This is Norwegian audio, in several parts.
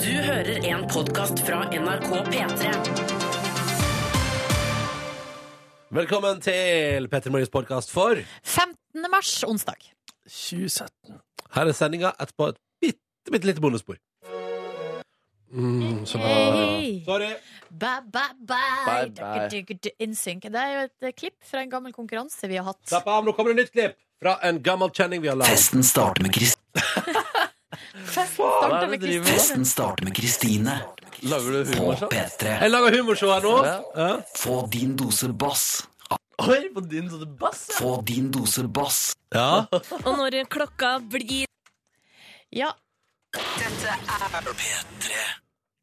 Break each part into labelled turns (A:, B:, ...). A: Du hører en podkast fra NRK P3.
B: Velkommen til Petter Morgens podkast for
C: 15. mars, onsdag.
B: 2017. Her er sendinga etterpå et bitte, bitte lite bonusspor. Mm, så
C: Hey.
B: Sorry.
C: Bye, bye, bye.
D: Bye, bye.
C: Dukke, dukke, du- Innsynk. Det er jo et eh, klipp fra en gammel konkurranse vi har hatt.
B: Slapp av, nå kommer det nytt klipp fra en gammel kjenning vi har lagd.
E: Festen starter med Kristine.
C: Festen
D: Hva er
C: starter
D: det
C: med
D: du driver med?
C: Kristin.
E: Festen starter med Kristine.
D: Lager du
E: På
D: humorshow?
E: P3.
B: Jeg lager humorshow her nå. Ja.
E: Få din dose bass.
D: Oi, på din sånne bass! ja.
E: Få din dose bass.
B: Ja.
F: Og når klokka blir
C: Ja,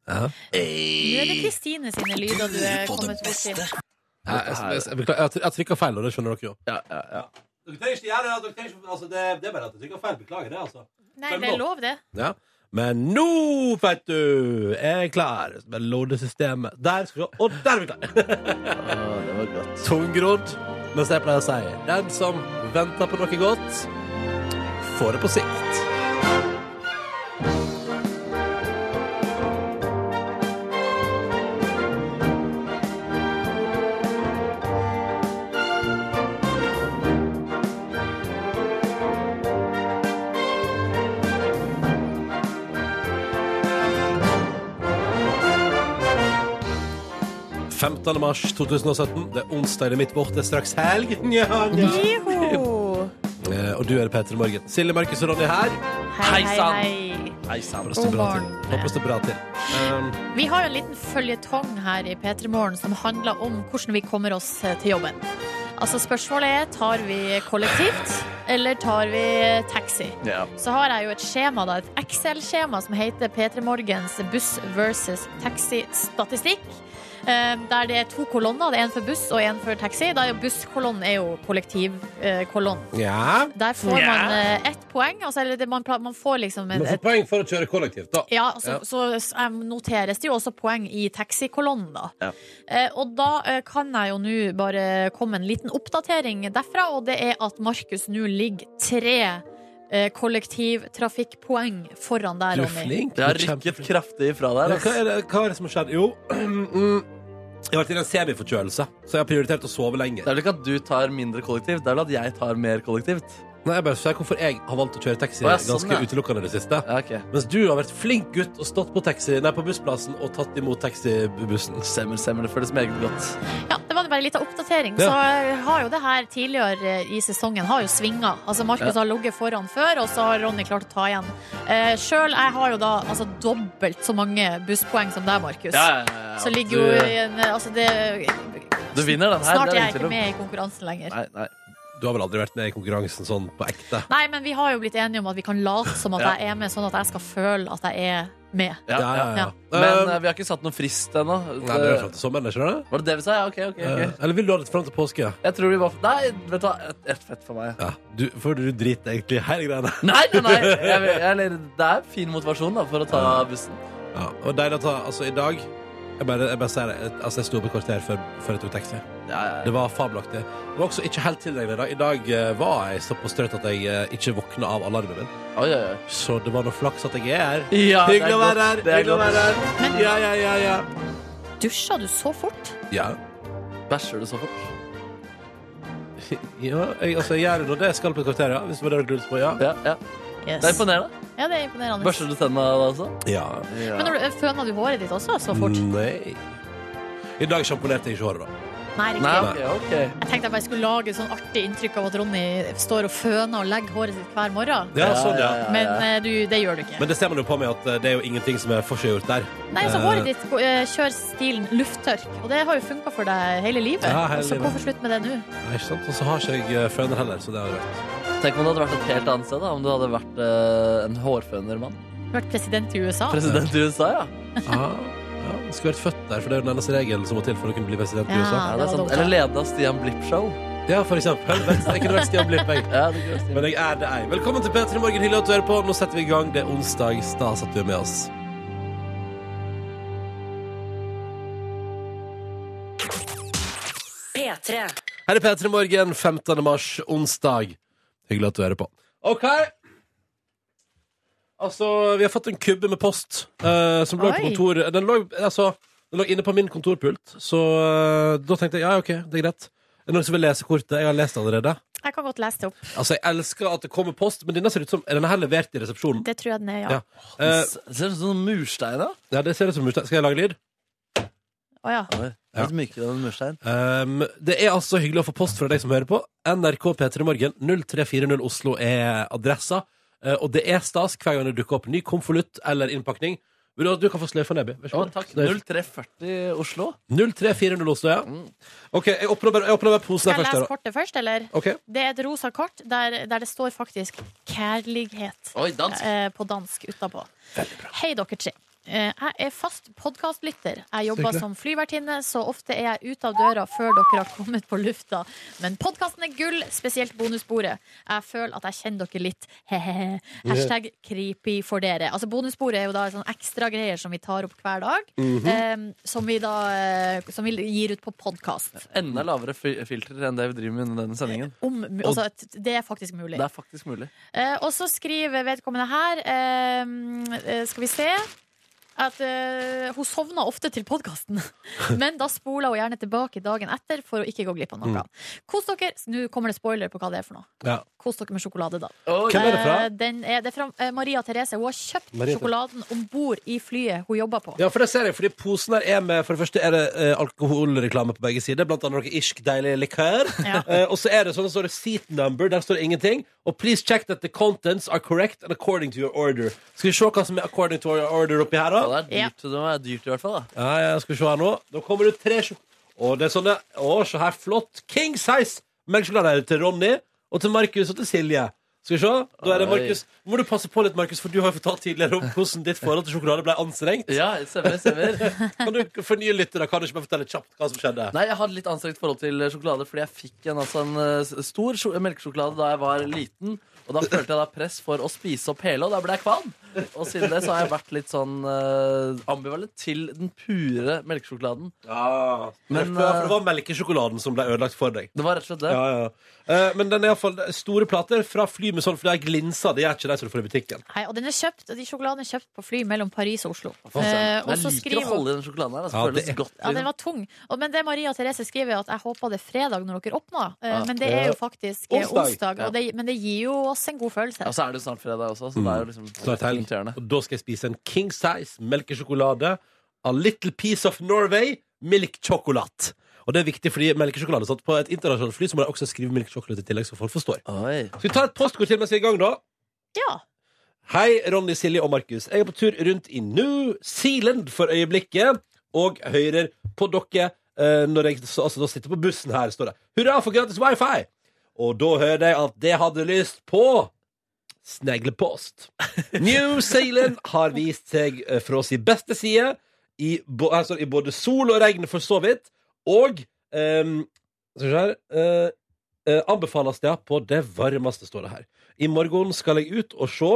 C: nå er det Kristine sine lyder du er kommet borti.
B: Jeg, jeg, jeg, jeg, beklager, jeg, jeg trykka feil, og det skjønner dere jo.
D: Ja, ja, ja.
B: Dere trenger ikke gjøre det. Dere trenger ikke, altså, det, det er bare at jeg trykka feil. Beklager det, altså.
C: Nei, det er lov, det.
B: Ja. Men nå, vet du, er jeg klar. Bare loade systemet. Der skal vi gå. Og der er vi klare.
D: Å, det var godt.
B: Tungrodd. Men som jeg pleier å si, den som venter på noe godt, får det på sikt. «15. mars 2017. Det er onsdag i det mitt vårt. Det er straks helg. Nja, nja.
C: Joho!
B: Eh, Og du er Peter Morgen. Silje Markus og Ronny her.
C: Hei, hei,
D: sann.
C: hei.
D: Hei sann.
B: Håper det står
C: God
B: bra til.
C: morgen.
B: Håper det står bra til. Um,
C: Vi har en liten føljetong her i P3 Morgen som handler om hvordan vi kommer oss eh, til jobben. Altså Spørsmålet er tar vi kollektivt eller tar vi taxi.
D: Ja.
C: Så har jeg jo et skjema, da, et Excel-skjema som heter P3 Morgens buss versus taxi-statistikk. Eh, Der det er to kolonner. Det er En for buss og en for taxi. Da er jo Busskolonnen er jo kollektivkolonnen.
B: ja.
C: Der får man eh, ett poeng. Altså, eller det, man, pla- man får liksom
B: Man
C: en,
B: får poeng for å kjøre kollektivt, da.
C: ja,
B: Ja.
C: så, så s- em, noteres det jo også poeng i taxikolonnen, da.
D: Ja.
C: Eh, og da eh, kan jeg jo nå bare komme en liten oppdatering derfra, og det er at Markus nå ligger tre eh, kollektivtrafikkpoeng foran deg,
B: Du er
C: Ronny.
B: flink.
D: Det har
B: Du er
D: rykket kraftig fra der.
B: Ja, hva,
D: Altså.
B: er det, hva er det som har skjedd? Jo, mm, jeg har vært i en semiforkjølelse, så jeg har prioritert å sove
D: Det
B: lenger.
D: er vel ikke at du tar mindre kollektivt, det er vel at jeg tar mer kollektivt.
B: Nei, jeg bare sier hvorfor jeg har valgt å kjøre taxi
D: Å, ja, sånn,
B: ganske
D: ja.
B: utelukkende det siste.
D: Ja, ok.
B: Mens du har vært flink gutt og stått på, taxi, nei, på bussplassen og tatt imot taxibussen.
D: Stemmer, stemmer. Det føles meget godt.
C: Ja, det var bare en liten oppdatering.
B: Ja.
C: Så eh, har jo det her tidligere eh, i sesongen har jo svinga. Altså Markus
D: Ja.
C: har ligget foran før, og så har Ronny klart å ta igjen. Eh, Sjøl jeg har jo da altså dobbelt så mange busspoeng som deg, Markus. Så ligger jo i
D: du,
C: en Altså, det
D: du vinner den her.
C: Snart er
D: det ingen
C: jeg
D: tvil
C: ikke
D: om.
C: med i konkurransen lenger.
D: Nei, nei.
B: Du har vel aldri vært med i konkurransen sånn på ekte?
C: Nei, men vi har jo blitt enige om at vi kan late som at
D: Ja.
C: jeg er med, sånn at jeg skal føle at jeg er med.
D: Ja, ja. Men
B: Men,
D: eh, vi har ikke satt noen frist ennå.
B: nei, men det er sånn. fram til sommeren, Um, ikke det?
D: Var det det vi sa? Ja, ok, ok.
B: Eh,
D: ok.
B: Eller vil du ha det fram til påske?
D: Jeg tror vi var Nei, vet du hva. Ett et fett for meg.
B: Ja, du, for du driter egentlig i hele greia.
D: Nei, nei, nei. Jeg, vil- eller, det er fin motivasjon da, for å ta bussen.
B: Ja, og deilig å ta Altså, i dag Jeg bare, jeg bare sier det. jeg- Altså, jeg sto opp et kvarter før, før jeg tok taxi.
D: Ja, ja,
B: Det var fabelaktig. Det var også ikke helt tilgjengelig i dag. I dag eh, var jeg så på strøt at jeg eh, ikke våkna av alarmen min.
D: ja. Oi, oi, oi.
B: Så det var noe flaks at jeg er her.
D: Ja, det er
B: Hyggelig å
D: godt,
B: være her!
D: det er
B: Hyggelig å
D: godt.
B: være her.
C: Men-
B: Ja, ja, ja, ja.
C: Dusja du så fort?
B: Ja,
D: Bæsjer du så fort?
B: ja jeg, altså, jeg gjør jo nå det jeg skal på et kvarter, ja. Hvis det var det dere lurte på, ja.
D: Ja, ja.
C: Yes.
D: Det er imponerende.
C: Ja, det er imponerende.
D: Børster du tenna da også?
B: ja.
C: Men når du, føna du håret ditt også så fort?
D: Mm.
B: Nei. I dag sjamponerte jeg ikke håret, da.
C: Nei, riktig.
D: Nei, ok, ok.
C: Jeg tenkte jeg bare skulle lage et sånn artig inntrykk av at Ronny står og føner og legger håret sitt hver morgen.
B: Ja, sånn, ja.
C: Men eh, du, det gjør du ikke.
B: Men det ser man jo på meg at eh, det er jo ingenting som er forseggjort der.
C: Nei, altså
B: Eh,
C: Håret ditt eh, kjører stilen lufttørk, og det har jo funka for deg hele livet.
B: Ja, hele
C: så
B: livet.
C: hvorfor slutte med det nå?
B: Nei, ikke sant? Og så har ikke jeg eh, føner heller, så det har vært
D: Tenk om det hadde vært et helt annet sted, da. Om du hadde vært eh, en hårfønermann.
C: Du har vært president i USA.
D: President i USA, ja.
B: ah, ja, jeg Skulle vært født der, for det er jo den eneste regelen som må til for å kunne bli president i
C: Ja.
B: USA.
D: ja
C: det
D: det
C: var
D: er sant.
C: dumt, da.
D: Eller leda Stian Blipp-show.
B: Ja, for eksempel. Vent, Jeg kunne vært Stian Blipp, jeg.
D: Ja, det kunne Stian.
B: Men jeg er det ei. Velkommen til P3 Morgen. Hyggelig at du hører på. Nå setter vi i gang. Det er onsdag. Stas at du er med oss.
A: P3.
B: Her er P3 Morgen 15. mars, onsdag. Hyggelig at du hører på. OK. Altså, vi har fått en kubbe med post eh, som lå på
C: Oi.
B: kontor Den lå, altså, den lå inne på min kontorpult, så eh, da tenkte jeg ja, OK, det er greit. Er det noen som vil lese kortet? Jeg har lest det allerede.
C: Jeg kan godt lese det opp.
B: Altså, Jeg elsker at det kommer post, men denne ser ut som Er denne her levert i resepsjonen?
C: Det tror jeg den er, ja.
B: Ja.
C: Å ja.
B: Eh,
D: Ser ut som murstein, da.
B: ja, det ser ut som murstein. Skal jeg lage lyd?
D: Oi,
B: Ja.
D: Litt mykere enn murstein.
B: Um, det er altså så hyggelig å få post fra deg som hører på. NRK P3 Morgen, 0340 Oslo er adressa. Eh, og det er stas hver gang det dukker opp ny konvolutt eller innpakning. Vil Du, du kan få sløyfa nebbi. Vær så
D: Å,
B: god.
D: takk.
B: Nei,
D: 0340 Oslo.
B: 0340 Oslo, ja. OK, jeg åpner bare, jeg åpner bare posen
C: Skal
B: her
C: jeg lese
B: først.
C: kortet først, eller?
B: Da. OK.
C: Det er et rosa kort der, der det står faktisk 'kjærlighet'
D: Oi, dansk.
C: eh, på dansk utapå. Hei, dere tre. Eh, Jeg er fast podkastlytter. Jeg jobber
B: Hyggelig.
C: som flyvertinne, så ofte er jeg ute av døra før dere har kommet på lufta. Men podkasten er gull, spesielt bonussporet. Jeg føler at jeg kjenner dere litt. Hehehe. Hashtag creepy for dere. Altså Bonussporet er jo da en sånn ekstra greier som vi tar opp hver dag. eh, som, vi da, eh, som vi gir ut på podkast.
D: Eh, Enda lavere fi- filter enn det vi driver med under denne sendingen.
C: Altså, at det er faktisk mulig.
D: Det er faktisk mulig.
C: Eh, og så skriver vedkommende her eh, eh, Skal vi se At eh, hun sovna ofte til podkasten. Men da spoler hun gjerne tilbake dagen etter for å ikke gå glipp av
B: Mm.
C: noe. Kos dere. Nå kommer det spoiler på hva det er for noe.
B: Ja.
C: Kos dere med sjokolade, da.
D: Oi,
B: Hvem er det fra?
C: Eh, den er, det er fra eh, Maria Therese. Hun har kjøpt
B: Maria Therese.
C: sjokoladen om bord i flyet hun jobber på.
B: Ja, for det ser jeg, fordi posen her er med For det første er det eh, alkoholreklame på begge sider, blant annet noe irsk deilig likør.
C: Ja.
B: Eh, og så er det sånn, så står det seat number, der står det ingenting. Og please check that the contents are correct and according to your order. Skal vi se hva som er according to your order oppi her, da?
D: Ja, det er dyrt, det er dyrt i hvert fall. Da.
B: Ja, ja, skal vi se her nå. Da kommer det tre sjok... Å, det er sånne Å, se her, flott. King size melkesjokolade til Ronny og til Markus og til Silje. Skal vi se. Da er det
D: Oi.
B: Markus. Må du passe på litt, Markus, for du har jo fortalt tidligere om hvordan ditt forhold til sjokolade ble anstrengt.
D: Ja, stemmer, stemmer.
B: Kan du for nye lyttere, kan du ikke bare fortelle kjapt hva som skjedde?
D: Nei, jeg hadde litt anstrengt forhold til sjokolade, fordi jeg fikk en, altså, en eh, s- stor sjo- melkesjokolade da jeg var liten. Og da følte jeg da press for å spise opp hele, og da ble jeg kvalm. Og siden det så har jeg vært litt sånn eh, ambivalent til den pure melkesjokoladen.
B: Ja, eh,
D: Men,
B: for, for det var melkesjokoladen som ble ødelagt for deg.
D: Det var rett og slett det.
B: Ja, ja. Eh, men den er iallfall store plater fra fly med sånn, for de har glinsa. Det gjør ikke de som du får i butikken.
C: Nei, og den er kjøpt, de sjokoladene er kjøpt på fly mellom Paris og Oslo.
B: sånn.
D: Fy
C: Eh,
D: søren.
C: og så
D: jeg liker
C: skriver
D: å
C: hun
D: holde i den sjokoladen her. Altså,
B: Ja,
D: føles
B: det-
D: godt.
C: Ja, den
D: Liksom.
C: var tung. Og, men det Maria Therese skriver, er at jeg håper det er fredag når dere åpner. Eh,
D: Ja.
C: Men det er jo faktisk eh,
B: Onsdag. Altså.
C: onsdag, og det, men det gir jo oss en god følelse.
D: Og så er det jo snart fredag også, så det er jo liksom
B: Snart helg.
D: irriterende.
B: Og da skal jeg spise en King Size melkesjokolade. A little piece of Norway milk chocolate. Og det er viktig fordi melkesjokolade er satt på et internasjonalt fly, så må de også skrive milk chocolate i tillegg, så folk forstår.
D: Oi.
B: Skal vi ta et postkort til mens vi er i gang, da?
C: Ja.
B: Hei, Ronny, Silje og Markus. Jeg er på tur rundt i New Zealand for øyeblikket, og hører på dere eh, når jeg så, altså, da sitter på bussen her, står det. Hurra for gratis wifi! Og da hører jeg at det hadde lyst på sneglepost. New Zealand har vist seg eh, fra sin beste side, i, bo, her står det, i både sol og regn for så vidt, og ehm, skal vi se her eh, eh, Anbefales det på det varmeste, står det her. I morgen skal jeg ut og se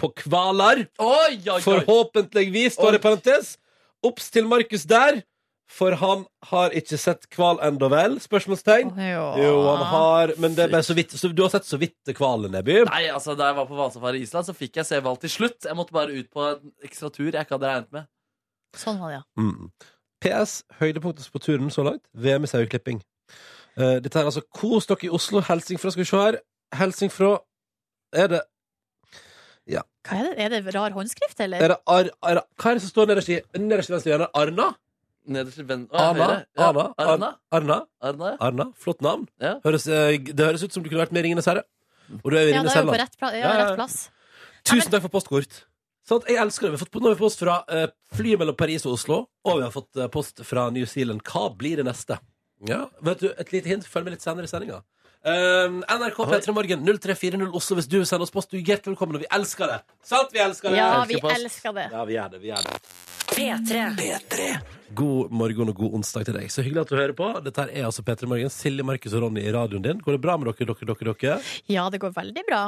B: på Kvalar.
D: Oi, oi, oi.
B: Forhåpentligvis, står det i parentes. Obs til Markus der, for han har ikke sett hval ennå, vel? Spørsmålstegn. Jo, han har, men det er bare så vidt. Så du har sett så vidt hvalen, Neby?
D: Nei, altså Da jeg var på Vasafari i Island, så fikk jeg se hval til slutt. Jeg måtte bare ut på en ekstra tur jeg ikke hadde regnet med.
C: Sånn var det, ja.
B: Mm. PS. Høydepunktet på turen så langt. VM i saueklipping. Eh, dette er altså Kos dere i Oslo. Helsingfra, skal vi se her. Helsingfra Er det,
C: Hva er, det? er det rar håndskrift, eller?
B: er det ar, ar, Hva er det som står nederst i nederst i venstre hjørne? Arna?
D: Nederst til ven... Å,
B: Arna?
D: høyre. Ja,
B: Arna? Arna?
D: Arna?
B: Arna?
D: Arna, ja.
B: Arna, flott navn.
D: Ja.
B: Høres, eh, det høres ut som du kunne vært med i Ringenes herre. Og du er i
C: Ja, det
B: Ringenes
C: er jo på
B: herre.
C: rett, pla
B: Ja,
C: ja,
B: ja, ja.
C: rett plass.
B: Tusen takk for postkort. Sånn at jeg elsker det. Vi har fått, nå har vi fått post fra eh, flyet mellom Paris og Oslo, og vi har fått eh, post fra New Zealand. Hva blir det neste? Ja, vet du, Et lite hint. Følg med litt senere i sendinga. Um, NRK P3 Morgen 0340 Oslo hvis du vil sende oss post. Du er hjertelig velkommen, og vi elsker det! Sant, vi elsker det!
C: Ja,
D: elsker
C: vi
D: post.
C: elsker det.
B: Ja, vi gjør det. vi gjør det
A: P3.
B: God morgen og god onsdag til deg. Så hyggelig at du hører på. Dette her er altså P3 Morgen. Silje, Markus og Ronny i radioen din. Går det bra med dere, dere, dere? dere?
C: Ja, det går veldig bra.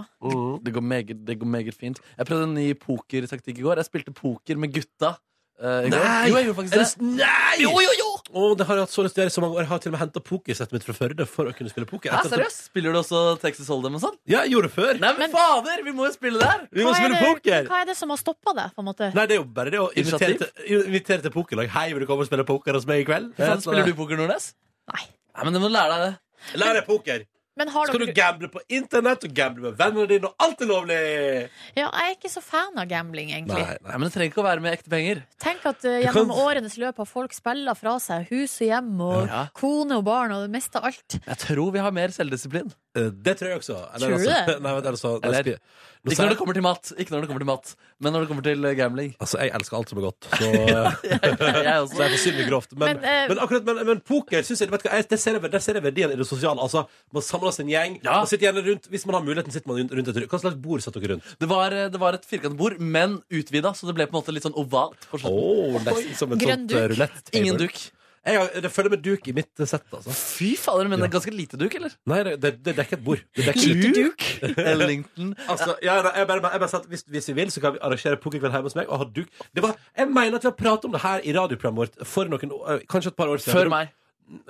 D: Det, går meget, det går meget fint. Jeg prøvde en ny pokertaktikk i går. Jeg spilte poker med gutta. eh, i går. Jo, jeg gjorde faktisk det.
B: Nei!
D: Jo, jo, jo!
B: Å, det har jeg hatt så lyst til å gjøre i så mange år. Jeg har til og med henta pokersettet mitt fra Førde for å kunne spille poker.
D: Ja,
B: Etter at-
D: Ah, seriøst? Spiller du også Texas Hold'em og sånn?
B: Ja, jeg gjorde det før.
D: Nei, men, fader! Vi må jo spille der!
B: Vi må
C: Hva er
B: spille
C: det-
B: poker!
C: Hva er det som har stoppa det? på en måte?
B: Nei, det er jo bare det å invitere
D: Initiativ?
B: til, invitere til pokerlag. Hei, vil du komme og spille poker hos meg i kveld?
D: Faen, spiller du poker, Nordnes?
C: Nei.
D: Nei, men du må lære deg det.
B: Lær deg poker!
C: Men har
B: Skal du
C: dere...
B: gamble på internett og gamble med vennene dine, og alt er lovlig!
C: ja, jeg er ikke så fan av gambling, egentlig.
D: Nei, men Det trenger ikke å være med ekte penger.
C: Tenk at eh,
B: Du
C: gjennom
B: kan-
C: årenes løp har folk spilla fra seg hus og hjem og
D: Ja.
C: kone og barn og det meste av alt.
D: Jeg tror vi har mer selvdisiplin.
B: Eh, Det tror jeg også.
C: Tror du
B: altså,
C: det?
B: Nei, vent, altså, nei,
D: Eller-
B: spi- Nå
D: Ikke
B: sier
D: når
B: jeg-
D: det kommer til mat, Ikke når det kommer til mat men når det kommer til eh, gambling.
B: Altså, jeg elsker alt som er godt, så, så
D: Jeg også.
B: jeg får synd i grovt. Men, men,
C: Men, eh,
B: akkurat, men, men poker synes jeg, vet du hva, jeg, der, ser jeg, der ser jeg verdien i det sosiale. Altså, man samler seg en gjeng.
D: Ja.
B: Og sitter gjerne rundt, hvis man har muligheten, sitter man rundt- rundt et Hva slags bord satt dere rundt?
D: Det var, eh, det var et firkantet bord, men utvida, så det ble på en måte litt sånn ovalt. på slutten.
B: Oh, nesten som en sånn
C: Grønn duk.
B: rulett.
D: Ingen duk.
B: Jeg har, det følger med duk i mitt eh, sett, altså.
D: Fy fader, men det er ganske lite duk, eller?
B: Nei, det, det, det dekker et bord. Det dekker et
D: Lite duk? Ellington.
B: Altså, ja, nei, jeg bare, jeg bare sa at hvis, hvis vi vil, så kan vi arrangere pokerkveld hjemme hos meg. Og ha duk. Det var, jeg mener at vi har pratet om det her i radioprogrammet vårt for noen, år- øh, kanskje et par år siden.
D: Før meg.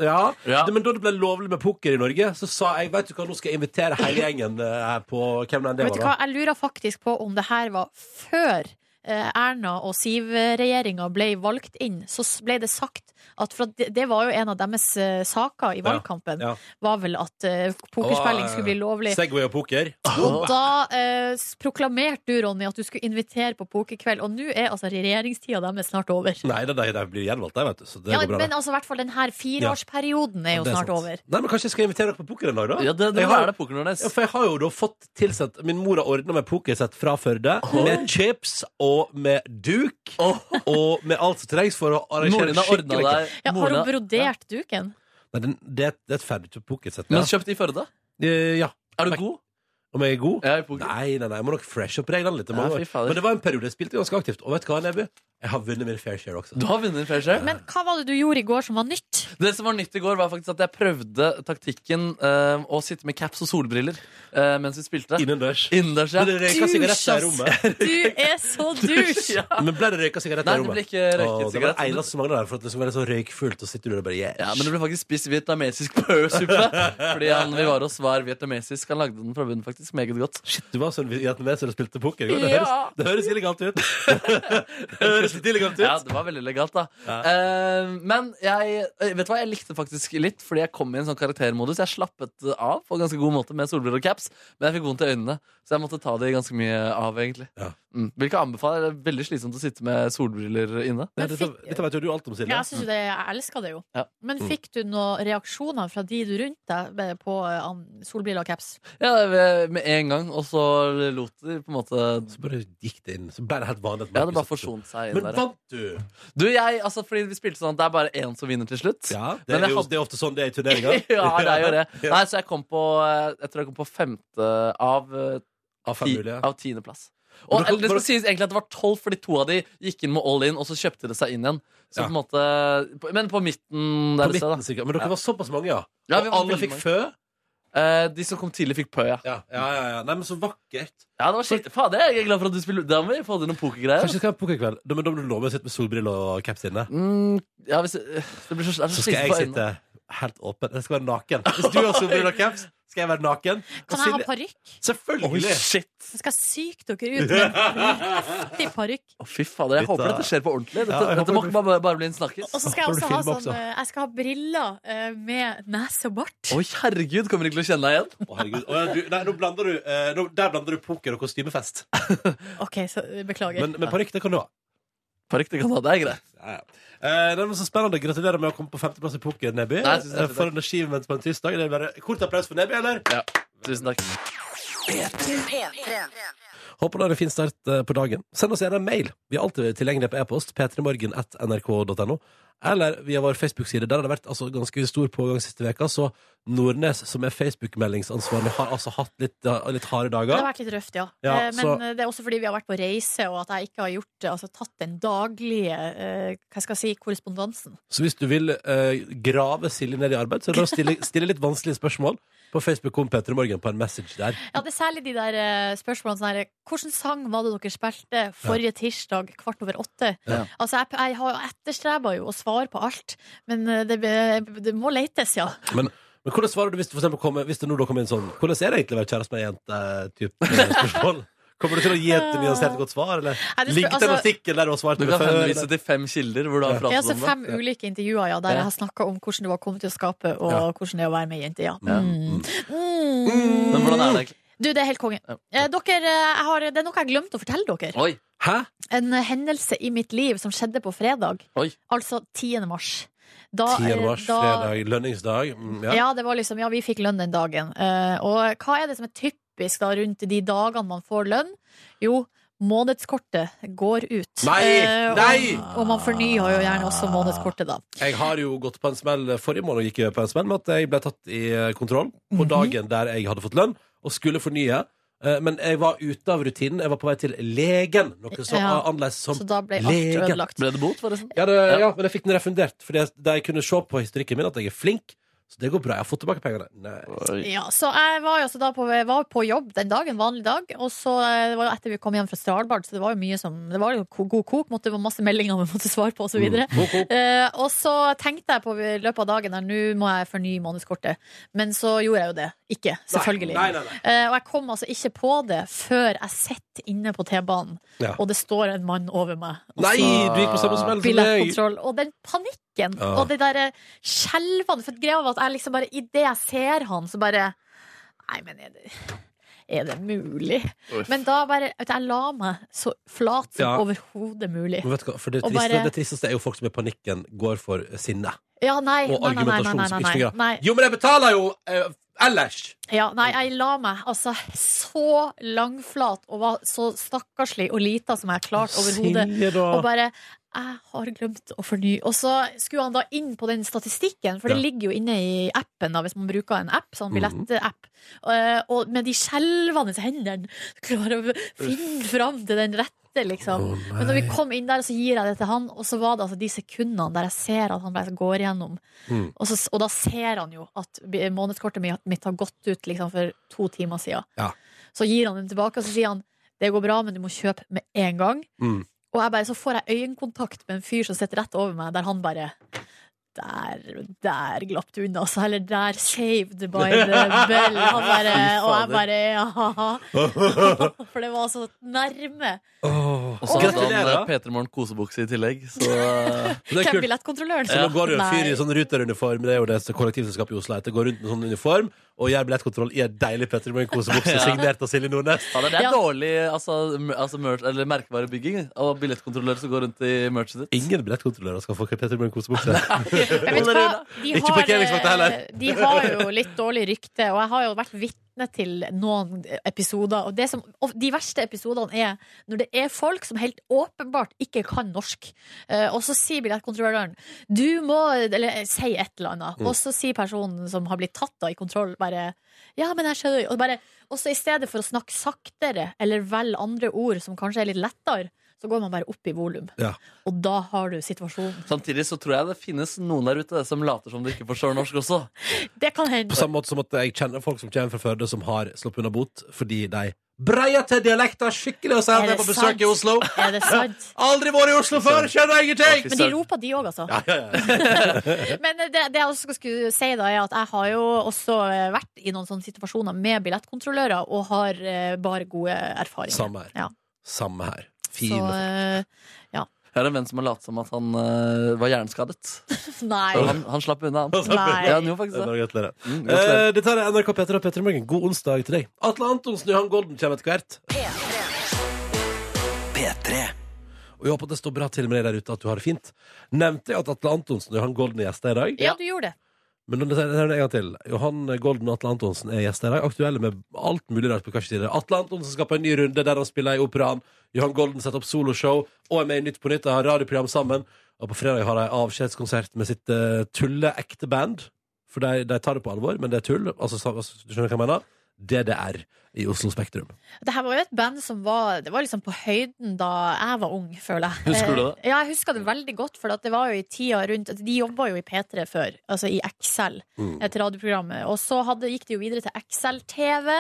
B: Ja,
D: Ja.
B: Det, Men da det ble lovlig med poker i Norge, så sa jeg vet du hva, nå skal jeg invitere hele gjengen eh, her på hvem enn det
C: Vet du
B: var.
C: hva,
B: da
C: Jeg lurer faktisk på om det her var før eh, Erna og Siv-regjeringa ble valgt inn. Så s- ble det sagt at for at det, det var jo en av deres eh, saker i valgkampen,
B: ja.
C: var vel at eh, pokerspilling skulle bli lovlig.
B: Segway og poker.
C: Og da eh, s- proklamerte du, Ronny, at du skulle invitere på pokerkveld, og nå er altså regjeringstida deres snart over.
B: Nei, det, det blir gjenvalgt, det, vet du. Så det
C: Ja,
B: går bra.
C: men
B: det.
C: altså, i hvert fall den her fireårsperioden er jo
B: Det er
C: snart
B: sant.
C: over.
B: Nei, men Kanskje jeg skal invitere dere på poker en dag, da?
D: Ja, det, det
B: Jeg
D: må
B: har-
D: være det poker, Nordnes.
B: Ja, for jeg har jo da fått tilsendt Min mor har ordna med pokersett fra Førde. Med chips og med duk. Og med alt som trengs for å arrangere
D: Moren
B: en
D: har ordna
B: skikkelig
D: deg.
C: Ja, har
D: moren
C: hun
D: har-
C: brodert duken?
B: Nei, den- det, er et- det er et ferdig pokersett. Ja.
D: Men kjøpt i Førde?
B: Eh, ja.
D: Er du god?
B: Om jeg er god?
D: Ja, i poker.
B: Nei, nei, nei, jeg må nok fresh opp reglene litt. jeg
D: Ja,
B: må-
D: fy fader.
B: Men det var en periode jeg spilte ganske aktivt. Og vet du hva, Neby? Jeg har vunnet min fair share også.
D: Du har vunnet fair share.
C: Men hva var det du gjorde i går som var nytt?
D: Det som var nytt i går, var faktisk at jeg prøvde taktikken eh, å sitte med caps og solbriller eh, mens vi spilte.
B: Innendørs.
D: Innendørs, ja.
B: Ble det røyka
C: Dusj,
B: sigaretter i
C: ass.
B: rommet?
C: Du er så douche!
D: ja.
B: Men ble det røyka sigaretter
D: Nei,
B: i
D: det ble
B: rommet?
D: ikke røyket
B: Å, det var det
D: sigaretter.
B: eneste som manglet der, for at det skulle være så røykfullt, og sitter du der og bare yes.
D: Ja, men det ble faktisk spist vietnamesisk pøsuppe. Fordi han vi var hos, var vietnamesisk. Han lagde den fra bunnen, faktisk. Meget godt.
B: Shit, du var sånn vietnameser og spilte poker. Det høres,
D: Ja.
B: det høres illegalt ut. det høres litt illegalt ut.
D: Ja, det var veldig legalt, da. Eh, men jeg eh, vet du hva, jeg likte faktisk litt, fordi jeg kom i en sånn karaktermodus. Jeg slappet av på en ganske god måte med solbriller og caps, men jeg fikk vondt i øynene. Så jeg måtte ta det ganske mye av, egentlig.
B: Ja.
D: Mm. Hvilket jeg anbefaler. Det er Veldig slitsomt å sitte med solbriller inne.
B: Ja,
C: Men
B: dette,
C: fikk-
B: dette Mm. vet jo du alt om, Silje.
C: Ja, altså- jeg synes jo det, jeg elsker det jo.
D: Ja.
C: Men fikk du noen reaksjoner fra de du rundt deg eh, på eh, an- solbriller og caps?
D: Ja, ved- med en gang, og så lot de på en måte
B: Så bare gikk det inn. Så bare helt vanlig. at
D: Jeg hadde bare
B: Markus-
D: forsont seg inn
B: Men
D: der.
B: vant du?
D: Du, jeg, altså, fordi vi spilte sånn at det er bare én som vinner til slutt.
B: Ja, det
D: Men
B: er,
D: jeg
B: jo,
D: hadde-
B: det er ofte sånn det er i
D: ja,
B: turneringer.
D: det er jo det. Nei, så jeg kom på eh, Jeg tror jeg kom på femte av, eh,
B: Av fem
D: ti,
B: mulige.
D: av tiendeplass.
B: Men
D: Og
B: du kan-
D: eller det skal sies egentlig at det var tolv, fordi to av de gikk inn med all in, og så kjøpte det seg inn igjen. Så
B: Ja.
D: på en måte på- Men på
B: På
D: midten der et sted,
B: midten, sikkert. Men dere
D: Ja.
B: var såpass mange, ja.
D: Ja, vi
B: og
D: var
B: alle
D: veldig
B: fikk
D: mange.
B: fø.
D: da. Eh, De som kom tidlig, fikk pø, ja.
B: Ja, ja, ja, ja. Nei, men så vakkert.
D: Ja, det var skitt. Fader, jeg er glad for at du spiller Da må vi få til noen pokergreier.
B: Kanskje vi skal ha pokerkveld? Da men da må du love å sitte med solbriller og caps inne.
D: Mm, ja, hvis, øh, det blir så, det er så,
B: Så skal
D: slitsomt
B: jeg
D: på øynene.
B: sitte helt åpen. Jeg skal være naken. Hvis du har solbriller og caps, skal jeg være naken. Og
C: Kan jeg ha
B: Silje-
C: parykk?
B: Selvfølgelig!
D: shit!
C: Jeg skal syke dere ut med en riktig parykk.
D: Å, fy fader, jeg
B: Dette-
D: håper dette skjer på ordentlig. Dette,
B: Ja, jeg
D: dette må
B: håper
D: ikke bare, bare bli en snakkis.
C: Og så skal jeg
B: Har du
C: også ha
B: film
C: sånn
B: også?
C: eh, Jeg skal ha briller eh, med nese og bart.
D: Oi, herregud, kommer ikke til å kjenne deg igjen.
B: Å, herregud. Å, ja, du, nei, nå blander du, eh, nå, der blander du poker og kostymefest.
C: OK, så eh, beklager.
B: Men, men parykk, det kan du ha.
D: Park, det kan ha, det er greit.
B: Ja, ja. Eh, det var så spennende. Gratulerer med å komme på femteplass i poker, Neby.
D: Nei, tusen hjertelig
B: Eh, for en skivenn på en tirsdag. Det er bare kort applaus for Neby, eller?
D: Tusen takk.
B: Håper du har en fin start eh, på dagen. Send oss gjerne en mail. Vi er alltid tilgjengelige på e-post. p3morgen.nrk.no. Eller via vår Facebook-side. Der har det vært altså, ganske stor pågang siste veka Så Nordnes, som er Facebook-meldingsansvarlig, har altså hatt litt, eh, litt harde
C: Det har
B: dager.
C: vært litt røft, ja.
B: Ja,
C: Eh, Men
B: så-
C: eh, det er også fordi vi har vært på reise, og at jeg ikke har gjort, eh, altså, tatt den daglige eh, hva skal jeg si, korrespondansen.
B: Så hvis du vil eh, grave Silje ned i arbeid, så er det bare å stille, stille litt vanskelige spørsmål. På Facebook kom Petter i Morgen på en message der.
C: Ja, det er særlig de der eh, spørsmålene sånn her Hvilken sang var det dere spilte forrige tirsdag kvart over åtte?
D: Ja.
C: Altså, jeg, jeg har etterstreba jo å svare på alt, men eh, det, be- det må letes, ja.
B: Men, men hvordan svarer du hvis, du for eksempel, kommer, hvis det nå da kommer inn sånn Hvordan er det egentlig å være kjæreste med ei jente? spørsmål? Kommer du til å gi et nyansert godt svar, eller
C: Nei, det spør-
B: ligger det en
C: altså-
B: artikkel der du har svart
D: Du
B: med
D: kan
B: før, eller?
D: henvise til fem kilder hvor du har
C: Ja,
D: pratet
C: så
D: om det.
C: fem ulike intervjuer ja, der
D: Ja.
C: jeg har snakka om hvordan du var kommet til å skape, og
B: Ja.
C: hvordan det er å være med ei jente. Ja.
D: Ja.
C: Mm. Mm.
D: Men hvordan er det egentlig?
C: Du, det er helt konge.
D: Ja.
C: Eh, dere, eh, jeg har, det er noe jeg har glemt å fortelle dere.
D: Oi,
B: Hæ?
C: En eh, hendelse i mitt liv som skjedde på fredag.
D: Oi.
C: Altså 10. mars. Da,
B: 10. mars,
C: eh, da-
B: fredag, lønningsdag. Mm,
C: Ja.
B: ja.
C: det var liksom, ja, vi fikk lønn den dagen. Eh, og hva er det som er typisk da rundt de dagene man får lønn? Jo, månedskortet går ut.
B: Nei!
C: Eh, og-
B: Nei!
C: Og man fornyer jo gjerne også månedskortet, da.
B: Jeg har jo gått på en smell forrige måned gikk jeg på en smell med at jeg ble tatt i eh, kontroll
C: Mhm.
B: på dagen der jeg hadde fått lønn og skulle fornye. Eh, Men jeg var ute av rutinen. Jeg var på vei til legen, noe så
C: Ja.
B: annerledes som
C: Så da ble alt
B: Legen.
C: ødelagt.
D: ble det bot, forresten?
B: ja, det, ja. men jeg fikk den refundert, for de kunne se på historikken min at jeg er flink. Så det går bra. Jeg har fått tilbake pengene. Nei.
C: Ja, så jeg var jo også da på, jeg var på jobb den dagen, vanlig dag. Og så eh, det var jo etter vi kom hjem fra Stralbard, så det var jo mye som Det var jo ko- god kok, måtte, det var masse meldinger vi måtte svare på, og så videre.
B: Mm. Boko.
C: Eh, og så tenkte jeg på i løpet av dagen der, nå må jeg fornye månedskortet. Men så gjorde jeg jo det. Ikke, selvfølgelig.
B: Nei, nei, nei.
C: Eh, og jeg kom altså ikke på det før jeg sitter inne på T-banen,
B: Ja.
C: og det står en mann over meg. og
B: nei,
C: så-
B: du gikk på samme smell som meg!
C: Billettkontroll. Og den panikken
B: Ja.
C: og det derre skjelvende For greia var at jeg liksom bare idet jeg ser han, så bare Nei, men er det er det mulig?
D: Uff.
C: Men da bare vet du, Jeg la meg så flat som
B: Ja.
C: overhodet mulig.
B: Men vet du hva, for det
C: Og
B: triste,
C: bare-
B: det tristeste er jo folk som i panikken går for sinne.
C: Ja, nei,
B: Og
C: nei, nei, nei, nei, nei, nei,
B: argumentasjonsytringer.
C: nei.
B: Jo, men jeg betaler jo eh, ellers!
C: Ja, nei, jeg la meg altså så langflat og var så stakkarslig og lita som jeg klarte overhodet.
B: Silje, da.
C: Og bare jeg har glemt å fornye. Og så skulle han da inn på den statistikken, for det
B: Ja. Mhm.
C: ligger jo inne i appen, da, hvis man bruker en app, sånn billettapp. Eh, og med de skjelvende hendene klarer å finne fram til den rette, liksom.
B: Å,
C: Men når vi
B: nei.
C: kom inn der, så gir jeg det til han, og så var det altså de sekundene der jeg ser at han bare går gjennom.
B: Mm.
C: Og, så, og da ser han jo at b- månedskortet mi- mitt har gått ut liksom, for to timer siden.
B: Ja.
C: Så gir han den tilbake, og så sier han det går bra, men du må kjøpe med en gang.
B: Mm.
C: Og jeg bare, så får jeg øyekontakt med en fyr som sitter rett over meg, der han bare der, der glapp du unna, altså. Eller der saved by the bell. Han bare, og jeg bare ja. For det var så nærme.
D: Og så hadde han eh,
B: Gratulerer.
D: Peter Morgen kosebukse i tillegg, så
B: Men Det er
C: Hvem
B: kult.
C: billettkontrolløren?
B: Så nå går det jo en fyr i
C: Nei.
B: sånn ruteruniform, det er jo det kollektivselskapet i Oslo heter, går rundt med sånn uniform og gjør billettkontroll i en deilig Petter Morgen-kosebukse,
D: Ja.
B: signert av Silje Nordnes.
D: ja, det er
C: Ja.
D: dårlig altså, mer- altså, mer- eller merkevarebygging og billettkontrollører som går rundt i merchet ditt.
B: Ingen billettkontrollører skal få Petter Morgen-kosebukse.
C: Men vet du hva? De eh,
B: Ikke parkeringsvakta heller.
C: De har jo litt dårlig rykte, og jeg har jo vært vitne til noen episoder. Og, det som, og de verste episodene er når det er folk som helt åpenbart ikke kan norsk, eh, og så sier billettkontrolløren du må Eller eh, si et eller annet.
B: Mm.
C: Og så sier personen som har blitt tatt da i kontroll, bare ja, men jeg skjønner jo og, bare, og så i stedet for å snakke saktere eller velge andre ord som kanskje er litt lettere, så går man bare opp i volum.
B: Ja.
C: Og da har du situasjonen.
D: Samtidig så tror jeg det finnes noen der ute som later som de ikke forstår norsk også.
C: Det kan hende.
B: På samme måte som at jeg kjenner folk som kommer fra Førde som har sluppet unna bot fordi de breier til dialekter skikkelig og sier
C: Er
B: at de er
C: det
B: på
C: sant?
B: besøk i Oslo.
C: Er det sant?
B: Aldri vært i Oslo før, skjønner ingenting!
C: Men de roper, de òg, altså.
B: Ja, ja, ja.
C: Men det, det jeg også skulle si, da, er at jeg har jo også eh, vært i noen sånne situasjoner med billettkontrollører, og har eh, bare gode erfaringer.
B: Samme her.
C: Ja.
B: Samme her.
C: Så
B: Fin.
C: eh,
D: Jeg har en venn som har latt som at han eh, var hjerneskadet.
C: Nei.
D: Og han, han slapp unna, han.
C: Nei.
D: Ja, han gjorde faktisk det.
B: Bare Gratulerer.
D: Mm, gratulerer.
B: Eh, Dette her er NRK Petter og Petter i Morgen. God onsdag til deg. Atle Antonsen og Johan Golden kommer etter hvert.
E: P3
B: Og jeg håper at det står bra til med deg der ute, at du har det fint. Nevnte jeg at Atle Antonsen og Johan Golden er gjester i dag?
C: Ja, du gjorde det.
B: Men det er det en gang til. Johan Golden og Atle Antonsen er gjester i dag. Aktuelle med alt mulig rart på hver sin side. Atle Antonsen skal på en ny runde der han spiller i operaen. Johan Golden setter opp soloshow og er med i Nytt på Nytt. De har radioprogram sammen. Og på fredag har de avskjedskonsert med sitt eh, tulleekte band. For de, de tar det på alvor, men det er tull. Altså, sa- altså, du skjønner hva jeg mener? DDR i Oslo Spektrum.
C: Det her var jo et band som var Det var liksom på høyden da jeg var ung, føler jeg.
D: Husker du det?
C: Eh, Ja, jeg husker det veldig godt, for at det var jo i tida rundt altså, De jobba jo i P3 før, altså i Excel,
D: Mm.
C: et radioprogram. Og så hadde, gikk de jo videre til Excel-TV.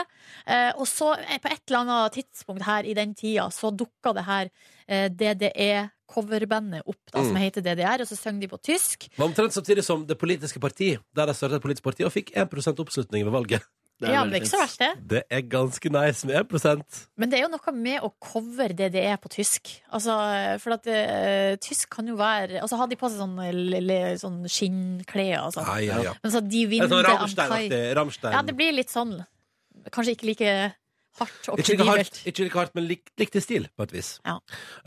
C: eh, Og så, eh, på et eller annet tidspunkt her i den tida, så dukka det her eh, DDE-coverbandet opp, da,
D: Mm.
C: som heter DDR, og så sang de på tysk.
B: Det var omtrent samtidig som Det politiske parti, der de startet et politisk parti og fikk 1 oppslutning ved valget.
C: ja, men det er ikke så verst, det.
B: Det er ganske nice med 1
C: Men det er jo noe med å cover DDE på tysk. Altså, for at eh, tysk kan jo være Altså, har de på seg sånne, lille- sånn skinnklær og sånn?
B: Nei, ja, ja.
C: Men så
B: Det
C: de
B: er
C: vinner
B: sånn
C: Amtai.
B: Rammstein-aktig. Rammstein.
C: Ja, det blir litt sånn. Kanskje ikke like hardt og
B: Ikke like hardt,
C: knivelt.
B: ikke like hardt men lik, likt i stil, på et vis.
C: Ja.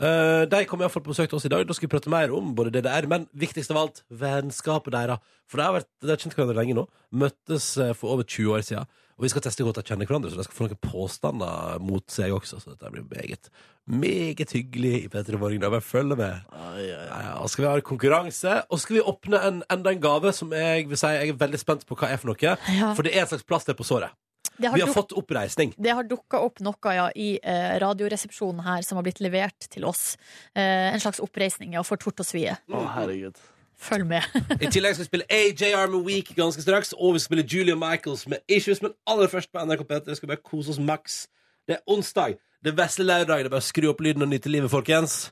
B: Eh, de kom iallfall på besøk til oss i dag. Da skal vi prate mer om både DDR, men viktigst av alt vennskapet deres. For de har, vært, de har kjent hverandre lenge nå. Møttes eh, for over 20 år siden. Og vi skal teste hvor godt de kjenner hverandre, så de skal få noen påstander mot seg også. Så dette blir meget, meget hyggelig i P3 Morgen. Da bare følg med. Ja, ja, og skal vi ha konkurranse, og skal vi åpne en, enda en gave som jeg vil si jeg er veldig spent på hva er for noe.
C: Ja.
B: For det er et slags plaster på såret.
C: Det har,
B: Vi har
C: duk,
B: fått oppreisning.
C: det har dukka opp noe ja, i eh, Radioresepsjonen her som har blitt levert til oss. Eh, en slags oppreisning ja, for tort og svie.
D: Å, herregud.
C: Følg med.
B: I tillegg skal vi spille AJR med Week ganske straks, og vi skal spille Julia Michaels med Issues, men aller først på NRK P3 skal vi bare kose oss maks. Det er onsdag, det er vesle lørdag, det er bare å skru opp lyden og nyte livet, folkens.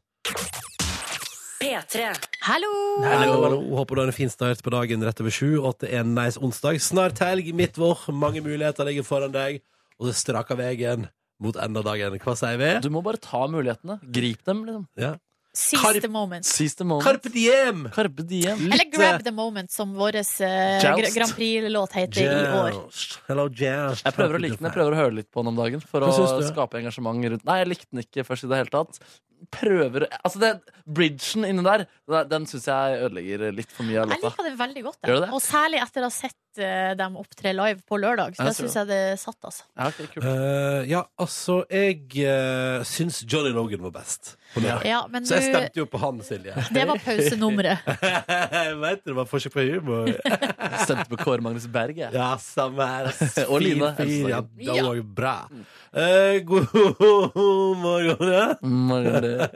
A: P3.
C: Hallo!
B: Hallo, hallo. Håper du har en fin start på dagen rett over sju, og at det er en nice onsdag. Snart helg, midtvår, mange muligheter ligger foran deg, og det straker veien mot enda dagen. Hva sier vi?
D: Du må bare ta mulighetene. Grip dem, liksom.
B: Ja.
C: Seize
B: Karp-
C: the moment.
D: Seize the moment.
B: Carpe diem!
D: Carpe diem.
C: Eller Grab the moment, som vår
D: eh,
C: eh,
D: Joust.
C: Grand Prix-låt heter i år.
B: Joust. Hello, Joust.
D: Jeg prøver å like den, jeg prøver å høre litt på den om dagen For
B: Hva
D: å
B: syns du?
D: skape engasjement rundt Nei, jeg likte den ikke først i det hele tatt Prøver, altså det, bridgen inne der den- Den synes jeg ødelegger litt for mye av
C: Jeg
D: låta
C: liker det veldig godt. jeg.
D: Gjør du det?
C: Og særlig etter å ha sett eh, dem opptre live på lørdag. Så
D: Ja,
C: da
D: jeg tror
C: syns jeg det satt, altså.
D: ja, ok, kult.
B: Eh, ja, altså, jeg uh, syns Johnny Logan var best. På lørdag.
C: Ja, men
B: Så jeg
C: du,
B: stemte jo på han, Silje.
C: det var pausenummeret.
B: jeg vet det var forsøk på humor.
D: Stemte på Kåre Magnus Berg jeg.
B: Ja, samme her. ass.
D: Og Line,
B: Fin, fin. Ja,
D: Elsesagen.
B: det var jo bra. Eh, god morgen. ja.
D: Mm,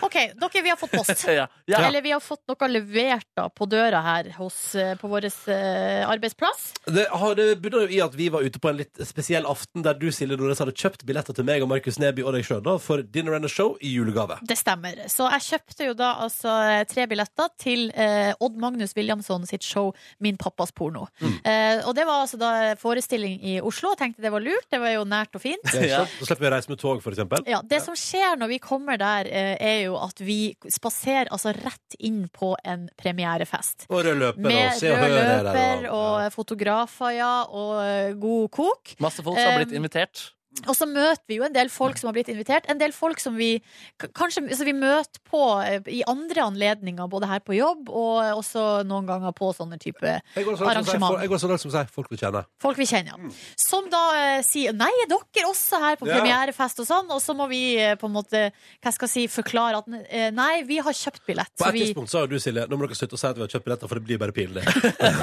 C: OK, dere, vi har fått post.
D: ja. Ja.
C: Eller vi har fått noe levert da, på døra her hos, eh, på vår eh, arbeidsplass.
B: Det, har- det bunner jo i at vi var ute på en litt spesiell aften der du, Silje Nordnes, hadde kjøpt billetter til meg og Markus Neby og deg sjøl for Dinner and a Show i julegave.
C: Det stemmer. Så jeg kjøpte jo da altså eh, tre billetter til eh, Odd Magnus Williamson sitt show Min pappas porno.
B: Mm.
C: Eh, og det var altså da forestilling i Oslo. Jeg tenkte det var lurt. Det var jo nært og fint.
B: Det er ikke sant? Så slipper vi å reise med tog, for eksempel.
C: Ja, det som skjer når vi kommer der, eh, er jo at vi spaserer altså rett inn på en premierefest.
B: Og rød løper og
C: Med
B: se og
C: rød
B: høre. her,
C: løper og fotografer, ja, og eh, god kok.
D: Masse folk som har blitt
C: Um,
D: invitert
C: Og så møter vi jo en del folk som har blitt invitert. En del folk som vi k- kanskje så vi møter på eh, i andre anledninger, både her på jobb og også noen ganger på sånne type
B: Jeg går så langt som å
C: Arrangement.
B: si- jeg går så langt som å si folk du kjenner.
C: folk vi kjenner. Som da eh, sier Nei, er dere også her på
B: Ja.
C: premierefest og sånn? Og så må vi eh, på en måte hva skal jeg si, forklare at eh, nei, vi har kjøpt billett.
B: På
C: Så
B: et
C: vi,
B: tidspunkt sa jo du, Silje, nå må dere slutte å si at vi har kjøpt billetter, for det blir bare pinlig.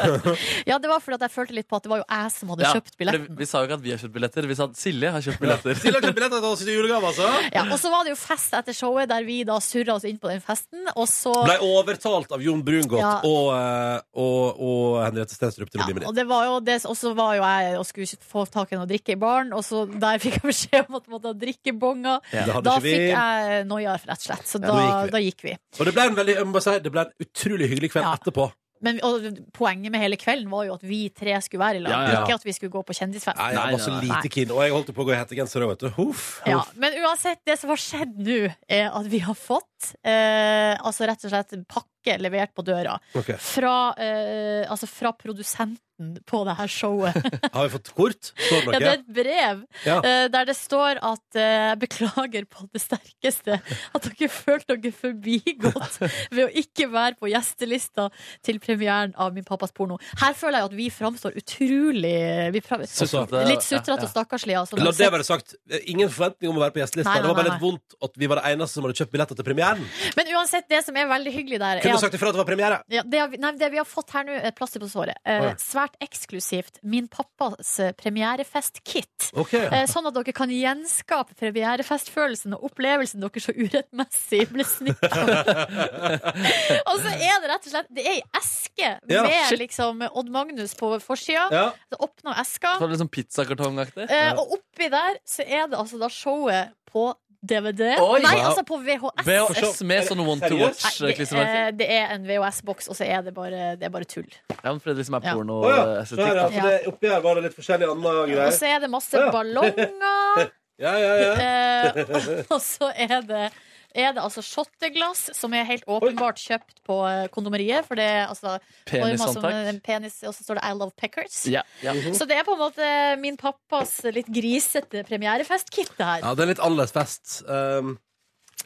C: ja, det var fordi at jeg følte litt på at det var jo jeg som hadde
D: Ja,
C: kjøpt
D: for det-
C: billetten.
D: Vi sa jo ikke at vi har kjøpt billetter Vi sa at Silje har kjøpt billetter
B: Silje har kjøpt billetter til oss i julegave, altså!
C: Ja, og så var det jo fest etter showet, der vi da surra oss inn på den festen. Og så
B: Blei overtalt av Jon Brungot
C: Ja.
B: og, eh, og, og Henriette Stenstrup til å
C: ja,
B: bli med
C: og
B: dit.
C: det var jo det, og så var jo jeg og skulle ikke få tak i noe å drikke i baren, og så der fikk jeg beskjed om at jeg måtte ha drikkebonger.
B: Det hadde
C: Da
B: ikke vi.
C: fikk jeg noia, rett og slett. Så da,
B: da gikk vi.
C: da gikk vi.
B: Og det ble, en veldig, jeg må bare si, det ble en utrolig hyggelig kveld
C: Ja.
B: etterpå.
C: Men og, poenget med hele kvelden var jo at vi tre skulle være i lag,
D: Ja, ja, ja.
C: ikke at vi skulle gå på kjendisfest.
B: Nei, jeg var så
C: nei.
B: lite keen, og jeg holdt på å gå i hettegenser òg, vet du. Huff.
C: Ja, men uansett, det som har skjedd nå, er at vi har fått eh, altså rett og slett en pakke levert på døra
B: Ok.
C: fra, eh, altså fra produsenten på det her showet.
B: Har vi fått kort? Står
C: Ja,
B: det
C: det er
B: noe?
C: et brev
B: Ja.
C: eh, der det står at eh, jeg beklager på det sterkeste at dere følte dere forbigått ved å ikke være på gjestelista til premieren av Min pappas porno. Her føler jeg at vi framstår utrolig vi fra-
D: Sutrete.
C: Litt sutrete og
D: Ja.
C: stakkarslige. altså.
B: La det være sagt. Ingen forventning om å være på gjestelista.
C: Nei, nei,
B: Det var bare
C: nei,
B: litt vondt at vi var de eneste som hadde kjøpt billetter til premieren.
C: Men uansett, det som er veldig hyggelig der,
B: Kunne kunne sagt ifra at det var premiere.
C: Ja, det, har vi- nei, det vi har fått her nå, et plaster på såret. Eh,
B: Å, ja.
C: svært eksklusivt. Min pappas eh, premierefest-kit.
B: Ok,
C: Eh, sånn at dere kan gjenskape premierefestfølelsen og opplevelsen dere så urettmessig ble snytt av. og så er det rett og slett Det er ei eske
B: Ja,
C: med
B: shit.
C: liksom Odd Magnus på forsida.
B: ja.
C: Så åpna eska,
D: Sånn litt sånn pizzakartongaktig.
C: eh, og oppi der så er det altså da showet på DVD.
D: Oi!
C: Nei,
D: Wow.
C: altså på VHS.
D: VHS med sånn want to
B: Seriøst?
C: Nei, eh, det,
D: watch-klistremerke.
C: er, det er en VHS-boks, og så er det bare, det er bare tull.
D: Ja, men Fredrik som er eh,
C: Ja.
B: Å ja. eh, Så
D: pornoestetikk.
B: her, ja,
D: da.
B: for det, oppi her var det litt forskjellige andre
C: Og
B: greier.
C: så er det masse
B: Ja.
C: ballonger.
B: Ja, ja, ja.
C: Eh, og- og så er det er det altså shotteglass, som er helt åpenbart kjøpt på eh, kondomeriet. For det er altså forma som en
D: Penisantrekk.
C: penis, og så står det 'I love peckers'.
D: Ja, ja.
C: Så det er på en måte min pappas litt grisete premierefestkit, det her.
B: Ja, det er litt annerledes fest. Um,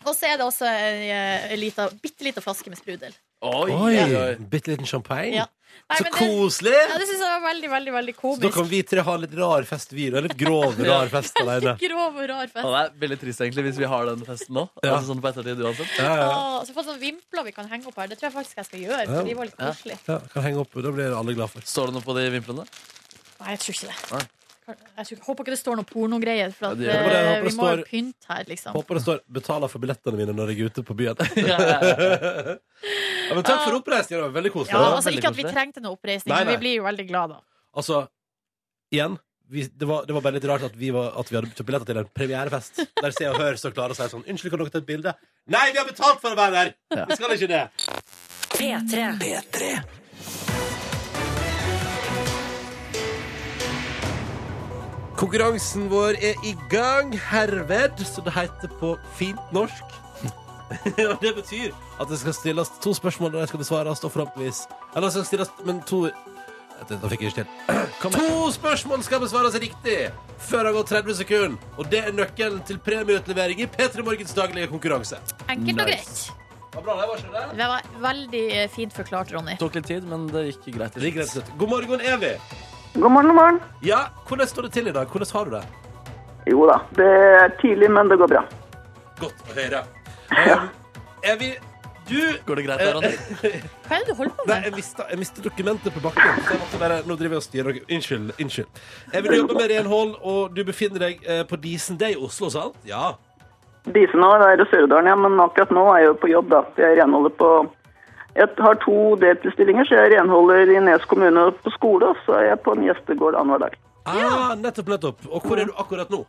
C: Og så er det også ei, eh, ei lita, bitte lita flaske med sprudel.
D: Oi,
B: oi,
D: oi, oi.
B: bitte liten champagne.
C: Ja. Nei,
B: Så
C: men det,
B: koselig!
C: ja, det syns jeg var veldig, veldig veldig
B: Så da
C: komisk.
B: kan vi tre ha en litt rar fest, vi. da. Litt grov, rar fest alene.
C: Grov og rar fest.
D: Og det er veldig trist egentlig hvis vi har den festen nå.
B: Ja.
D: Altså sånn på ettertid uansett
B: Ja, ja.
C: Åh, så fått sånne vimpler vi kan henge opp her. Det tror jeg faktisk jeg skal gjøre. For de var litt
D: Ja.
C: koselige.
B: Ja, kan henge opp, Da blir alle glad for.
D: Står det noe på de vimplene?
C: Nei, jeg tror ikke det.
D: Nei.
C: Jeg tror, håper ikke det står noe pornogreier, for
D: Ja,
C: at,
D: det gjør det.
B: Jeg håper det- jeg håper
C: eh, vi
B: det
C: må
B: står-
C: jo pynte her, liksom.
B: Håper det står 'betaler for billettene mine' når jeg er ute på byen.
D: Ja, ja, ja.
B: Ja, men takk for oppreisningen. det var Veldig koselig.
C: Ja,
D: var
C: altså
D: veldig
C: Ikke at vi
D: koselig.
C: trengte noe oppreisning,
B: Nei,
C: men vi
B: nei.
C: blir jo veldig glad da.
B: Altså, igjen vi, det, var, det var bare litt rart at vi, var, at vi hadde kjøpt billetter til en premierefest. Der Se og Hør så klarer å si sånn 'Unnskyld, kan dere ta et bilde?' Nei, vi har betalt for å være der! Vi skal ikke det.
A: P3.
E: P3
B: Konkurransen vår er i gang herved, som det heter på fint norsk. Og det betyr at det skal stilles to spørsmål, og de skal besvares, og forhåpentligvis Eller det skal stilles Men to Dette fikk jeg ikke til. To spørsmål skal besvares riktig før det har gått 30 sekunder. Og det er nøkkelen til premieutlevering i P3 Morgens daglige konkurranse.
C: Enkelt og greit.
D: Nice.
B: Var bra, det var ikke det?
C: Det var veldig eh, fint forklart, Ronny.
D: Det tok litt tid, men det gikk greit.
B: Det gikk rett og slett. God morgen, Evy.
G: God morgen, god morgen.
B: Ja, hvordan står det til i dag? Hvordan har du det?
G: Jo da, det er tidlig, men det går bra.
B: Godt å høre. Um, Evy, du
D: Går det greit der, Ronny?
C: Hva er det du holder på
B: Nei,
C: med?
B: jeg mista, jeg mista dokumentet på bakken. Så jeg måtte bare, nå driver jeg og styrer dere. Unnskyld. unnskyld. Jeg vil jobbe med renhold, og du befinner deg eh, på Disen Day i Oslo, sant? Ja.
G: Dise nå er i Sørdalen, ja, men akkurat nå er jeg jo på jobb, da. Jeg renholder på Jeg har to deltidsstillinger, så jeg renholder i Nes kommune på skole, og så er jeg på en gjestegård annenhver dag.
B: Ah, nettopp, nettopp. Og hvor er du akkurat nå?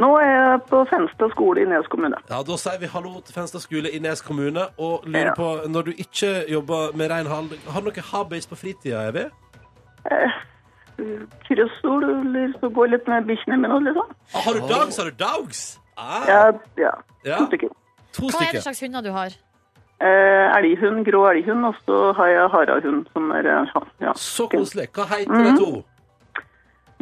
G: Nå er jeg på Fenstad skole i Nes kommune.
B: Ja, Da sier vi hallo til Fenstad skole i Nes kommune. Og lurer
G: Ja.
B: på, når du ikke jobber med renhold, har du noe habits på fritida, Evy?
G: Kryssord, eller så går jeg litt med bikkjene mine og litt sånn.
B: Ah, har du dogs? Har du dogs? Ah,
G: Ja, ja.
B: ja.
G: To stykker.
B: To
C: Hva er det
B: stykker.
C: slags hunder du har?
G: Eh, elghund, grå elghund, og så har jeg harahund, som er eh, ja.
B: Så koselig. Hva heter
C: Mhm.
B: de to?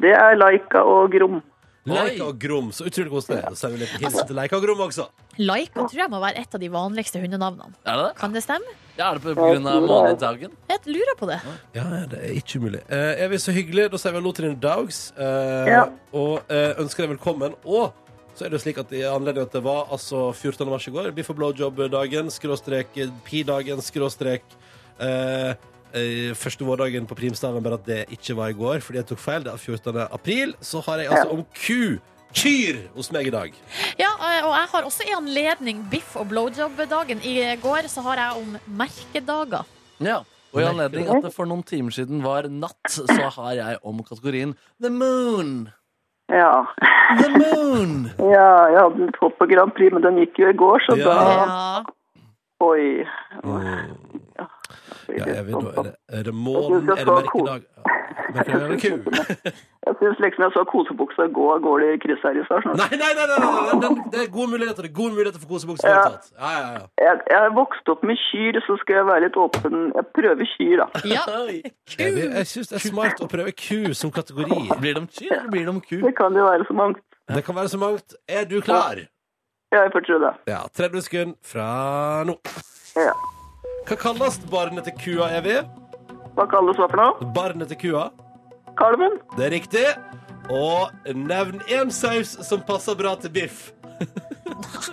G: Det er Laika og Grom.
B: Leika og Grom. Så utrolig koselig. Da sender vi litt hilsen til Leika og Grom også.
C: Laika tror jeg må være et av de vanligste hundenavnene.
D: Er det det?
C: Kan det stemme?
D: Ja, er det på grunn av månedsdagen?
C: Jeg lurer på det.
B: Ja, ja, det er ikke umulig. Eh, Evy, så hyggelig. Da sier vi hallo til dine dogs. Eh,
G: Ja.
B: Og eh, ønsker deg velkommen. Og så er det jo slik at i anledning at det var altså 14. mars i går, Biff og blowjob-dagen, skråstrek eh, pi-dagen, skråstrek eh, eh, Første vårdagen på primstaven, bare at det ikke var i går, fordi jeg tok feil. Det er 14. april. Så har jeg altså om ku. Kyr hos meg i dag.
C: Ja, eh, og jeg har også i anledning biff- og blowjob-dagen i går, så har jeg om merkedager.
D: Ja. Og i anledning at det for noen timer siden var natt, så har jeg om kategorien The Moon.
G: Ja.
D: The Moon!
G: Ja, jeg hadde et håp på Grand Prix, men den gikk jo i går, så
B: Ja.
G: da
C: Ja.
G: Oi.
B: Ja, Evy, da er det, er det
G: Jeg
B: månen, er
G: synes jeg
B: det
G: så
B: merkedag? Ja, merkedag eller ku?
G: Jeg syns liksom jeg så kosebuksa gå av gårde i krysset her i stad. sånn.
B: Nei, nei, nei, nei, nei, nei, nei, det er gode muligheter. Det er gode muligheter for kosebukse. fortsatt. Ja, ja, ja.
G: Jeg, jeg har vokst opp med kyr, så skal jeg være litt åpen. Jeg prøver kyr, da.
C: ja.
D: Oi.
B: Jeg, vil- jeg syns det er smart å prøve ku som kategori.
D: Blir de kyr, eller blir de ku?
G: Det kan jo være så mangt.
B: Det kan være så mangt. Er du klar?
G: Ja, jeg får tro det.
B: Ja, 30 sekunder fra nå.
G: Ja.
B: Hva kalles barnet til kua, Evy?
G: Hva kalles hva for noe?
B: Barnet til kua.
G: Kalven?
B: Det er riktig. Og nevn én saus som passer bra til biff.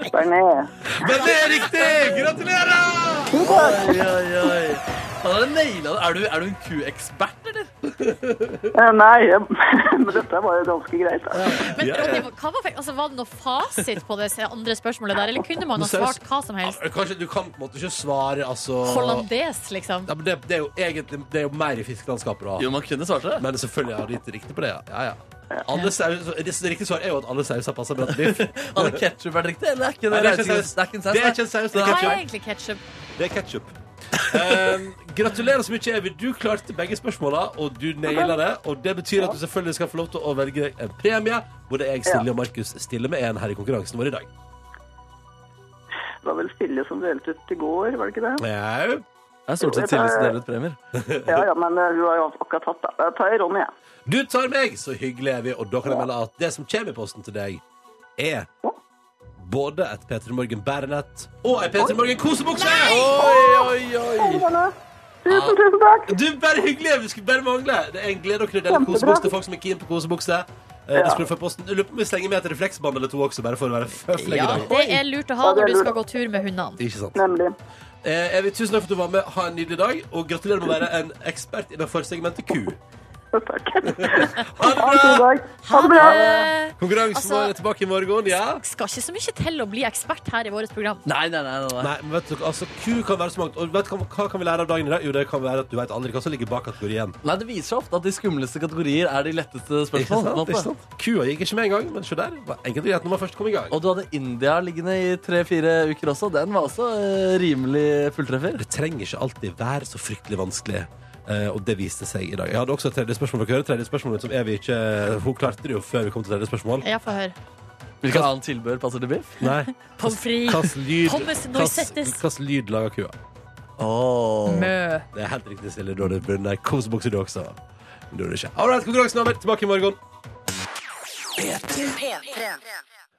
G: Bearnés.
B: Men det er riktig! Gratulerer!
G: Tusen takk.
D: Oi, oi, oi. Han hadde naila det. Er du, er du en kuekspert, eller?
G: Eh, Nei, jeg- men dette var jo ganske greit. da.
C: Men Ronny, hva var, altså, var det noe fasit på det andre spørsmålet der, eller kunne man ha
B: Nå ser jeg-
C: svart hva som helst?
B: Kanskje du kan på en måte ikke svare, altså
C: Hollandes, liksom.
B: ja, men det, det er jo egentlig Det er jo mer i fiskelandskapet, da.
D: Jo, man kunne svart det.
B: Men selvfølgelig har de ikke riktig på det. Ja, ja. Alle saus, det riktige svaret er jo at alle sauser passer bra til biff.
D: Hadde ketsjup vært riktig? Eller er ikke det,
B: Nei, det er ikke en saus.
D: Det er ikke en saus.
B: Det er ikke en saus, det
D: nei.
C: Hva
B: er
C: er
B: ketchup.
C: egentlig ketsjup?
B: Det er ketchup. Um, gratulerer så mye, Evy. Du klarte begge spørsmåla, og du naila det. Og det betyr at du selvfølgelig skal få lov til å velge deg en premie. Både jeg, Silje og Markus stiller med en her i konkurransen vår i dag.
G: Det var vel Silje som delte ut i går, var det ikke det?
B: Jau.
D: Det er stort sett Silje som deler ut premier.
G: Ja, ja, men eh, hun har jo akkurat tatt det. Da tar jeg Ronny, jeg.
B: Du tar meg, så hyggelig er vi, og da kan jeg melde at det som kommer i posten til deg, er både et P3 Morgen bærenett og ei P3 Morgen kosebukse! Oi, oi, oi!
G: Tusen, tusen takk.
B: Du, bare hyggelig! Vi skulle bare mangle. Det er en glede å kunne dele kosebukse til folk som er keen på kosebukse. Eh, Det skulle du få i posten. Jeg Lurer på om vi slenger med et refleksbånd eller to også, bare for å være føffelig
C: Ja,
B: i dag.
C: det er lurt å ha
G: Ja, det er
C: når du
G: lurt.
C: skal gå tur med hundene.
B: Ikke sant?
G: Nemlig.
B: Eh, Evy, tusen takk for at du var med. Ha en nydelig dag, og gratulerer med å være en ekspert innenfor segmentet Q.
G: Takk.
B: Ha
G: Ha en fin
B: det bra!
G: dag. Ha det bra.
C: Eh,
B: Konkurransen
C: Altså-
B: vår er tilbake i morgen. Ja?
C: skal ikke så mye til å bli ekspert her i vårt program.
D: Nei, nei, nei. nei, nei.
B: Nei, men vet du, altså, Q kan være så mangt. Og vet du hva, hva kan vi lære av dagen i dag? Jo, det kan være at du vet aldri hva som ligger bak kategorien.
D: nei, det viser seg ofte at de skumleste kategorier er de letteste spørsmål. på en måte.
B: Kua gikk ikke med engang, men se der. Var enkelt og greit når man først kom i gang.
D: Og du hadde India liggende i tre-fire uker også. Den var også eh, rimelig fulltreffer.
B: det trenger ikke alltid være så fryktelig vanskelig. Eh, og det viste seg i dag. Jeg hadde også et tredje spørsmål. Dere hører tredje spørsmål som Evy ikke Hun klarte det jo før vi kom til tredje spørsmål.
C: Ja, få høre.
D: Hvilket annet tilbehør passer til biff?
B: Nei.
C: Pommes frites.
B: Hvilken lyd,
C: Pommes
B: hvilken-
C: noisettes.
B: hvilken lyd lager kua?
C: Mø.
B: Det er helt riktig, Silje. Da er det bundet ei kosebukse, du også. Men det er det ikke. All right, konkurransen er over. Tilbake i morgen.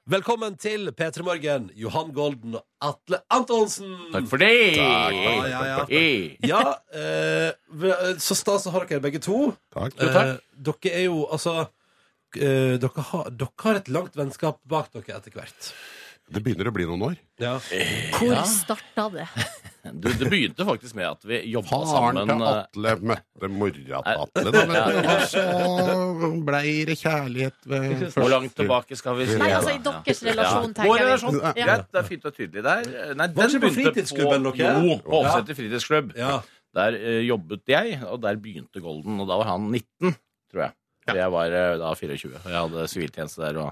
B: Velkommen til P3 Morgen, Johan Golden og Atle Antonsen. Takk for det. ja, ja, ja. ja eh, ve- så stas å ha dere begge to.
H: Takk.
B: Eh, dere er jo altså eh, dere, har, dere har et langt vennskap bak dere etter hvert.
H: Det begynner å bli noen år.
B: Ja.
C: Hvor starta det?
I: Du, det begynte faktisk med at vi jobba
H: Faren
I: sammen.
H: til
I: eh,
H: Atle møtte mora til Atle, da, vet du. Og så blei det kjærlighet ved
I: Hvor langt tilbake skal vi se?
C: Nei, altså i
I: da?
C: deres
I: Ja.
C: relasjon,
I: Vår
C: tenker jeg.
I: relasjon.
H: Ja.
I: Greit, det er fint og tydelig der. Eh, Nei,
B: Var ikke på fritidsklubben dere?
I: Jo, på Åseter fritidsklubb.
B: ja.
I: Der eh, jobbet jeg, og der begynte Golden. Og da var han 19, tror jeg. For jeg var eh, da 24, og jeg hadde siviltjeneste der og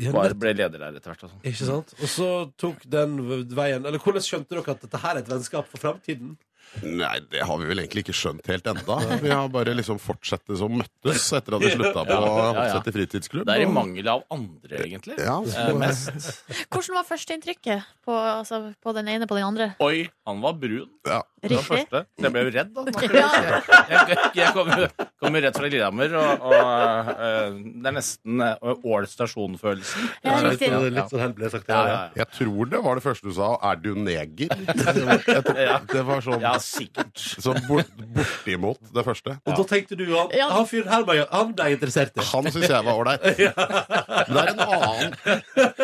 B: Ja,
I: var,
B: nett-
I: ble leder der etter hvert. Og sånn.
B: Ikke sant? Og så tok den veien Eller hvordan skjønte dere at dette her er et vennskap for framtiden?
H: Nei, det har vi vel egentlig ikke skjønt helt enda. Vi har bare liksom fortsatt som møttes etter at vi slutta på
I: Ja, ja, ja.
H: Hopsæter fritidsklubb.
I: Det er i
H: og-
I: mangel av andre, egentlig.
H: Ja, så,
I: Eh, mest.
C: Hvordan var førsteinntrykket på, altså, på den ene på den andre?
I: Oi, han var brun.
H: ja.
I: Det var
C: Riktig?
I: første. Så jeg ble jo redd, da.
C: Ja.
I: Jeg, jeg kom, jo- kom jo rett fra Lillehammer, og, og eh, det er nesten eh, Ål stasjon-følelsen.
C: Ja,
B: Litt,
C: riktig.
B: sånn- litt sånn helbelig sagt.
I: Ja,
B: Ja,
I: ja, ja.
H: Jeg tror det var det første du sa. Er du neger? Jeg- Det var sånn,
I: ja, sikkert.
H: sånn bort, bortimot det første.
B: Og da tenkte du han,
C: Ja.
B: han fyren her var jo- han ble jeg interessert i.
H: Han syns jeg var ålreit. Men det er en annen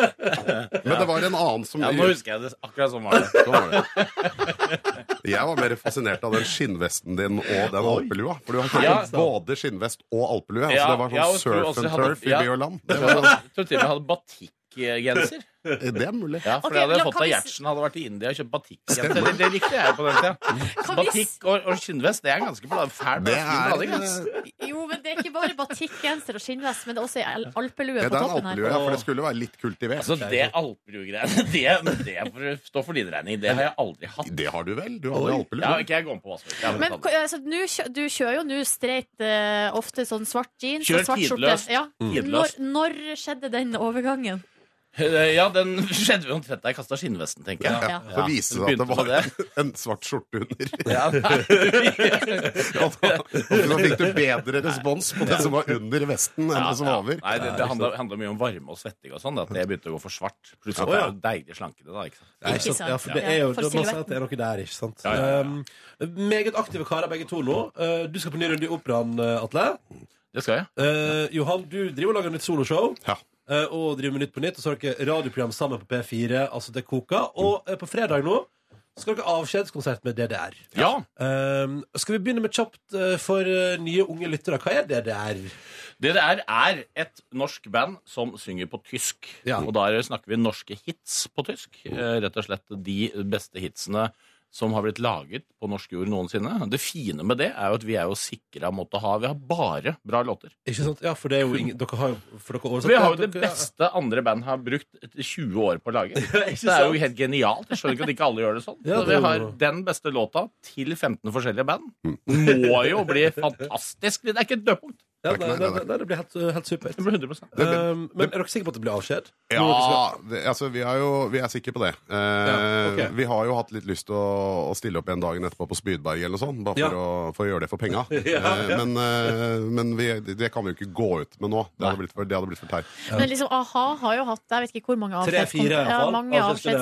H: Men det var en annen som
I: Ja, nå husker jeg det akkurat som var det.
H: Sånn var det. Jeg var mer fascinert av den skinnvesten din og den alpelua. For du har kjøpt
I: Ja.
H: både skinnvest og alpelue.
I: Ja,
H: altså det var sånn
I: ja, og du
H: surf
I: også
H: and
I: hadde-
H: turf i
I: ja.
H: by og land. Det,
I: Jeg
H: var,
I: tror til og med jeg hadde batikkgenser.
H: det er mulig.
I: Ja, for
C: Ok,
I: det hadde jeg
C: la-
I: fått
C: kan
I: av
C: vi s-
I: Gjertsen. Hadde vært i India og kjøpt batikkgenser. Det, det likte jeg på den tida.
C: Kan vi s-
I: Batikk og, og skinnvest, det eh, er ganske bla- fæl
H: Det er,
I: blading. ass.
C: Jo, men det er ikke bare batikkgenser og skinnvest, men det er også ei alpelue på
H: ja, det er en
C: toppen
H: alpelue,
C: her.
H: ja, for det skulle være litt kultivert.
I: Altså, det alperud-greiene, det, det får stå for din regning. Det har jeg aldri hatt.
H: Det har du vel? Du hadde alpelue.
I: Ja, ikke jeg går med på hva som helst. Jeg har
C: Men
I: tatt
C: k- altså, nå kjø- du kjører jo nå streit eh, ofte sånn svart jeans
I: Kjører
C: og svart
I: tidløst.
C: skjorte. Ja. Når,
I: Tidløst.
C: når skjedde den overgangen?
I: Eh, Ja, den skjedde jo omtrent da jeg kasta skinnvesten, tenker jeg.
C: Ja.
H: Så viste det seg at det var
I: Begynte
H: en svart skjorte under. Og da, og da fikk du bedre respons på det som var under vesten, enn det som var over.
I: Nei, det, det handler, handler mye om varme og svetting og sånn. At jeg begynte å gå for svart. Pluss at
B: Å,
I: det
B: ja.
I: er jo deilig slankende, da. ikke sant?
B: Nei, ikke
C: Ikke
B: sant?
C: sant?
B: Ja, for det
C: Ja.
B: er jo
C: For
B: da må man si
C: silhuetten.
B: at det er noe der, ikke sant?
I: Ja, ja, ja.
B: Um, meget aktive karer begge to nå. Eh, du skal på ny runde i operaen, eh, Atle.
I: Det skal jeg.
B: Eh, Johan, du driver og lager nytt soloshow.
H: Ja.
B: eh, og driver med Nytt på Nytt. Og så har dere radioprogram sammen på P4. Altså det koker. Og eh, på fredag nå skal dere ha avskjedskonsert med DDR.
I: Ja.
B: Um, skal vi begynne med kjapt eh, for eh, nye unge lyttere? Hva er DDR?
I: DDR er et norsk band som synger på tysk.
B: Ja.
I: Og der snakker vi norske hits på tysk. Eh, Rett og slett de beste hitsene som har blitt laget på norsk jord noensinne. Det fine med det er jo at vi er jo sikra mot å ha Vi har bare bra låter.
B: Ikke sant? Ja, for det er jo ingen Dere har jo for dere oversatt
I: Vi har jo det
B: Dere-
I: beste andre band har brukt etter 20 år på å lage.
B: Ja, ikke
I: Det er jo
B: sant?
I: helt genialt. Jeg skjønner ikke at ikke alle gjør det sånn.
B: Ja,
I: Så
B: det er
I: vi har
B: jo- Mm.
I: den beste låta til 15 forskjellige band. Må jo bli fantastisk. Det er ikke et dødpunkt.
B: Ja, nei, nei, nei, nei, det blir helt, uh, helt supert.
I: Det blir 100
B: Um, men er dere sikre på at det blir avskjed?
H: Ja,
B: Når dere skal-
H: det, altså, vi, er jo, vi er sikre på det. Eh,
B: Ja, ok.
H: Vi har jo hatt litt lyst til å, å stille opp igjen dagen etterpå på Spydberg eller noe sånt, bare for,
B: Ja.
H: å, for å gjøre det for penga.
B: Ja,
H: Eh, Men, eh, men vi, det kan vi jo ikke gå ut med nå. Det hadde blitt for, det hadde blitt for teit.
C: Men liksom, a-ha har jo hatt Jeg vet ikke hvor mange
B: Tre,
C: avskjeds-
B: fire, i hvert
C: ja,
B: fall.
C: mange
B: Avskjedsturnéer.
H: Men vi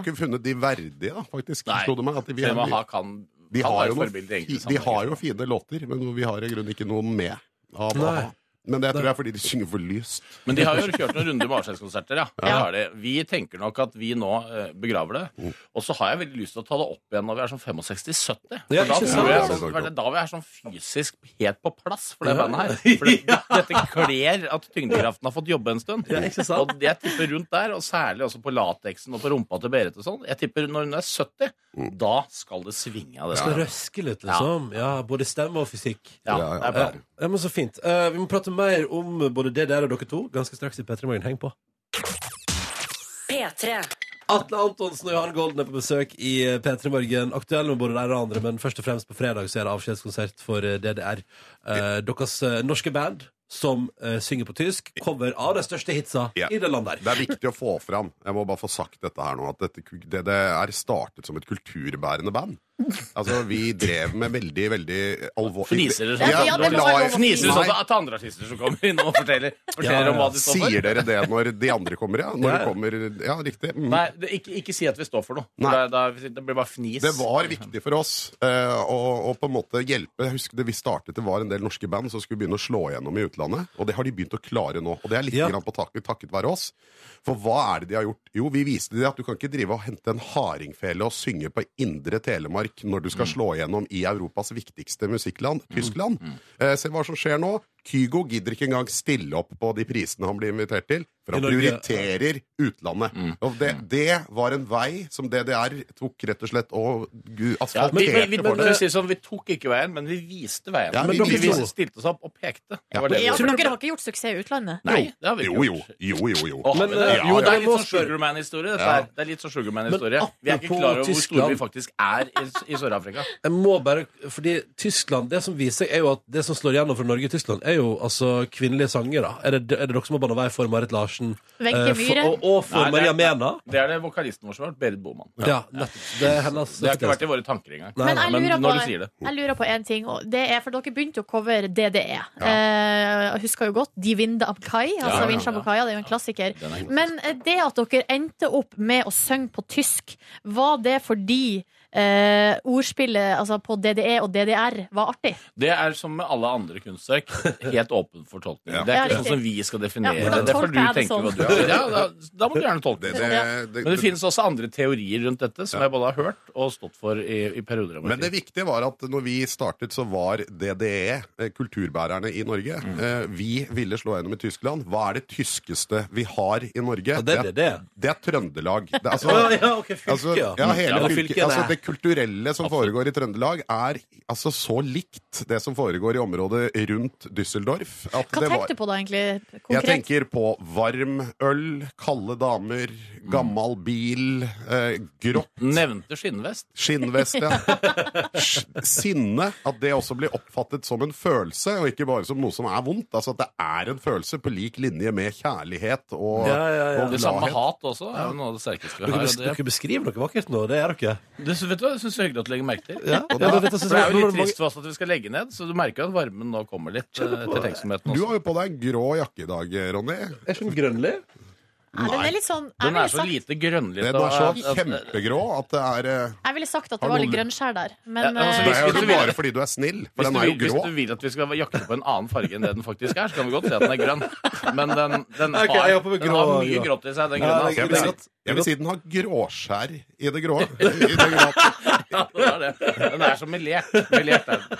C: avskjedsturneer.
H: ikke funnet de verdige, da, faktisk.
I: Nei.
H: Slo det meg. At vi,
I: Selv om
H: vi,
I: han kan
H: vi,
I: han
H: har
I: er
H: jo noen,
I: forbilde,
H: vi
I: egentlig, sammenheng.
H: har jo fine låter, men vi har i grunnen ikke noen med. Av,
B: Nei.
H: a-ha. Men det tror jeg er fordi de synger for lyst.
I: Men de har jo kjørt noen runder med avskjedskonserter, ja. Det har de. Vi tenker nok at vi nå eh, begraver
B: Mm.
I: det. Og så har jeg veldig lyst til å ta det opp igjen når vi er sånn 65-70. For
B: Ja,
I: da,
B: ikke sant?
I: tror jeg,
H: Ja, det er
I: for det er da vi er sånn fysisk helt på plass for det
B: Ja.
I: bandet her. For det, dette kler at tyngdekraften har fått jobbe en stund.
B: Ja, ikke sant?
I: Og jeg tipper rundt der, og særlig også på lateksen og på rumpa til Berit og sånn. Jeg tipper når hun er 70, da skal det svinge av det.
B: Det skal røske litt, liksom. Ja, både stemme og fysikk.
H: Ja,
I: Ja,
H: ja.
I: det er bra.
B: Ja, ja, men så fint. Eh, vi må prate mer om både det der og dere to ganske straks i P3 Morgen. Heng på.
A: P3.
B: Atle Antonsen og Johan Golden er på besøk i eh, P3 Morgen. Aktuell med både dere og andre, men først og fremst på fredag så er det avskjedskonsert for DDR. Eh, deres eh, norske band som eh, synger på tysk, cover av de største hitsa
H: Ja.
B: i det landet
H: Det
B: der.
H: er viktig å få fram. Jeg må bare få sagt dette her nå. At dette, det, det er startet som et kulturbærende band. Altså, vi drev med veldig, veldig alvorlig
I: Fniser dere sånn?
C: Ja, ja, det må være lov å
I: Fniser du
H: Nei,
I: sånn at andre artister som kommer inn og forteller,
B: Ja, ja,
I: forteller om hva de står for?
H: Sier dere det når de andre kommer, ja? Når
B: Ja.
H: det kommer Ja, riktig. Mm.
I: Nei, det, ikke, ikke si at vi står for noe.
H: Nei.
I: Da, da, det blir bare fnis.
H: Det var viktig for oss eh, å, å på en måte hjelpe. Jeg husker det vi startet, det var en del norske band som skulle begynne å slå igjennom i utlandet. Og det har de begynt å klare nå. Og det er litt
B: Ja.
H: grann på taket takket være oss. For hva er det de har gjort? Jo, vi viste dem at du kan ikke drive og hente en hardingfele og synge på indre Telemark når du skal slå igjennom i Europas viktigste musikkland, Tyskland. Eh, se hva som skjer nå. Kygo gidder ikke engang stille opp på de prisene han blir invitert til. For
B: I
H: han
B: Norge, ja.
H: prioriterer representerer utlandet. Og det, det var en vei som DDR tok rett og slett og gu-
I: ja, vi, vi,
H: asfalterte
I: vi,
H: for
I: men,
H: det.
I: vi, sier sånn, vi tok ikke veien, men vi viste veien.
H: Ja,
I: vi,
H: men
I: vi,
H: dere
B: to-
I: stilte oss opp og pekte. Det var det vi
C: Ja,
I: gjorde.
C: for dere har ikke gjort suksess i utlandet.
I: Nei, det har vi
H: Jo,
I: ikke
H: jo.
I: gjort.
H: Jo, jo, jo.
I: Åh,
B: Men,
I: men, det-
B: eh,
I: jo, det er
B: jeg
I: litt
B: må
I: sånn
B: spørre-
I: Sugarman-historie. dette
H: Ja.
I: her. Det er litt sånn Sugarman-historie.
B: Men
I: Vi er ikke
B: apropos
I: klar over hvor store
B: Tyskland-
I: vi faktisk er i, i Sør-Afrika.
B: Jeg må bare, fordi Tyskland, Det som viser seg er jo at det som slår igjennom for Norge i Tyskland, er jo altså kvinnelige sangere. Er det, er det dere som har bana vei for Marit Larsen
C: Wenche
B: eh, for,
C: Myhre.
B: og, og for
I: Nei, det
B: Maria
I: er-
B: Mena?
I: Det er det vokalisten vår som har vært, Berit Boman.
B: Ja, nettopp. Det er hennes
I: Det har ikke vært i våre tanker engang.
B: Nei,
C: Men
B: nei.
C: jeg
I: men
C: lurer,
I: når
C: på,
I: du sier det.
C: jeg lurer på en ting. Og det er, for Dere begynte jo å covere DDE. E. Eh, jeg husker jo godt De Vinda Abkai. Altså
I: ja, ja.
C: Vinsja Abkai, det er jo en klassiker.
I: Den er god.
C: Men eh, det at dere endte opp med å synge på tysk, var det fordi eh, ordspillet altså på DDE og DDR var artig?
I: Det er som med alle andre kunstverk. Helt åpen for tolkning.
H: Ja.
I: Det er
C: Ja,
I: ikke
C: riktig.
I: sånn som vi skal definere
C: Ja,
I: det.
C: hvordan
I: Det får du
C: tolker jeg det
I: tenke hva
C: sånn?
I: du vil. Ja, da, da må du gjerne tolke
H: Det,
I: det.
H: det, det,
I: Men det finnes også andre teorier rundt dette, som jeg både har hørt og stått for i, i perioder. av mitt
H: men det
I: liv.
H: viktige var at når vi startet, så var DDE eh, kulturbærerne i Norge.
B: Mm.
H: Eh, Vi ville slå gjennom i Tyskland. Hva er det tyskeste vi har i Norge?
B: Ja, det er DDE.
H: det er Trøndelag. Det, er altså,
B: Ja, ja, ok, fylke,
H: Altså,
B: ja.
H: ja, hele
I: Ja,
H: fylket,
B: fylket,
H: altså,
B: det.
H: det kulturelle som foregår i Trøndelag, er altså så likt det som foregår i området rundt Düsseldorf. At
C: Hva
H: det var-
C: tenkte du på da, egentlig?
H: Jeg
C: Konkret?
H: tenker på varm øl, kalde damer, gammel bil, eh, grått
I: Nevnte skinnvest.
H: skinnvest, ja. Sj- Sinne. At det også blir oppfattet som en følelse, og ikke bare som noe som er vondt. Altså at det er en følelse på lik linje med kjærlighet og,
B: Ja, ja, ja.
H: og
I: Det samme
H: gladhet.
I: hat også er jo noe av det sterkeste vi
B: Dere,
I: har.
B: bes
I: og Det,
B: dere beskriver noe vakkert nå, det er dere.
I: det, vet du hva, jeg synes det er hyggelig at du legger merke til.
B: Og det, dette
I: For
B: synes
I: det
B: jeg
I: er jo
B: var
I: litt trist for oss at vi skal legge ned, så du merker jo at varmen nå kommer litt eh, til tenksomheten
H: Du
I: også.
H: har jo på deg en grå jakke i dag, Ronny.
B: Er ikke den grønnlig?
C: Nei, den er litt sånn jeg
I: Den
C: ville,
I: er så
C: sagt,
I: lite grønnlig.
H: Den er så kjempegrå at det er eh,
C: jeg ville sagt at det
H: Har
C: var
H: noen-
C: litt grønnskjær der.
I: Ja,
C: Men
H: Det
I: altså,
C: eh,
H: er jo
I: Hvis du
H: ikke
I: vil-
H: bare fordi du er snill, for
I: Hvis
H: den
I: du,
H: er jo
I: vil,
H: grå.
I: hvis du vil at vi skal jakte på en annen farge enn det den faktisk er, så kan vi godt si at den er grønn. Men den, den,
B: Ok, jeg
I: har,
B: håper vi
I: den
B: grå-
I: har mye
B: grå.
I: grått i seg, den
B: Ja,
I: grønne.
B: det er
H: Jeg
I: altså.
H: vil, si,
B: grønn.
H: Jeg vil si den har gråskjær i det grå. I det grå.
I: Ja, det er det. Den er som melert. melert er den.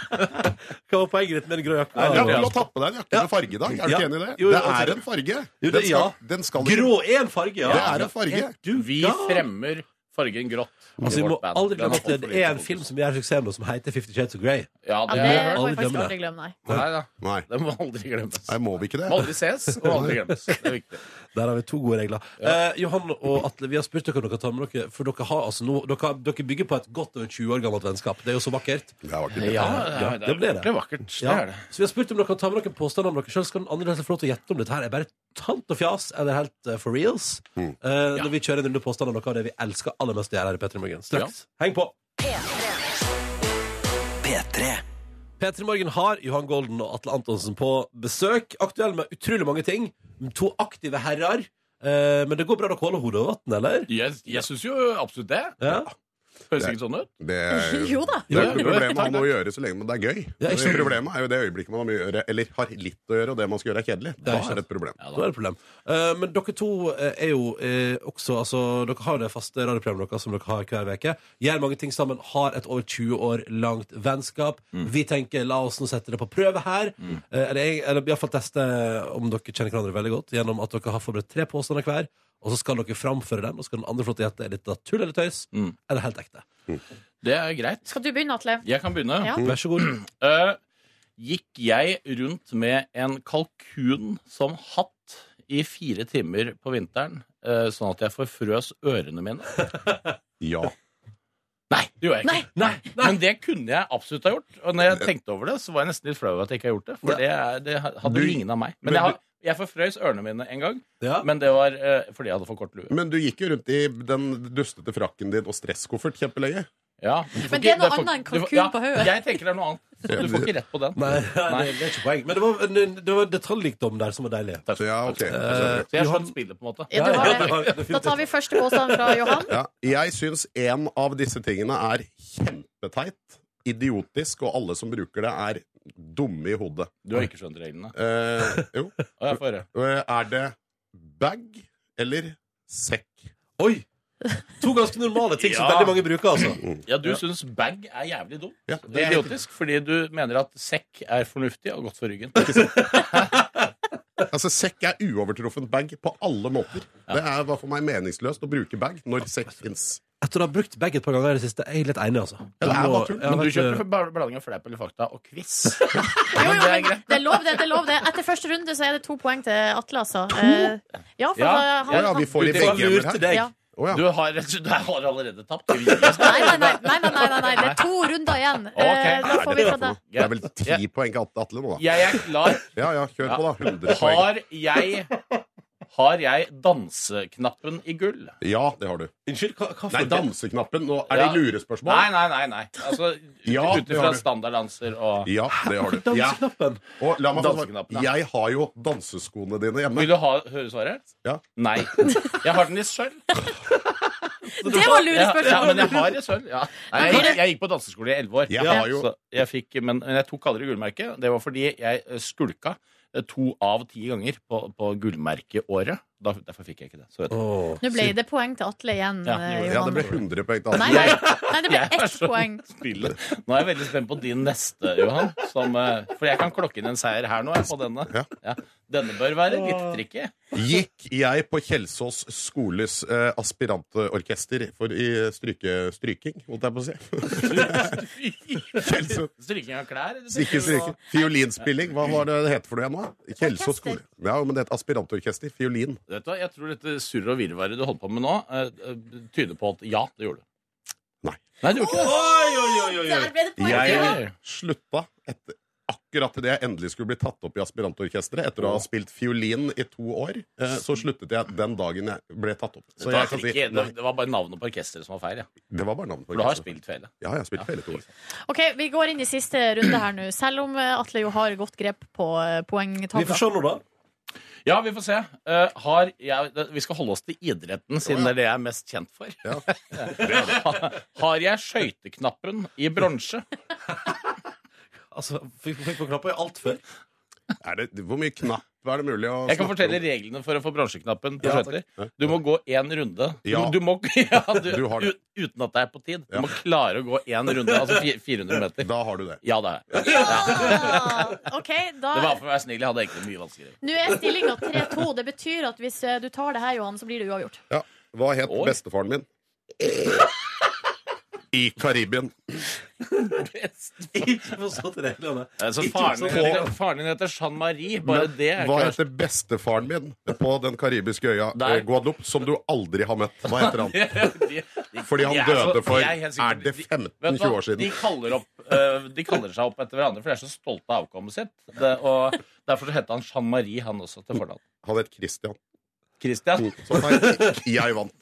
B: Hva var poenget ditt med den grå jakka?
H: Ja, du må ta på deg en jakke med farge i dag. Er du
B: Ja.
H: ikke enig i det?
B: Jo, jo,
H: det
B: altså-
H: er en farge.
B: Jo, det-
H: Den skal,
B: ja.
H: den skal
B: Grå er en farge, ja.
H: Det er en farge.
B: Er du
I: Vi
B: gal?
I: fremmer fargen grått. i
B: Altså, Vi må
I: vårt band.
B: aldri glemme
I: Den har
B: at det
I: fått for
B: er
I: lite
B: en
I: fokus.
B: film som gjør suksess nå, som heter Fifty Shades of Grey.
C: Ja,
I: Ja, det
C: det
B: må
I: er
C: må vi
B: aldri
C: faktisk
B: glemme
C: aldri glemme, nei.
I: Nei da.
H: Nei,
I: Den må aldri glemmes.
H: nei, må vi ikke det?
I: Må aldri ses og aldri glemmes. Det er viktig.
B: Der har vi to gode regler. Eh, Johan og Atle, vi har spurt dere om dere tar med dere, for dere, har, altså, nå- dere, dere bygger på et godt over 20 år gammelt vennskap. Det er jo så vakkert.
H: Det er vakkert.
I: Ja,
B: ja, det ble det.
I: ordentlig vakkert. Det
B: Ja.
I: er det.
B: Så vi har spurt om dere kan ta med dere påstander om dere selv. Så kan den andre helt få lov til å gjette om dette her er bare tant og fjas eller helt eh, for reals.
H: Mm.
B: Eh,
I: Ja.
B: Når vi kjører en runde påstander om noe av det vi elsker aller mest å gjøre her i Petter Morgen. Straks. Heng på!
E: P3
B: P3 Morgen har Johan Golden og Atle Antonsen på besøk. Aktuell med utrolig mange ting. To aktive herrer. Eh, men det går bra dere holder hodet over vann, eller?
I: Jeg, jeg syns jo absolutt det.
B: Ja.
I: Høres ikke sånn ut.
H: Det er,
C: Jo da.
H: det er
I: Jo,
H: ikke
I: jo,
H: problemet å ha
I: takk,
H: noe å gjøre så lenge men det er gøy.
B: Ja, ikke sant.
H: problemet er jo det øyeblikket man har mye å gjøre, eller har litt å gjøre, og det man skal gjøre, er kjedelig.
B: er
H: Da
B: sant.
H: er det et problem.
B: Da er det et problem. Eh, men dere to eh, er jo eh, også altså, Dere har det faste radioprogrammet deres som dere har hver uke. Gjør mange ting sammen. Har et over 20 år langt vennskap. Vi tenker la oss nå sette det på prøve her. Eh, eller jeg- eller iallfall teste om dere kjenner hverandre veldig godt gjennom at dere har forberedt tre påstander hver. Og så skal dere framføre dem, og så skal den andre flotte gjette er dette tull eller tøys.
I: Mm.
B: Eller helt ekte.
I: Det er greit.
C: Skal du begynne, Atle?
I: Jeg kan begynne.
C: Ja.
B: Vær så god.
I: Eh, gikk jeg rundt med en kalkun som hatt i fire timer på vinteren, eh, sånn at jeg forfrøs ørene mine?
H: Ja.
I: Nei, det gjorde jeg
C: Nei.
I: ikke. Men det kunne jeg absolutt ha gjort. Og når jeg tenkte over det, så var jeg nesten litt flau over at jeg ikke har gjort det. For det, er, det hadde
H: Du-
I: ingen av meg. Men,
H: men
I: jeg, har, jeg forfrøs ørene mine en gang,
B: Ja.
I: men det var eh, fordi jeg hadde for kort lue.
H: Men du gikk jo rundt i den dustete frakken din og stresskoffert kjempelenge.
I: Ja, du får
C: Men
I: ikke-
C: det er noe
I: får-
C: annet enn
I: du får-
C: kalkun på hodet.
I: Jeg tenker det er noe annet. Så du får ikke rett på den.
B: Nei, nei, det er ikke poeng. Men det var, det var detaljrikdom der som var deilig.
I: Takk.
H: Så ja, ok. Altså,
B: Eh,
I: Så jeg
B: Johan-
I: skjønte spillet, på en måte.
C: Ja, du har
B: Ja, du
C: det.
B: har det.
C: Da tar vi første påstand fra Johan.
H: Ja, jeg syns en av disse tingene er kjempeteit, idiotisk, og alle som bruker det, er dumme i hodet.
I: Du har ikke skjønt reglene.
H: Eh, jo.
I: Å, jeg får høre.
H: Eh, Er det bag eller sekk?
B: Oi! To ganske normale ting som
I: Ja.
B: veldig mange bruker, altså.
I: Ja, du syns bag er jævlig dum.
H: Ja,
I: Det er idiotisk, fordi du mener at sekk er fornuftig og godt for ryggen. Det
H: Altså, sekk er uovertruffen bag på alle måter. Det er hva for meg meningsløst å bruke bag når sekk fins.
B: Etter å ha brukt bag et par ganger i det siste, er jeg litt enig, altså.
H: det er
B: Du må-
H: bare tull.
B: Ja,
I: Men du
B: vet
I: kjøper bl- blanding av fleip eller fakta og quiz.
C: Jo, jo,
I: det er
C: men
I: greit.
C: det er lov, det. det er lov det Etter første runde så er det to poeng til Atle, altså. Eh, Ja, for
I: Ja.
C: da-
H: Å ja,
C: han,
H: vi får i
I: Du, det var
H: begge ender
B: lurt
H: her.
B: deg.
C: Ja.
H: Å ja.
I: Du har, du har allerede tapt.
C: Nei, nei, nei, nei, nei, nei, nei, det er to runder igjen. Eh, Da
H: Er
C: får
H: det
C: vi ta
H: for noe?
C: det.
H: Det er vel ti poeng til Atle nå, da.
I: Jeg er klar.
H: Ja ja, kjør på, da. 100 poeng.
I: Har jeg Har jeg danseknappen i gull?
H: Ja, det har du.
B: Unnskyld, hva, hva for
H: Nei, danseknappen. Nå er det
I: Ja.
H: lurespørsmål.
I: Nei, nei, nei. nei. Altså,
H: Ja,
I: Ut
H: det har
I: ifra
H: du.
I: standarddanser og
H: Ja, det har du. Ja.
B: Danseknappen?
H: Og la meg få svare.
I: Danseknappen, ja.
H: Jeg har jo danseskoene dine hjemme.
I: Vil du ha, høre svaret?
H: Ja.
I: Nei. Jeg har den i sølv.
C: Det var lurespørsmål.
I: Ja, ja, men jeg har i sølv. Ja. Nei,
C: Men
I: jeg,
C: det-
I: jeg gikk på danseskole i elleve år.
H: Jeg har jo-
I: Så jeg fikk, men, men jeg tok aldri gullmerke. Det var fordi jeg eh, skulka eh, to av ti ganger på, på gullmerkeåret. Da, derfor fikk jeg ikke det. Så vet du.
B: Åh,
C: Nå ble det poeng til Atle igjen,
I: Ja,
C: eh,
I: det
H: Ja,
C: Johan.
H: det ble 100 poeng til
C: Nei,
H: Atle.
C: nei, nei, det ble
I: Jeg er
C: ett
I: så-
C: poeng.
I: Spillet. Nå er jeg veldig spent på din neste, Johan. Som, eh, for jeg kan klokke inn en seier her nå. Jeg, på denne.
H: Ja.
I: Ja. denne bør være litt tricky.
H: Gikk jeg på Kjelsås skoles eh, aspirantorkester for i stryke, stryking, holdt jeg på å si? Kjelsås.
I: Stryking av klær? eller
H: Ikke
I: tenker du
H: stryking. Fiolinspilling, hva var det det het for noe igjen nå? Kjelsås skole.
C: Orkester.
H: Ja, men det er et aspirantorkester. Fiolin.
I: nå- Vet du, hva, jeg tror dette surret og virvaret du holdt på med nå, eh, eh, tyder på at ja, det gjorde du.
H: Nei.
I: Nei, du gjorde ikke det.
C: Der ble det poeng. til Johan.
H: Jeg slutta etter akkurat idet jeg endelig skulle bli tatt opp i aspirantorkesteret. Etter å ha spilt fiolin i to år, eh, så sluttet jeg den dagen jeg ble tatt opp. Så
I: Det var
H: jeg kan si
I: ikke-
H: nei,
I: det- det var bare navnet på orkesteret som var feil. Ja.
H: det var bare navnet på
I: For du har
H: orkesteret.
I: spilt feil. ja.
H: Ja, jeg har spilt feil i to år.
C: OK, vi går inn i siste runde her nå. Selv om eh, Atle jo har godt grep på eh,
B: Vi får
C: poengtavla.
B: se nå, da.
I: Ja, vi får se. Eh, har jeg, det- vi skal holde oss til idretten, siden det er det jeg er mest kjent for.
H: Ja.
I: Ha- har jeg skøyteknappen i bronse?
B: Altså, fikk, fikk på knappa i alt før.
H: Er det, hvor mye knapp er det mulig å
I: Jeg kan
H: snakke
I: fortelle
H: om?
I: reglene for å få bransjeknappen. på
D: Ja,
I: skøyter. Du må gå én runde. Du,
H: Ja.
I: du må, ja, du,
H: Du har det.
I: ut- uten at det er på tid. Du
H: Ja.
I: må klare å gå én runde, altså fi- 400 meter.
H: Da har du det.
I: Ja, det er jeg.
C: Ja! Ah, OK, da
I: Det var for å være snill. Jeg hadde egentlig mye vanskeligere.
C: Nå er stillinga 3-2. Det betyr at hvis eh, du tar det her, Johan, så blir det uavgjort.
H: Ja. Hva het
I: Oi.
H: bestefaren min? I Karibien.
B: Ikke forstått reglene.
I: Eh, Så
B: Ikke
I: faren,
B: sånn.
I: din, faren din heter Jean Marie. Bare
H: Men
I: det er
H: Hva
I: klart.
H: heter bestefaren min på den karibiske øya
I: Der.
H: eh, Guadeloupe, som du aldri har møtt? Hva heter han?
I: De- de-
H: Fordi han
I: de er
H: døde
I: så-
H: for
I: jeg er helt sikker-
H: er det
I: de-
H: 15-20 år
I: De
H: siden?
I: kaller, opp, øh, de kaller seg opp etter hverandre, for de er så stolte av avkommet sitt. Det, og Derfor så heter han Jean Marie, han også, til fornavn.
H: Han het Christian. Mm.
I: Christian.
H: Så nei, jeg vant.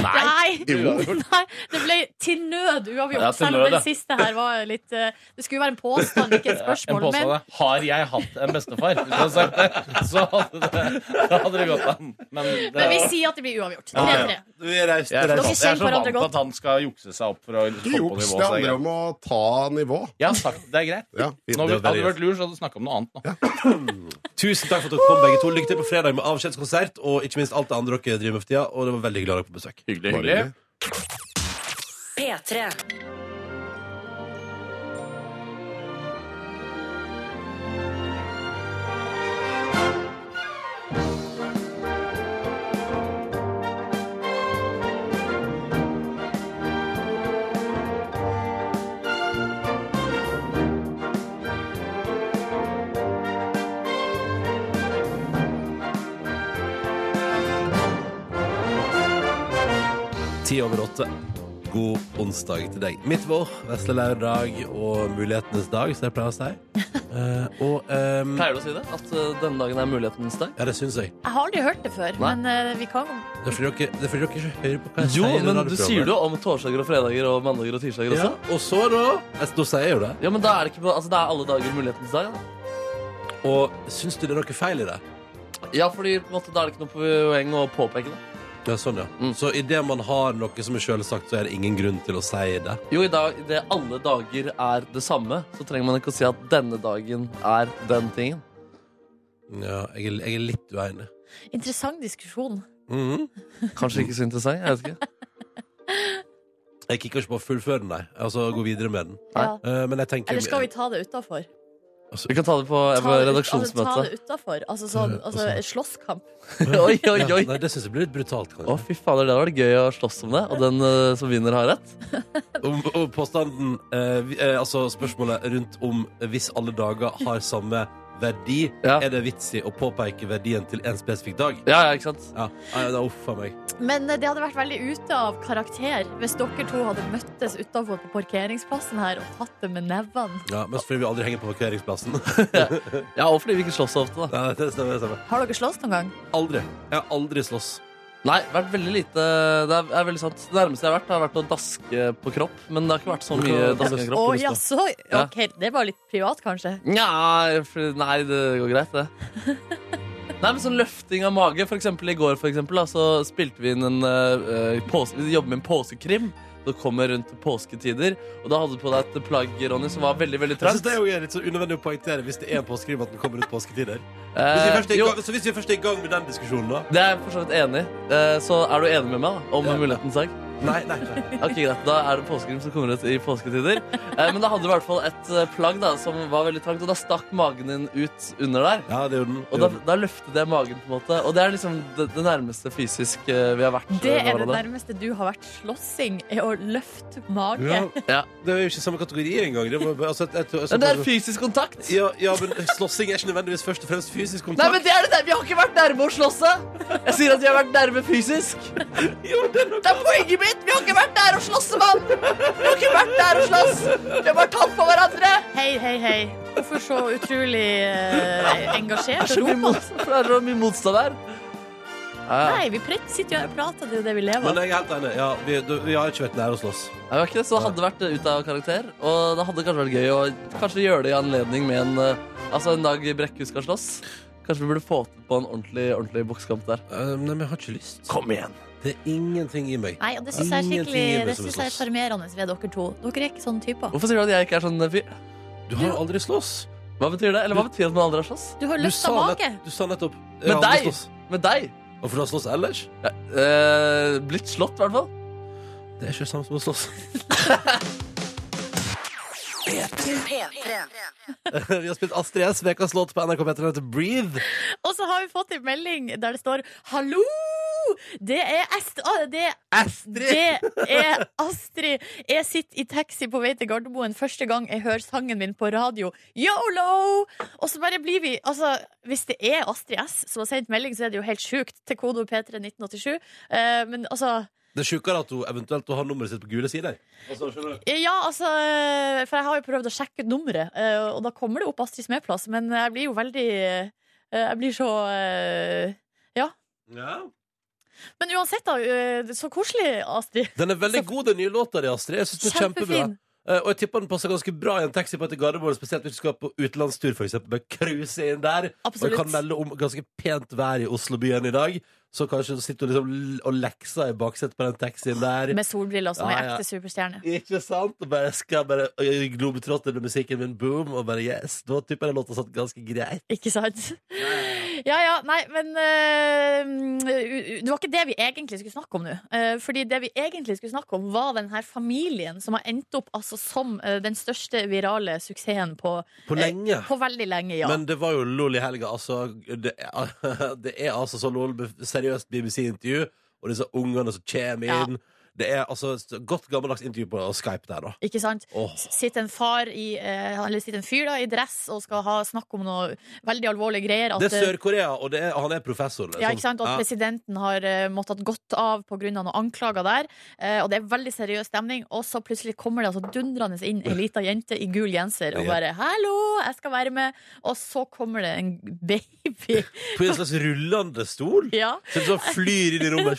C: Nei!
H: Jo.
C: Nei, det ble til nød uavgjort.
I: Ja, til
C: Selv
I: nød,
C: om
I: ja.
C: den siste her var litt eh, Det skulle jo være en påstand, ikke et
I: En
C: spørsmål.
I: påstand
C: Men
I: er Har jeg hatt en bestefar? Hvis du hadde sagt det, så hadde det, da hadde det gått an. Men, det,
C: Men vi sier at det blir uavgjort.
I: Ja,
C: 3-3.
I: ja.
B: Du er raus.
I: jeg, er så,
C: Dere
I: vant- jeg er
C: kjenner
I: så
C: hverandre
I: vant
C: godt.
I: at han skal jukse seg opp for å
H: Ikke
I: liksom komme på
H: juks. Det
I: nivå. så det er
H: handler om å ta nivå.
I: greit. Ja, takk. Det er greit.
H: Ja, vi-
I: Nå,
B: Det er
I: hadde du
B: veldig
I: vært lur, så hadde du snakka om noe annet nå.
B: Tusen takk for at dere kom, begge to. Lykke til på fredag med avskjedskonsert og ikke minst alt det andre dere driver med for tida. Og det var veldig glad dere på besøk.
I: Hyggelig,
H: Bare
I: hyggelig.
H: hyggelig.
A: P3.
B: Ti over åtte. God onsdag til deg. Mitt vår, vesle lørdag og mulighetenes dag, som jeg pleier å si. Eh, og ehm,
D: Pleier du å si det? At eh, denne dagen er mulighetens dag?
B: Ja, det syns jeg.
C: Jeg har aldri hørt det før,
D: Nei.
C: men eh, vi kan
B: Det er fordi dere, det er fordi dere ikke hører på hva jeg
D: Jo,
B: sier. i
D: men du
B: radioprogrammet.
D: sier det jo om torsdager og fredager og mandager og tirsdager
B: Ja,
D: også.
B: og så, da? Jeg, da sier jeg jo det.
D: Ja, men da er det ikke på, altså, det er alle dager mulighetens dag. Da.
B: Og syns du det er noe feil i det?
D: Ja, fordi på en måte, da er det ikke noe poeng å påpeke det.
B: Ja, sånn, ja.
D: Mm.
B: Så idet man har noe som er selvsagt, så er det ingen grunn til å si det.
D: Jo, i dag det alle dager er det samme, så trenger man ikke å si at denne dagen er den tingen.
B: Ja, jeg er, jeg er litt uenig.
C: Interessant diskusjon.
B: Mhm.
D: Kanskje ikke så interessant. jeg vet ikke
B: Jeg kikker ikke på å fullføre den, nei. Altså gå videre med den.
D: Nei.
C: Ja.
B: Eh, men jeg tenker
C: Eller skal vi ta det utafor?
D: Vi kan ta det på
C: ta
D: redaksjonsmøtet.
C: det utafor. Altså sånn altså, slåsskamp.
D: Oi, oi,
B: Ja,
D: oi!
B: Nei, det syns jeg blir litt brutalt. kanskje.
D: Å, fy fader, det var det gøy å slåss om det. Og den eh, som vinner, har rett.
B: Om, og påstanden eh, vi- eh, Altså spørsmålet rundt om hvis alle dager har samme verdi,
D: Ja.
B: er det vits i å påpeke verdien til en spesifikk dag?
D: Ja, ja, ikke sant?
B: Ja, nei, da uffa meg.
C: Men eh, det hadde vært veldig ute av karakter hvis dere to hadde møttes utafor på parkeringsplassen her og tatt det med nevene.
B: Ja, men så fordi vi aldri henger på parkeringsplassen.
D: Ja, Og fordi vi ikke slåss så ofte, da.
B: Nei, det stemmer, det stemmer.
C: Har dere slåss noen gang?
B: Aldri. Jeg har aldri slåss.
D: Nei, vært veldig lite Det er, er veldig sant. Det nærmeste jeg har vært, har vært å daske på kropp. Men det har ikke vært så mye
B: Hva-
D: dasking på
C: Å
D: kropp.
C: jaså?
D: Ja.
C: OK, det var litt privat, kanskje.
D: Nja, for- nei, det går greit, det. Nei, men sånn løfting av mage. For eksempel i går for eksempel, da, så spilte vi inn en eh, eh, pås- Vi jobber med en påskekrim. Det kommer rundt påsketider. Og da hadde du på deg et plagg Ronny, som var veldig veldig
B: Jeg synes
D: trangt.
B: Det er jo litt så unødvendig å poengtere hvis det er en påskekrim at den kommer ut påsketider. Hvis vi
D: Eh,
B: først er i
D: jo,
B: gang, så hvis vi først er i gang med den diskusjonen, da
D: det er jeg for så vidt enig i. Eh, så er du enig med meg da, om
B: Ja.
D: mulighetens dag?
B: Nei, nei, nei.
D: Ok, greit, Da er det påskekrim som kommer ut i påsketider. Eh, men da hadde du i hvert fall et eh, plagg da, som var veldig trangt, og da stakk magen din ut under der.
B: Ja, det er jo den.
D: Og da, da løftet jeg magen, på en måte. Og det er liksom det, det nærmeste fysisk eh, vi har vært.
C: Det er
D: eh,
C: det
D: hverandre.
C: nærmeste du har vært slåssing, er å løfte mage.
B: Ja.
D: Ja.
B: Det er jo ikke samme kategori engang. Det, var, bare- altså, jeg, jeg,
D: Men det er fysisk kontakt!
B: ja, ja, men slåssing er ikke nødvendigvis først og fremst fysisk
D: Nei,
B: kontakt.
D: men det er det der. Vi har ikke vært nærme å slåsse! Jeg sier at vi har vært nærme fysisk. det er poenget mitt! Vi har ikke vært der å slåsse, mann! Vi har ikke vært der å slåss! Vi har bare tatt på hverandre!
C: Hei, hei, hei. Hvorfor så utrolig eh, engasjert og
D: Det er så mye,
C: rop?
D: mot, det er så mye motstand der. Ja, ja.
C: Nei, vi pr- sitter jo her og prater, det er jo det vi lever
B: Men
C: av.
B: jeg er helt enig. Ja, vi, du, vi har ikke vært nære å slåss.
D: Nei, det var ikke det, så det hadde vært eh, ut av karakter. Og det hadde kanskje vært gøy å kanskje gjøre det i anledning med en eh, Altså en dag Brekkhus skal slåss. Kanskje vi burde få til på en ordentlig ordentlig boksekamp der.
B: Eh, nei, men jeg har ikke lyst.
D: Kom igjen!
B: Det er ingenting i meg.
C: Nei, og det syns jeg er skikkelig
B: Ingenting er
C: Det
B: som
C: synes jeg er
B: slåss.
C: sjarmerende ved dere to. Dere er ikke sånne typer.
D: Hvorfor sier du at jeg ikke er sånn eh, fyr?
B: Du har jo aldri slåss.
D: Hva betyr det? Eller hva betyr at man aldri har slåss?
C: Du har
B: Du
C: lyst
B: sa,
C: til å
B: nett,
C: make.
B: du sa nettopp eh,
D: Med
B: aldri
D: deg?
B: slåss.
D: Med deg?
B: Hvorfor du har slåss ellers?
D: Ja, eh, blitt slått, i hvert fall.
B: Det er ikke det samme som å slåss. Vi har spilt Astrid S, ukas låt på NRK P3 heter Breathe.
C: Og så har vi fått en melding der det står 'Hallo! Det er Est... ah, det er Det er Astrid. Jeg sitter i taxi på vei til Gardermoen første gang jeg hører sangen min på radio. Yolo! Og så bare blir vi Altså, hvis det er Astrid S som har sendt melding, så er det jo helt sjukt. Til kode P3 1987. Eh, men altså
B: Det er sjukere at hun eventuelt har nummeret sitt på gule sider.
C: Ja, altså eh, For jeg har jo prøvd å sjekke ut nummeret, eh, og da kommer det opp Astrid Smeplass, men jeg blir jo veldig eh, Jeg blir så eh,
B: Ja.
C: Men uansett, da. eh, Så koselig, Astrid.
B: Den er veldig god, den nye låta di, Astrid. Jeg synes den er kjempebra.
C: Kjempefin.
B: Eh, og jeg tipper den passer ganske bra i en taxi på etter Gardermoen, spesielt hvis du skal på utenlandstur, for eksempel. Bare cruise inn der. Og
C: Absolutt.
B: jeg kan melde om ganske pent vær i Oslobyen i dag. Så kanskje du sitter du liksom l- og lekser i baksetet på den taxien der.
C: Med solbriller som
B: Ja,
C: ei
B: ja.
C: ekte superstjerne.
B: Ikke sant? Og bare skal bare ø, globetrotte med musikken min, boom, og bare yes. Da tipper jeg den låta satt ganske greit.
C: Ikke sant? Ja ja, nei, men eh, u- u- Det var ikke det vi egentlig skulle snakke om nå. Eh, fordi det vi egentlig skulle snakke om, var den her familien som har endt opp altså, som eh, den største virale suksessen på,
B: På lenge.
C: på veldig lenge, ja.
B: Men det var jo lol i helga. Altså, det, er- det er altså så lol. Seriøst BBC-intervju, og disse ungene som kommer
C: Ja.
B: inn. Det er altså et godt gammeldags intervju på Skype der, da.
C: Ikke sant?
B: Åh.
C: S- Sitter en far i eh, Eller sitter en fyr da i dress og skal ha snakk om noe veldig alvorlige greier. At,
B: Det er Sør-Korea, og det er, han er professor. Liksom.
C: Ja, ikke sant? Og at
B: Ja.
C: presidenten har eh, måttet gått av pga. noen anklager der. eh, og det er veldig seriøs stemning. Og så plutselig kommer det altså dundrende inn ei lita jente i gul genser og
B: Ja.
C: bare 'Hallo, jeg skal være med'. Og så kommer det en baby.
B: På en slags rullende stol.
C: Ja.
B: Som så sånn flyr inn i rommet.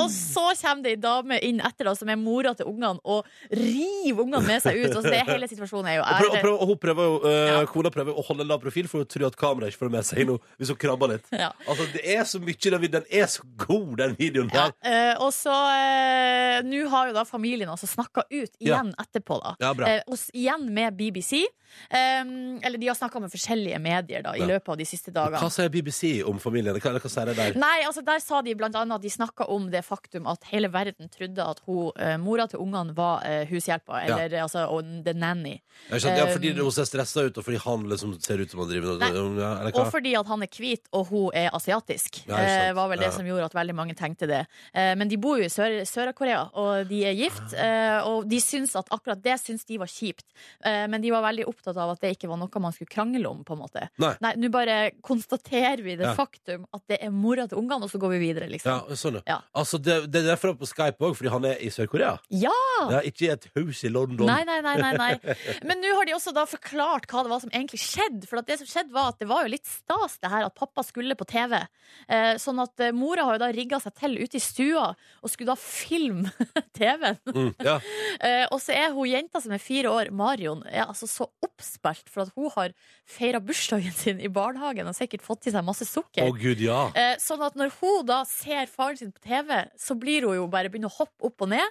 C: Og så kommer det ei dame inn etter, da, som er mora til ungene, og river ungene med seg ut. Og så det hele situasjonen er jo
B: Og, prøv, og,
C: er-
B: prøv, og hun prøver jo, eh,
C: Ja.
B: Kona prøver å holde lav profil, for hun tror at kameraet ikke får det med seg nå. Hvis hun krabber litt.
C: Ja.
B: Altså, det er så mye i den videoen. Den er så god, den videoen
C: Ja,
B: her.
C: eh, og så eh, Nå har jo da familien altså snakka ut igjen etterpå, da.
B: Ja, bra.
C: Eh, og s- igjen med BBC. Um, eller de har snakka med forskjellige medier da, i
B: Ja.
C: løpet av de siste dagene.
B: Hva sier BBC om familien? Hva, eller hva sier de der?
C: Nei, altså Der sa de blant annet at de snakka om det faktum at hele verden trodde at hun, eh, mora til ungene var eh, hushjelpa,
B: Ja.
C: eller altså og the nanny.
B: Ja, ikke sant? ja,
C: Um,
B: fordi hun ser stressa ut, og fordi han liksom ser ut som han driver
C: Nei.
B: med ja, eller hva?
C: Og fordi at han er hvit og hun er asiatisk.
B: Ja, ikke sant.
C: eh, var vel det
B: Ja.
C: som gjorde at veldig mange tenkte det. Eh, men de bor jo i Sør- Sør-Korea, og de er gift.
B: Ah.
C: Eh, og de syns at akkurat det syns de var kjipt. Eh, men de var veldig opptatt av at det ikke var noe man skulle krangle om. på en måte
B: Nei.
C: Nei, Nå bare konstaterer vi det
B: Ja.
C: faktum at det er mora til ungene, og så går vi videre,
B: Ja,
C: liksom.
B: sånn, ja.
C: Ja.
B: Altså, det, det er derfor han er på Skype òg, fordi han er i Sør-Korea.
C: Ja!
B: Ja, ikke i et hus i London.
C: Nei, nei, nei, nei, nei. Men nå har de også da forklart hva det var som egentlig skjedde. For at det som skjedde var at det var jo litt stas det her at pappa skulle på TV. Eh, sånn at eh, mora har jo da rigga seg til ute i stua og skulle da filme TV-en.
B: Mm, ja.
C: Eh, og så er hun jenta som er fire år, Marion, er altså så oppspilt for at hun har feira bursdagen sin i barnehagen og sikkert fått i seg masse
B: Å,
C: sukker.
B: gud, ja.
C: Eh, Sånn at når hun da ser faren sin på TV, så blir hun jo bare begynner å hoppe opp og ned.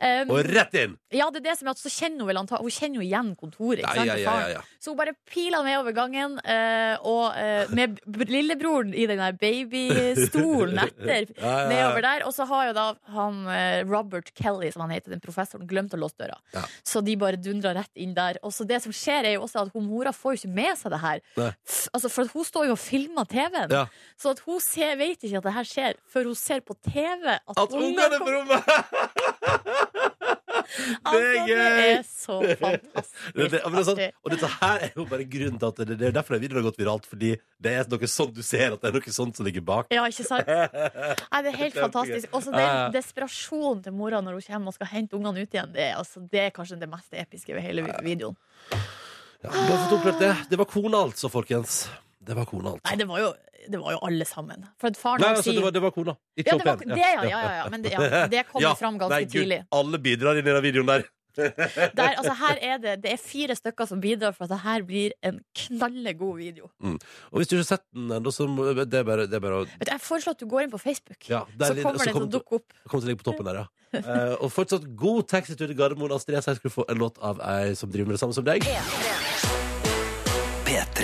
C: Eh,
B: Og rett inn!
C: ja, det er det som er at så kjenner hun vel anta Hun kjenner jo igjen kontoret, ikke
B: Ja,
C: sant?
B: ja,
C: til
B: ja,
C: faren.
B: ja, ja.
C: Så hun bare piler med over gangen, eh, og eh, med b- lillebroren i den der babystolen etter,
B: Ja, ja, ja.
C: nedover der. Og så har jo da han eh, Robert Kelly, som han heter, den professoren, glemt å låse døra.
B: Ja.
C: Så de bare dundrer rett inn der. Og så det som skjer, er jo også at hun mora får jo ikke med seg det her.
B: Nei.
C: F- Altså, for at hun står jo og filmer TV-en,
B: Ja.
C: så at hun ser, vet ikke at det her skjer, før hun ser på TV at,
B: At ungene er
C: kom-
B: på rommet!
C: Altså,
B: er
C: Det
B: gøy!
C: er så fantastisk.
B: Det, det, men det er sånn- sant.
C: artig.
B: Og dette her er jo bare grunnen til at det, det er derfor den videoen har gått viralt. Fordi det er noe sånt du ser, at det er noe sånt som ligger bak.
C: Ja, ikke sant? Nei, det er helt
B: Det er
C: fantastisk. Og så
B: Ja, ja.
C: den desperasjonen til mora når hun kommer og skal hente ungene ut igjen, det er, altså, det er kanskje det mest episke ved hele vi- videoen.
B: Ja, bare for å oppklare det. det var kona, altså, folkens. Det var kona, altså.
C: Nei, det var jo, det var jo alle sammen. For at faren
B: Nei,
C: hans
B: altså, det
C: sier
B: var, det var kona. Ikke
C: ja, det var,
B: opp
C: det, ja, ja, ja, ja, men det, ja, det kom jo fram ganske
B: Nei, Gud,
C: tidlig.
B: Alle bidrar inn i den videoen der.
C: Der, altså, her er det, det er fire stykker som bidrar for at det her blir en knallegod video.
B: Og hvis du ikke har sett den ennå, så må- det er bare, det er bare å
C: Vet du, jeg foreslår at du går inn på Facebook,
B: ja, der,
C: så kommer den til å dukke opp.
B: Kommer til å ligge på toppen der, ja. Eh, og fortsatt god taxitur til Gardermoen. Astrid S, her skal du få en låt av ei som driver med det samme som deg.
E: P3. P3.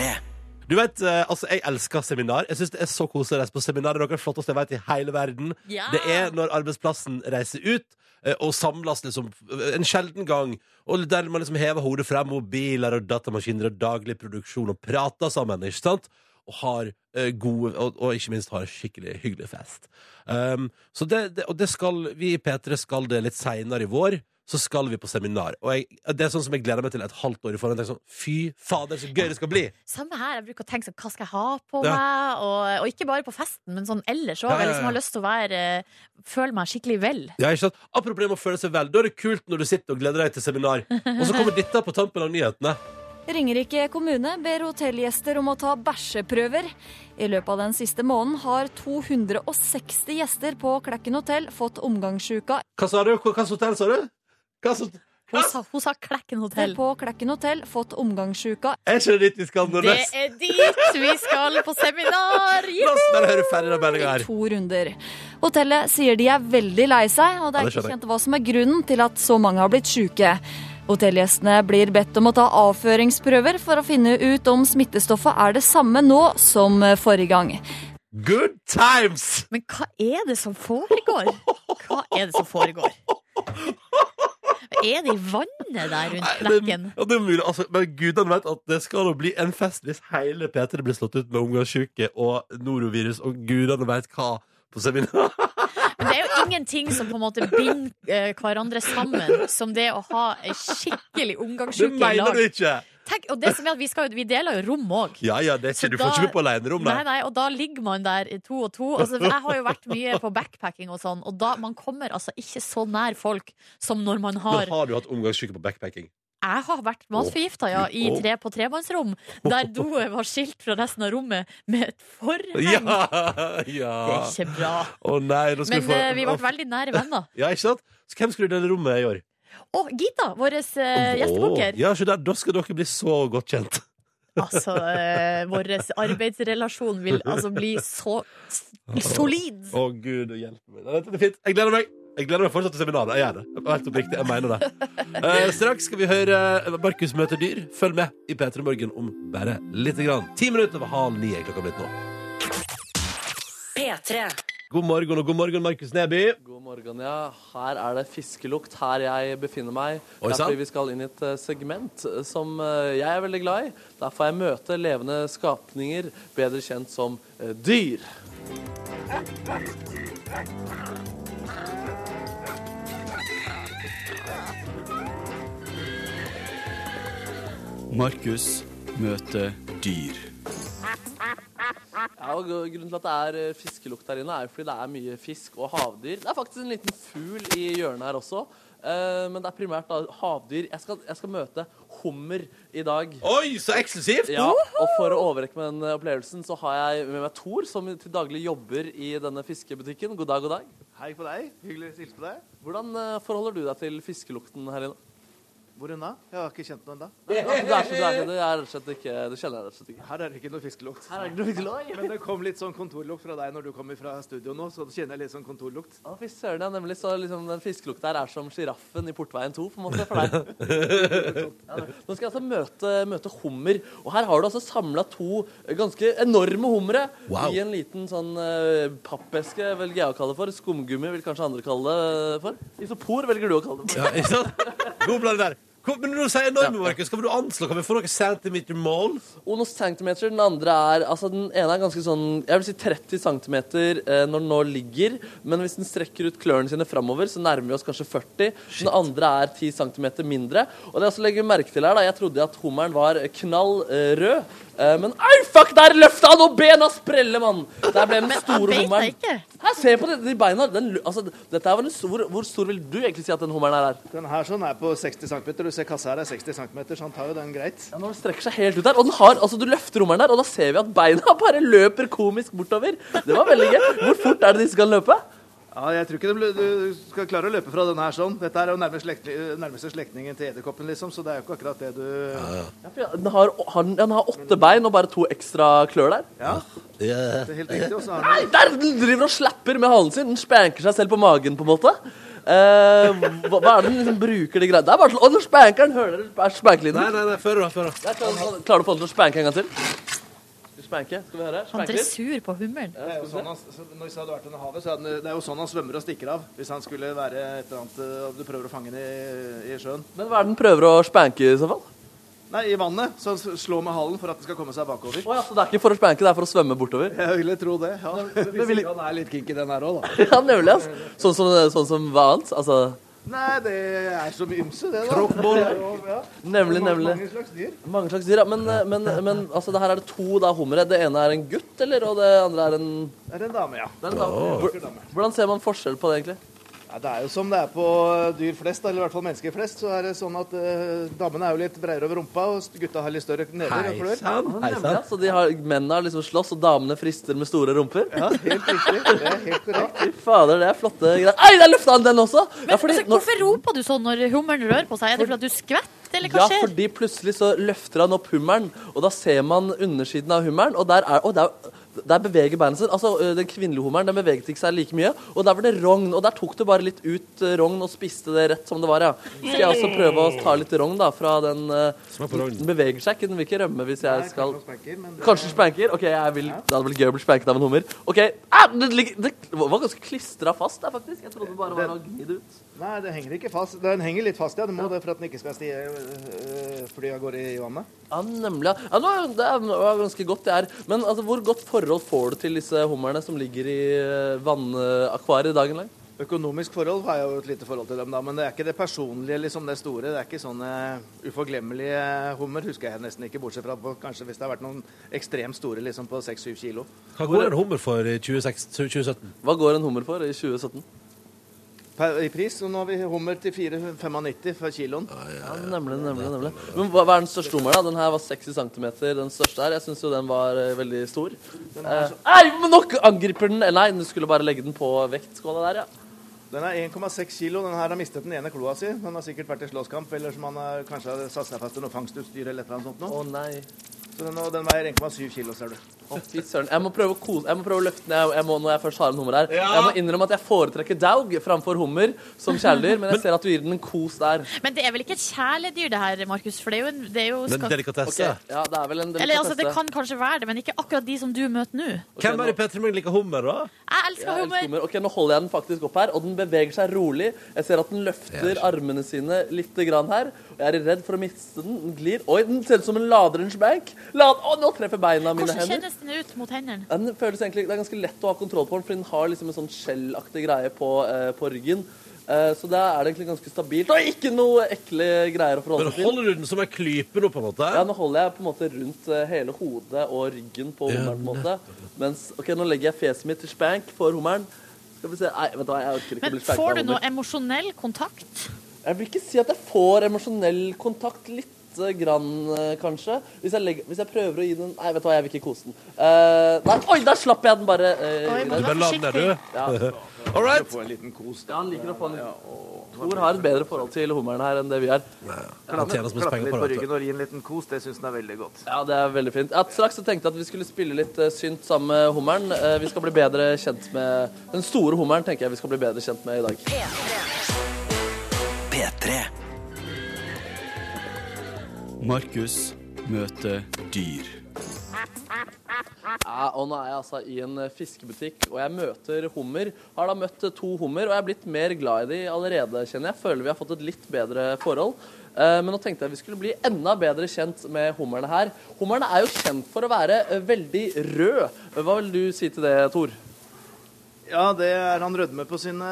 B: Du vet, eh, altså, Jeg elsker seminar. Jeg synes Det er så koselig å reise på seminar. Det er noe av det flotteste jeg vet i hele verden.
F: Ja.
B: Det er når arbeidsplassen reiser ut eh, og samles liksom, eh, en sjelden gang. Og Der man liksom hever hodet frem, mobiler og datamaskiner og daglig produksjon og prater sammen. ikke sant? Og har eh, gode og, og ikke minst har skikkelig hyggelig fest. Um, så det, det, og det skal vi i P3 skal det litt seinere i vår. Så skal vi på seminar. Og jeg, det er sånn som jeg gleder meg til et halvt år i forhånd. Jeg tenker Sånn, Fy fader, så gøy det skal bli!
C: Samme her, jeg bruker å tenke sånn, hva skal jeg ha på
B: Ja.
C: meg? Og, og ikke bare på festen, men sånn ellers òg.
B: Ja, ja,
C: Jeg
B: ja.
C: liksom har lyst til å være eh, Føle meg skikkelig vel.
B: Ja, ikke sant? Apropos det med å føle seg vel, da er det kult når du sitter og gleder deg til seminar. Og så kommer dette på tampen av nyhetene.
J: Ringerike kommune ber hotellgjester om å ta bæsjeprøver. I løpet av den siste måneden har 260 gjester på Klekken hotell fått omgangssjuka
B: Hva sa du? Hva slags hotell sa du? Hva slags...
C: Hun sa, hun sa Klekken hotell.
J: på Klekken hotell fått omgangssjuka
B: Er ikke det litt vi skal
C: Det
B: nordøst?
C: er dit vi skal på seminar!
B: La oss bare høre ferdig den meldinga
J: i
B: her.
J: to runder. Hotellet sier de er veldig lei seg, og det er
B: Ja, det
J: ikke
B: skjønner jeg.
J: kjent hva som er grunnen til at så mange har blitt syke. Hotellgjestene blir bedt om å ta avføringsprøver for å finne ut om smittestoffet er det samme nå som eh, forrige gang.
B: Good times!
C: Men hva er det som foregår? Hva er det som foregår? Er det i vannet der rundt
B: Nei, det,
C: Klekken?
B: ja, det er mulig, altså, men gudene vet at det skal jo bli en fest hvis hele P3 blir slått ut med omgangssyke og norovirus, og gudene vet hva på seminar.
C: Men det er jo ingenting som på en måte binder eh, hverandre sammen, som det å ha ei skikkelig
B: Det
C: omgangsuke i
B: mener
C: lag.
B: du ikke!
C: Tenk, og det som er at vi, skal, jo- vi deler jo rom òg.
B: Ja, ja, det er
C: Så
B: ikke, du får
C: da-
B: ikke bo på alenerom,
C: Nei,
B: nei.
C: nei, og da ligger man der i to og to. Altså, jeg har jo vært mye på backpacking og sånn, og da man kommer altså ikke så nær folk som når man
B: Nå
C: har
B: har du hatt omgangssyke på backpacking.
C: Jeg har vært matforgifta, ja, i
B: Åh.
C: tre på tremannsrom, der doen var skilt fra resten av rommet med et forheng.
B: Ja!
C: Det
B: ja.
C: er ikke bra.
B: Å nei, nå skal
C: Men
B: vi få
C: eh, vi ble
B: Å,
C: veldig nære venner.
B: Ja, ikke sant? Så hvem skulle dele rommet i år?
C: Og Gita, vår uh,
B: Eh, Å,
C: gjestekokker.
B: Ja, så der, Da skal dere bli så godt kjent.
C: Altså, eh, vår arbeidsrelasjon vil altså bli så s- solid.
B: Å gud, hjelpe meg. Nei, Dette blir fint. Jeg gleder meg. Jeg gleder meg fortsatt til seminaret. Jeg gjør det. Jeg er Helt oppriktig. Jeg mener det. Eh, straks skal vi høre eh, Markus møter dyr. Følg med i P3 Morgen om bare lite grann. Ti minutter over halv ni er klokka blitt nå.
A: P3.
B: God morgen og god morgen, Markus Neby.
D: God morgen, ja. Her er det fiskelukt her jeg befinner meg.
B: Oi,
D: Det er
B: sant?
D: fordi vi skal inn i et eh, segment eh, som eh, jeg er veldig glad i. Der får jeg møte levende skapninger, bedre kjent som eh, dyr.
K: Markus møter dyr.
D: Ja, og grunnen til at det er eh, fiskelukt her inne, er jo fordi det er mye fisk og havdyr. Det er faktisk en liten fugl i hjørnet her også, eh, men det er primært da havdyr. Jeg skal, jeg skal møte hummer i dag.
B: Oi, så eksklusivt!
D: Ja, og for å overrekke med den eh, opplevelsen, så har jeg med meg Thor, som til daglig jobber i denne fiskebutikken. God dag, god dag.
K: Hei på deg. Hyggelig å hilse på deg.
D: Hvordan eh, forholder du deg til fiskelukten her inne?
K: Hvor unna? Jeg har ikke kjent noe ennå.
D: Ja, du er ikke, du er ikke, det er rett og slett ikke, det kjenner jeg rett og slett ikke.
K: Her er det ikke noe fiskelukt.
D: Her er det ikke noe fiskelukt.
K: Men det kom litt sånn kontorlukt fra deg når du kommer fra studio nå, så kjenner jeg litt sånn kontorlukt.
D: Ja, fy søren, ja, nemlig. Så liksom, den fiskelukten her er som sjiraffen i Portveien 2, på en måte, for deg. Ja, det- Nå skal jeg altså møte, møte hummer, og her har du altså samla to ganske enorme hummere
B: Wow.
D: i en liten sånn eh, pappeske, velger jeg å kalle det for. Skumgummi vil kanskje andre kalle det for. Isopor velger du å kalle det for.
B: Ja, ikke sant? God blanding der. Kom, men når du sier enorme, Markus, kan du anslå? Kan vi få noen centimeter-mål?
D: Onos centimeter, den andre er altså Den ene er ganske sånn Jeg vil si 30 cm eh, når den nå ligger. Men hvis den strekker ut klørne sine framover, så nærmer vi oss kanskje 40. Den andre er 10 cm mindre. Og det jeg også legger merke til her, da Jeg trodde at hummeren var knall eh, rød. Eh, men au, fuck! Der løfta han, og bena spreller, mann! Der ble den
C: Han
D: store
C: beit deg
D: hummeren.
C: ikke.
D: Her, se på det, de beina. Den, lu- altså, dette her var en stor, hvor stor vil du egentlig si at den hummeren her er?
K: Den her sånn er på 60 cm. Du ser kassa her er 60 cm, så han tar jo den greit.
D: Ja, når den strekker seg helt ut der, og den har, altså Du løfter hummeren der, og da ser vi at beina bare løper komisk bortover. Det var veldig gøy. Hvor fort er det disse kan løpe?
K: Ja, jeg tror ikke det blir- du skal klare å løpe fra denne her sånn. Dette er jo nærmest slektning- nærmeste slektningen til edderkoppen, liksom, så det er jo ikke akkurat det du
D: Ja, for Den har, har, den- den har åtte bein og bare to ekstra klør der.
K: Ja, det er helt riktig. Og så har den
D: Nei, der, Den driver og slapper med halen sin. Den spanker seg selv på magen, på en måte. Eh, hva, hva er det den liksom bruker de greiene Det er bare til Å, nå spanker den! Hører dere spankelyden?
B: Nei, nei, nei, før da, før
D: da. Klarer du å få den til å spanke en gang til? Skal vi spanke? Skal vi høre?
C: Han
D: Spanke
C: er
D: litt?
C: sur på hummeren.
I: Det er jo sånn han, så når jeg sa du hadde vært under havet, så er den, det er jo sånn han svømmer og stikker av. Hvis han skulle være et eller annet eh, Du prøver å fange den i, i sjøen.
D: Men hva er det den prøver å spanke i så fall?
I: Nei, i vannet. Så han s- slår med halen for at den skal komme seg bakover.
D: Å ja, så det er ikke for å spanke, det er for å svømme bortover?
I: Jeg ville tro det. ja. Hvis ikke han er litt kinky, den her òg, da.
D: Ja, nemlig. ass. Sånn som, sånn som hva annet? Altså,
I: Nei, det er så mye ymse, det, da.
D: Kroppboll.
I: Det er jo- ja.
D: nemlig,
I: Mange-
D: nemlig.
I: Mange slags dyr.
D: Mange slags dyr, ja. Men, men, men altså, det her er det to da, hummere. Det ene er en gutt, eller? Og det andre er en
I: Det er en dame, ja.
D: Det er en dame.
I: En vakker dame.
D: Hvordan ser man forskjell på det, egentlig?
I: Ja, det er jo som det er på eh, dyr flest, eller i hvert fall mennesker flest, så er det sånn at eh, damene er jo litt bredere over rumpa, og gutta har litt større never og klør.
D: Ja, nemlig, ja. Så de har, mennene har liksom slåss, og damene frister med store rumper?
I: Ja, helt riktig. Det er helt korrekt.
D: Fy fader, det er flotte greier. Ei, der løfta han den også! Ja, fordi
C: Altså,
D: når-
C: hvorfor roper du sånn når hummeren rører på seg? Er det fordi at du skvetter, eller hva
D: Ja,
C: skjer?
D: fordi plutselig så løfter han opp hummeren, og da ser man undersiden av hummeren, og der er og der, der beveger beinet sitt. Altså, ø, den kvinnelige hummeren den beveget ikke seg like mye. Og der var det rogn, og der tok du bare litt ut ø, rogn og spiste det rett som det var, ja. Skal jeg også prøve å ta litt rogn, da, fra den ø,
B: på rogn.
D: Den beveger seg ikke, den vil ikke rømme hvis
I: Nei,
D: jeg skal
I: kanskje man spanker, men det-
D: Kanskje spanker? OK, jeg vil Det hadde vært gøy å bli spanket av en hummer. OK. Ah, det, ligger- det var ganske klistra fast der, faktisk. Jeg trodde det bare var å gni det ut.
I: Nei, det henger ikke fast. Den henger litt fast, ja. Det må det for at den ikke skal stie, øh, fly av gårde i vannet.
D: Ja, nemlig. ja. Ja, nå, er- det er det er ganske godt, det er. Men altså, hvor godt forhold får du til disse hummerne som ligger i eh, vannakvariet dagen lang?
I: Økonomisk forhold har jeg jo et lite forhold til dem, da, men det er ikke det personlige, liksom det store. Det er ikke sånne uforglemmelige hummer, husker jeg nesten ikke, bortsett fra på, kanskje hvis det har vært noen ekstremt store, liksom på 6-7 kilo.
B: Hva går en hummer for i 26 2017?
D: Hva går en hummer for i 2017?
I: Per, I pris, og nå har vi hummer til 4,95 for kiloen.
D: Ja, nemlig, nemlig, nemlig. Men hva, hva er den største hummeren? da? Den her var 60 cm, den største her. Jeg syns jo den var eh, veldig stor. Eh,
I: altså-
D: Nei, men nok angriper den! Eh, Nei, du skulle bare legge den på vektskåla der, ja.
I: Den er 1,6 kilo. Den her har mistet den ene kloa si. Den har sikkert vært i slåsskamp, eller som han har kanskje har satt seg fast i noe fangstutstyr eller et eller annet sånt noe.
D: Å nei.
I: Så den, og den veier 1,7 kilo, ser du.
D: Å, fy søren. Jeg må prøve å kose Jeg må prøve å løfte ned jeg- jeg må, når jeg først har en hummer her.
I: Ja.
D: Jeg må innrømme at jeg foretrekker daug framfor hummer som kjæledyr, men jeg ser at du gir den en kos der.
C: Men det er vel ikke et kjæledyr det her, Markus? For det er jo en, det er jo
D: Men
C: skal-
B: delikatesse.
D: Ok, Ja, det er vel en delikatesse.
C: Eller altså, det kan kanskje være det, men ikke akkurat de som du møter nå.
B: Hvem er det i Petter Morgen liker hummer, da?
C: Jeg elsker
D: Jeg elsker
C: hummer.
D: hummer. Ok, Nå holder jeg den faktisk opp her, og den beveger seg rolig. Jeg ser at den løfter armene sine litt grann her. Og jeg er redd for å miste den. Den glir. Oi, den ser ut som en lader en spank. Lad Å, nå treffer beina mine
C: Hvordan
D: hender.
C: kjennes den ut mot hendene?
D: Ja, Den føles egentlig, Det er ganske lett å ha kontroll på den, for den har liksom en sånn skjellaktig greie på, eh, på ryggen. Eh, så da er det egentlig ganske stabilt. Og ikke noe ekle greier å forholde
B: Men
D: seg til.
B: holder du den som en klype nå, på en måte?
D: Ja, nå holder jeg på en måte rundt eh, hele hodet og ryggen på
B: Ja,
D: hummeren. på en måte. Mens, ok, Nå legger jeg fjeset mitt til spank for hummeren. Skal vi se, Nei, vet du hva, jeg orker ikke å
C: Men
D: bli spanket av
C: får du noe
D: hummer.
C: emosjonell kontakt?
D: Jeg vil ikke si at jeg får emosjonell kontakt lite grann, eh, kanskje. Hvis jeg, legger, hvis jeg prøver å gi den Nei, vet du hva, jeg vil ikke kose den. Eh, nei, oi, der slapp jeg den bare. eh,
B: Oi,
D: i
B: må du
D: den.
B: være Du bare lar den der, forsiktig. du. All right.
I: Få en liten kos.
D: Ja, han liker å få en Tor har et bedre forhold til hummeren her enn det vi har.
I: Klappe klappe litt på ryggen og gi en liten kos, det syns den er veldig godt.
D: Ja, det er veldig fint. Jeg straks tenkte jeg at vi skulle spille litt eh, synt sammen med hummeren. Eh, Vi skal bli bedre kjent med Den store hummeren tenker jeg vi skal bli bedre kjent med i dag.
L: P3.
E: Markus møter dyr.
D: Ja, og nå er jeg altså i en eh, fiskebutikk, og jeg møter hummer. Har da møtt eh, to hummer, og jeg er blitt mer glad i de allerede, kjenner jeg. Føler vi har fått et litt bedre forhold. Eh, Men nå tenkte jeg vi skulle bli enda bedre kjent med hummerne her. Hummerne er jo kjent for å være eh, veldig rød. Hva vil du si til det, Tor?
I: Ja, det er han rødme på sine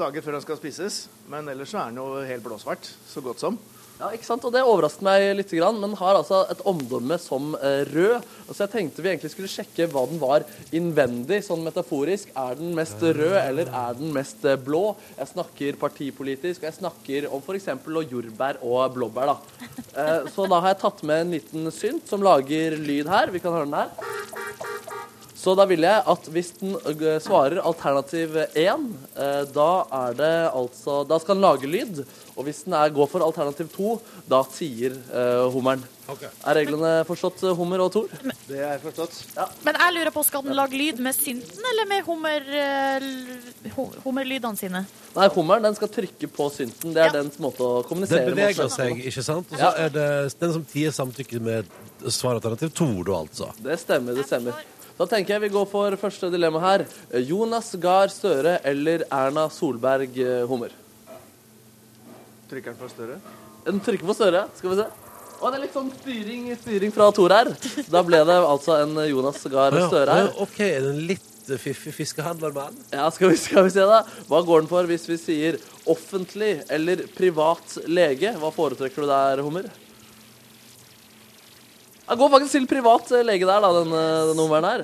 I: dager før han skal spises. Men ellers så er han jo helt blåsvart. Så godt som.
D: Ja, ikke sant? Og det overrasket meg litt, grann, men har altså et omdømme som eh, rød. Og så jeg tenkte vi egentlig skulle sjekke hva den var innvendig, sånn metaforisk. Er den mest rød, eller er den mest eh, blå? Jeg snakker partipolitisk, og jeg snakker om f.eks. jordbær og blåbær, da. Eh, så da har jeg tatt med en liten synt som lager lyd her. Vi kan høre den her. Så da vil jeg at hvis den øh, svarer alternativ 1, eh, da er det altså Da skal den lage lyd. Og hvis den er, går for alternativ 2, da tier eh, hummeren. Er reglene forstått, eh, hummer og Tor?
K: Det er forstått.
C: Men jeg lurer på, skal den lage lyd med synten eller med hummer, eh, l- hu- hummerlydene sine?
D: Nei, hummeren den skal trykke på synten. Det er dens måte å kommunisere
B: Den beveger
D: med oss
B: seg,
D: på.
B: ikke sant? Og så
D: Ja.
B: er det den som tier samtykke med svaralternativ to, da altså.
D: Det stemmer, det stemmer. Da tenker jeg vi går for første dilemma her. Jonas Gahr Støre eller Erna Solberg eh, hummer?
K: Trykker den for større?
D: Den trykker på Støre. Skal vi se. Å, det er litt sånn styring, styring fra Tor her. Da ble det altså en Jonas Gahr
B: Å ja,
D: Støre her.
B: å ja, OK, er den litt eh, fiffig fiskehandlermann?
D: Ja, skal vi, skal vi se da. Hva går den for hvis vi sier offentlig eller privat lege? Hva foretrekker du der, Hummer? Jeg går faktisk til privat eh, lege der, da, denne, denne hummeren her.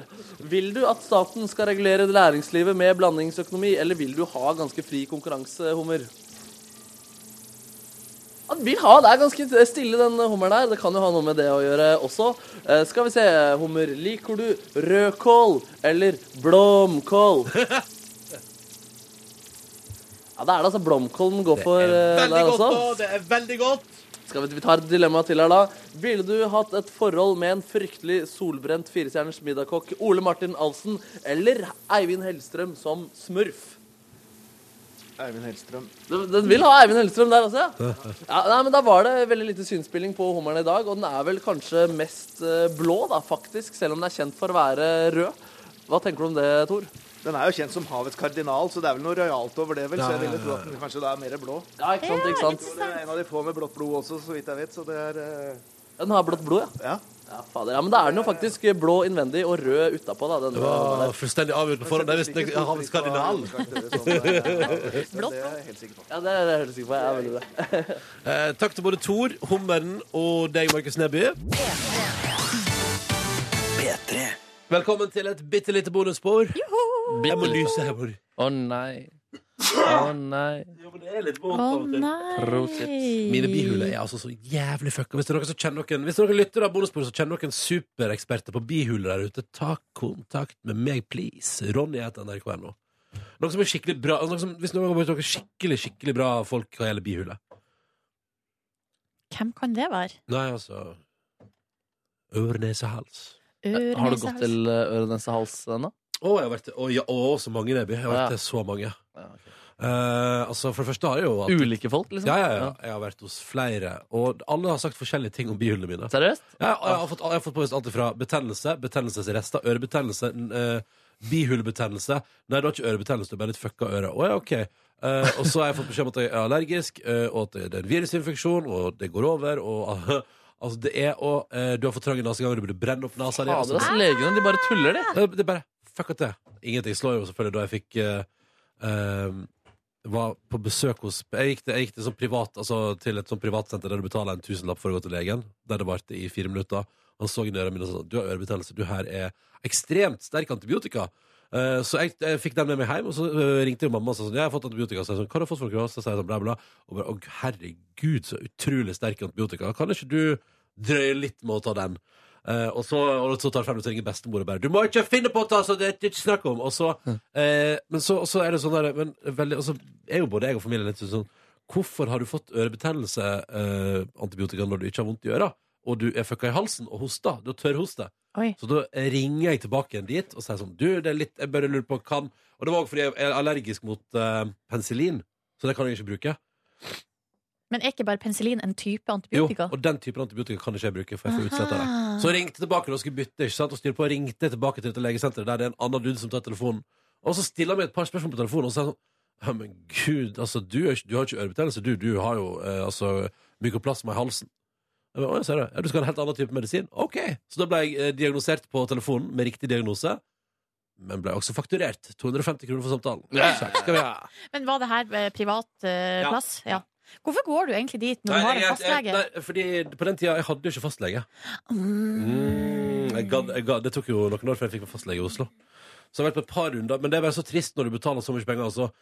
D: Vil du at staten skal regulere læringslivet med blandingsøkonomi, eller vil du ha ganske fri konkurranse, Hummer? Han vil ha, Det er ganske stille, den hummeren her. Det kan jo ha noe med det å gjøre også. Eh, skal vi se, hummer. Liker du rødkål eller blomkål? ja, da er det altså blomkål den går for. eh, der også.
B: Det er veldig godt!
D: Skal vi, vi tar et dilemma til her, da. Ville du hatt et forhold med en fryktelig solbrent firestjerners middagkokk Ole Martin Alsen eller Eivind Hellstrøm som smurf?
K: Eivind Hellstrøm.
D: Den, den vil ha Eivind Hellstrøm der også, ja. ja nei, men da var det veldig lite synspilling på hummeren i dag, og den er vel kanskje mest eh, blå, da, faktisk, selv om den er kjent for å være rød. Hva tenker du om det, Tor?
K: Den er jo kjent som havets kardinal, så det er vel noe rojalt over det, vel. Så jeg ville tro at den kanskje da er mer blå.
D: Ja, ikke sant, ikke sant.
K: Det er en av de få med blått blod også, så vidt jeg vet. Så det er eh,
D: Den har blått blod, ja. Ja, fader. ja, men da er den jo faktisk blå innvendig og rød utapå, da.
B: Det
D: Denne,
B: var
D: der.
B: fullstendig avgjort på forhånd. Jeg visste ikke Havets kardinal.
K: Blått blod? Det er jeg helt sikker på.
D: Ja, det er jeg helt sikker på. Jeg er veldig bra.
B: Eh, takk til både Tor, Hummeren og deg, Markus Neby. Velkommen til et bitte lite bonusspor. Jeg må lyse her, Bård.
D: Å nei. Å nei.
B: Mine bihuler er altså så jævlig fucka. Hvis det er noen som kjenner noen Hvis det er noen lytter av bonusspor som kjenner noen supereksperter på bihuler der ute, ta kontakt med meg, please. Ronny heter nrk.no. Noen som er skikkelig bra noen som, Hvis noen har brukt noen skikkelig, skikkelig bra folk hva gjelder bihuler
C: Hvem kan det være?
B: Nei, altså Øre, nese, hals.
C: Øre,
D: Har du
C: nese,
D: gått
C: hals.
D: til eh, øre, nese, hals ennå?
B: Å, jeg har vært å, ja, å, så mange, Neby. Jeg har vært til så mange. Eh, altså, For det første har jeg jo
D: Ulike folk, liksom?
B: Ja, ja, sånn? ja. Jeg har vært hos flere. Og alle har sagt forskjellige ting om bihulene mine.
D: Seriøst?
B: Ja, og jeg har fått, jeg har fått påvist alt fra betennelse, betennelsesrester, ørebetennelse, n- eh, bihulebetennelse Nei, du har ikke ørebetennelse, du har bare litt fucka øre. Å ja, OK. Eh, og så har jeg fått beskjed om at jeg er allergisk, eh, og at det er en virusinfeksjon, og det går over, og Altså, det er og eh, Du har for trange naseganger, du burde brenne opp nesa di.
D: Fader, altså, legene de bare tuller, de.
B: Det, det er bare fuck at det. Ingenting slår jo selvfølgelig da jeg fikk eh, eh, var på besøk hos Jeg gikk til, jeg gikk til, sånn privat, altså, til et sånn privatsenter der du betaler en tusenlapp for å gå til legen. Der det varte i fire minutter. Han så inn i ørene mine og sa du har ørebetennelse. Du her er ekstremt sterk antibiotika. Eh, så jeg, jeg fikk den med meg hjem, og så eh, ringte jo mamma og sa sånn, jeg har fått antibiotika. Så jeg sånn, hva har du fått for noe? Så sa jeg sånn, bla, bla. Og bare, å herregud, så utrolig sterk antibiotika. Kan ikke du drøye litt med å ta den? Eh, og, så, og så tar det fem minutter og ringer bestemor og bare 'Du må ikke finne på å ta så det er ikke snakk om!' Og så, eh, men så, og så er det sånn der men veldig, Og så er jo både jeg og familien litt sånn 'Hvorfor har du fått ørebetennelse, eh, antibiotika, når du ikke har vondt i øra?' Og du er fucka i halsen og hoster. Du har tørrhoste.
C: Oi.
B: Så da ringer jeg tilbake igjen dit og sier sånn 'Du, det er litt Jeg bare lurer på kan Og det var også fordi jeg er allergisk mot eh, penicillin, så det kan jeg ikke bruke.
C: Men er ikke bare penicillin en type
B: Jo,
C: antibiotika?
B: og den typen antibiotika kan ikke jeg bruke, for jeg får utslett av det.
C: Aha.
B: Så ringte jeg tilbake når jeg skulle bytte, ikke sant? og styrer på og ringte tilbake til dette legesenteret, der det er en annen dude som tar telefonen. Og så stiller han meg et par spørsmål på telefonen, og så er han sånn Ja, men gud, altså, du, er, ikke- du har ikke ørebetennelse, du. Du har jo eh, altså mykoplasma i halsen. Jeg bare, «Å, jeg ser det. Ja, du skal ha en helt annen type medisin. Ok. Så da ble jeg eh, diagnosert på telefonen med riktig diagnose, men ble også fakturert. 250 kroner for samtalen. Takk skal vi ha.
C: Men var det her eh, privat eh,
B: Ja.
C: plass? Ja. Hvorfor går du egentlig dit når
B: Nei,
C: du har en
B: jeg- jeg-
C: fastlege?
B: nei, fordi på den tida jeg hadde jo ikke fastlege. Mm, jeg gadd- jeg gadd- det tok jo noen år før jeg fikk meg fastlege i Oslo. Så jeg har vært på et par runder, men det er bare så trist når du betaler så mye penger, og så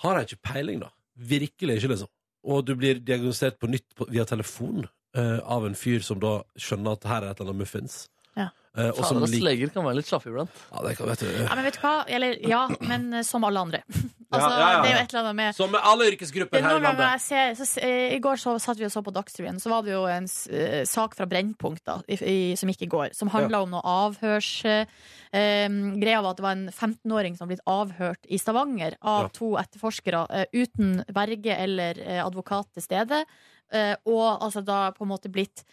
B: har jeg ikke peiling, da. Virkelig ikke, liksom. Og du blir diagnosert på nytt på, via telefon eh, av en fyr som da skjønner at her er et eller annet muffins.
C: Ja.
B: Eh, og som
D: Fader, ass,
B: lik-
D: Leger kan være litt slappe iblant.
B: Ja, det kan, vet du.
C: Ja, men vet du hva? Eller ja, men eh, som alle andre. altså,
B: Ja, ja, ja.
C: Det er jo et eller annet med
B: Som med alle
C: Det
B: yrkesgrupper
C: er
B: her
C: noe
B: i
C: med hva jeg
B: landet.
C: ser, så, s- eh, I går så satt vi og så på Dagsrevyen, så var det jo en s- eh, sak fra Brennpunkt da, i, i, som gikk i går, som handla
M: Ja.
C: om noe avhørs... eh, eh, greia var at det var en 15-åring som hadde blitt avhørt i Stavanger av
M: Ja.
C: to etterforskere eh, uten verge eller eh, advokat til stede, eh, og altså da på en måte blitt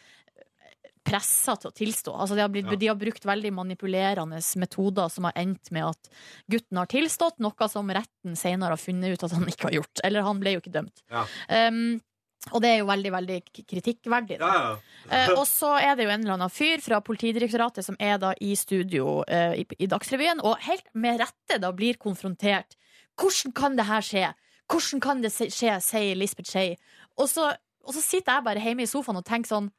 C: pressa til å tilstå. Altså, de, har blitt,
M: Ja.
C: de har brukt veldig manipulerende metoder som har endt med at gutten har tilstått, noe som retten senere har funnet ut at han ikke har gjort. Eller han ble jo ikke dømt. Um, og det er jo veldig, veldig k- kritikkverdig. Da. Eh, og så er det jo en eller annen fyr fra Politidirektoratet som er da i studio eh, i, i Dagsrevyen, og helt med rette da blir konfrontert. Hvordan kan det her skje? Hvordan kan det se- skje, sier Lisbeth Skei. Og, så- og så sitter jeg bare hjemme i sofaen og tenker sånn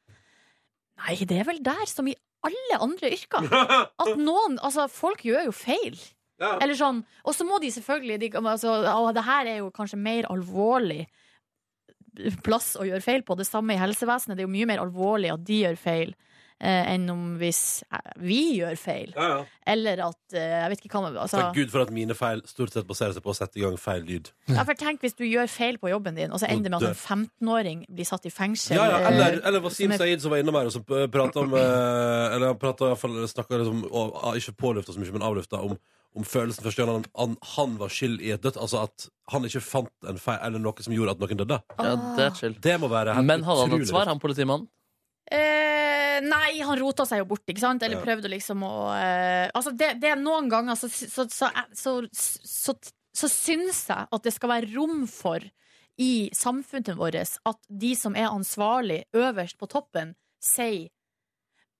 C: Nei, det er vel der, som i alle andre yrker. At noen Altså, folk gjør jo feil.
M: Ja.
C: Eller sånn. Og så må de selvfølgelig de, altså, å, Det her er jo kanskje mer alvorlig plass å gjøre feil på. Det samme i helsevesenet. Det er jo mye mer alvorlig at de gjør feil. eh, enn om hvis eh, vi gjør feil.
B: Ja, ja.
C: Eller at eh, Jeg vet ikke hva man altså,
B: Takk Gud for at mine feil stort sett baserer seg på å sette i gang feil lyd.
C: ja, for Tenk hvis du gjør feil på jobben din, og så ender det med at en 15-åring blir satt i fengsel.
B: Ja, ja, eller,
C: eh,
B: eller Wasim
C: som er-
B: Saeed som var innom her og som eh, pratet om eh, Eller han pratet i hvert fall snakket liksom, og, ah, ikke på lufta så mye, men avlufta om, om følelsen første gang han, han, han var skyld i et dødt. Altså at han ikke fant en feil eller noe som gjorde at noen døde.
D: Ja, det er chill.
B: Det må være helt
D: Men hadde han et
B: utrolig
D: svar, han politimannen?
C: Eh, nei, han rota seg jo bort, ikke sant? Eller
D: Ja.
C: prøvde liksom å eh, Altså, det, det er noen ganger så, så, så, så, så, så syns jeg at det skal være rom for i samfunnet vårt at de som er ansvarlig øverst på toppen, sier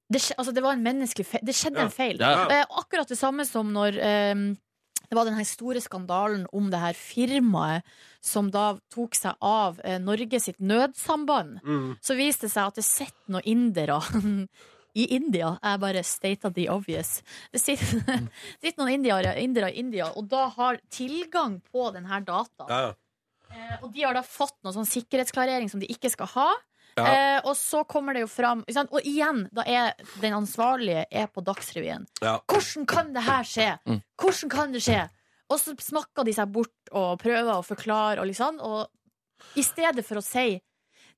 C: det, skje- altså, det var en menneskelig feil. Det skjedde
M: Ja.
C: en feil.
M: Ja, ja.
C: Eh, akkurat det samme som når eh, det var den her store skandalen om det her firmaet som da tok seg av eh, Norge sitt nødsamband.
M: Mm.
C: Så viste det seg at det sitter noen indere i India. Jeg bare stated the obvious. Det sitter, sitter noen indiere, indere i India, og da har tilgang på den her data.
B: Ja, ja.
C: Eh, Og de har da fått noe sånn sikkerhetsklarering som de ikke skal ha.
M: Ja.
C: Eh, og så kommer det jo fram ikke sant? Og igjen, da er den ansvarlige er på Dagsrevyen.
B: Ja.
C: Hvordan kan det her skje?
M: Mm.
C: Hvordan kan det skje? Og så snakker de seg bort og prøver å forklare og liksom. Og i stedet for å si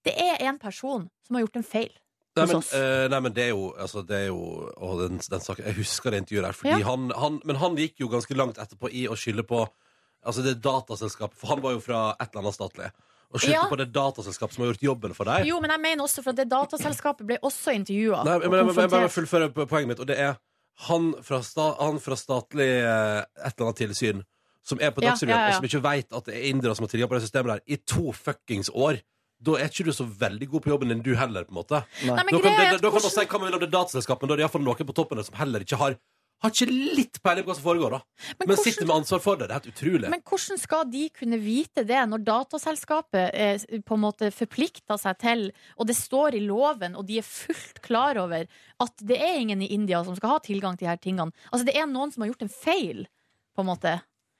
C: det er en person som har gjort en feil.
B: Nei men, eh, nei, men det er jo, altså, det er jo og den, den saken, Jeg husker det intervjuet der. Fordi
C: Ja.
B: han, han, men han gikk jo ganske langt etterpå i å skylde på altså det dataselskapet. For han var jo fra et eller annet statlig. Og skyldte
C: Ja.
B: på det dataselskapet som har gjort jobben for deg.
C: Jo, men jeg mener også for at det dataselskapet ble også intervjua.
B: Nei, men, men, men, jeg bare fullfører på- poenget mitt, og det er han fra, sta, han fra statlig eh, et eller annet tilsyn som er på
C: Ja,
B: Dagsrevyen,
C: ja, ja.
B: og som ikke veit at det er indere som har tilgang på det systemet der, i to fuckings år. Da er ikke du så veldig god på jobben din, du heller, på en måte.
C: Nei, men
B: da kan,
C: greia er
B: det,
C: at
B: da kan man
C: hvordan-
B: si hva man vil om det dataselskapet, men da er det iallfall noen på toppen der som heller ikke har har ikke litt peiling på hva som foregår, da. Men, sitter med ansvar for det. Det er helt utrolig.
C: Men hvordan skal de kunne vite det når dataselskapet eh, på en måte forplikter seg til, og det står i loven, og de er fullt klar over at det er ingen i India som skal ha tilgang til de her tingene. Altså, det er noen som har gjort en feil, på en måte.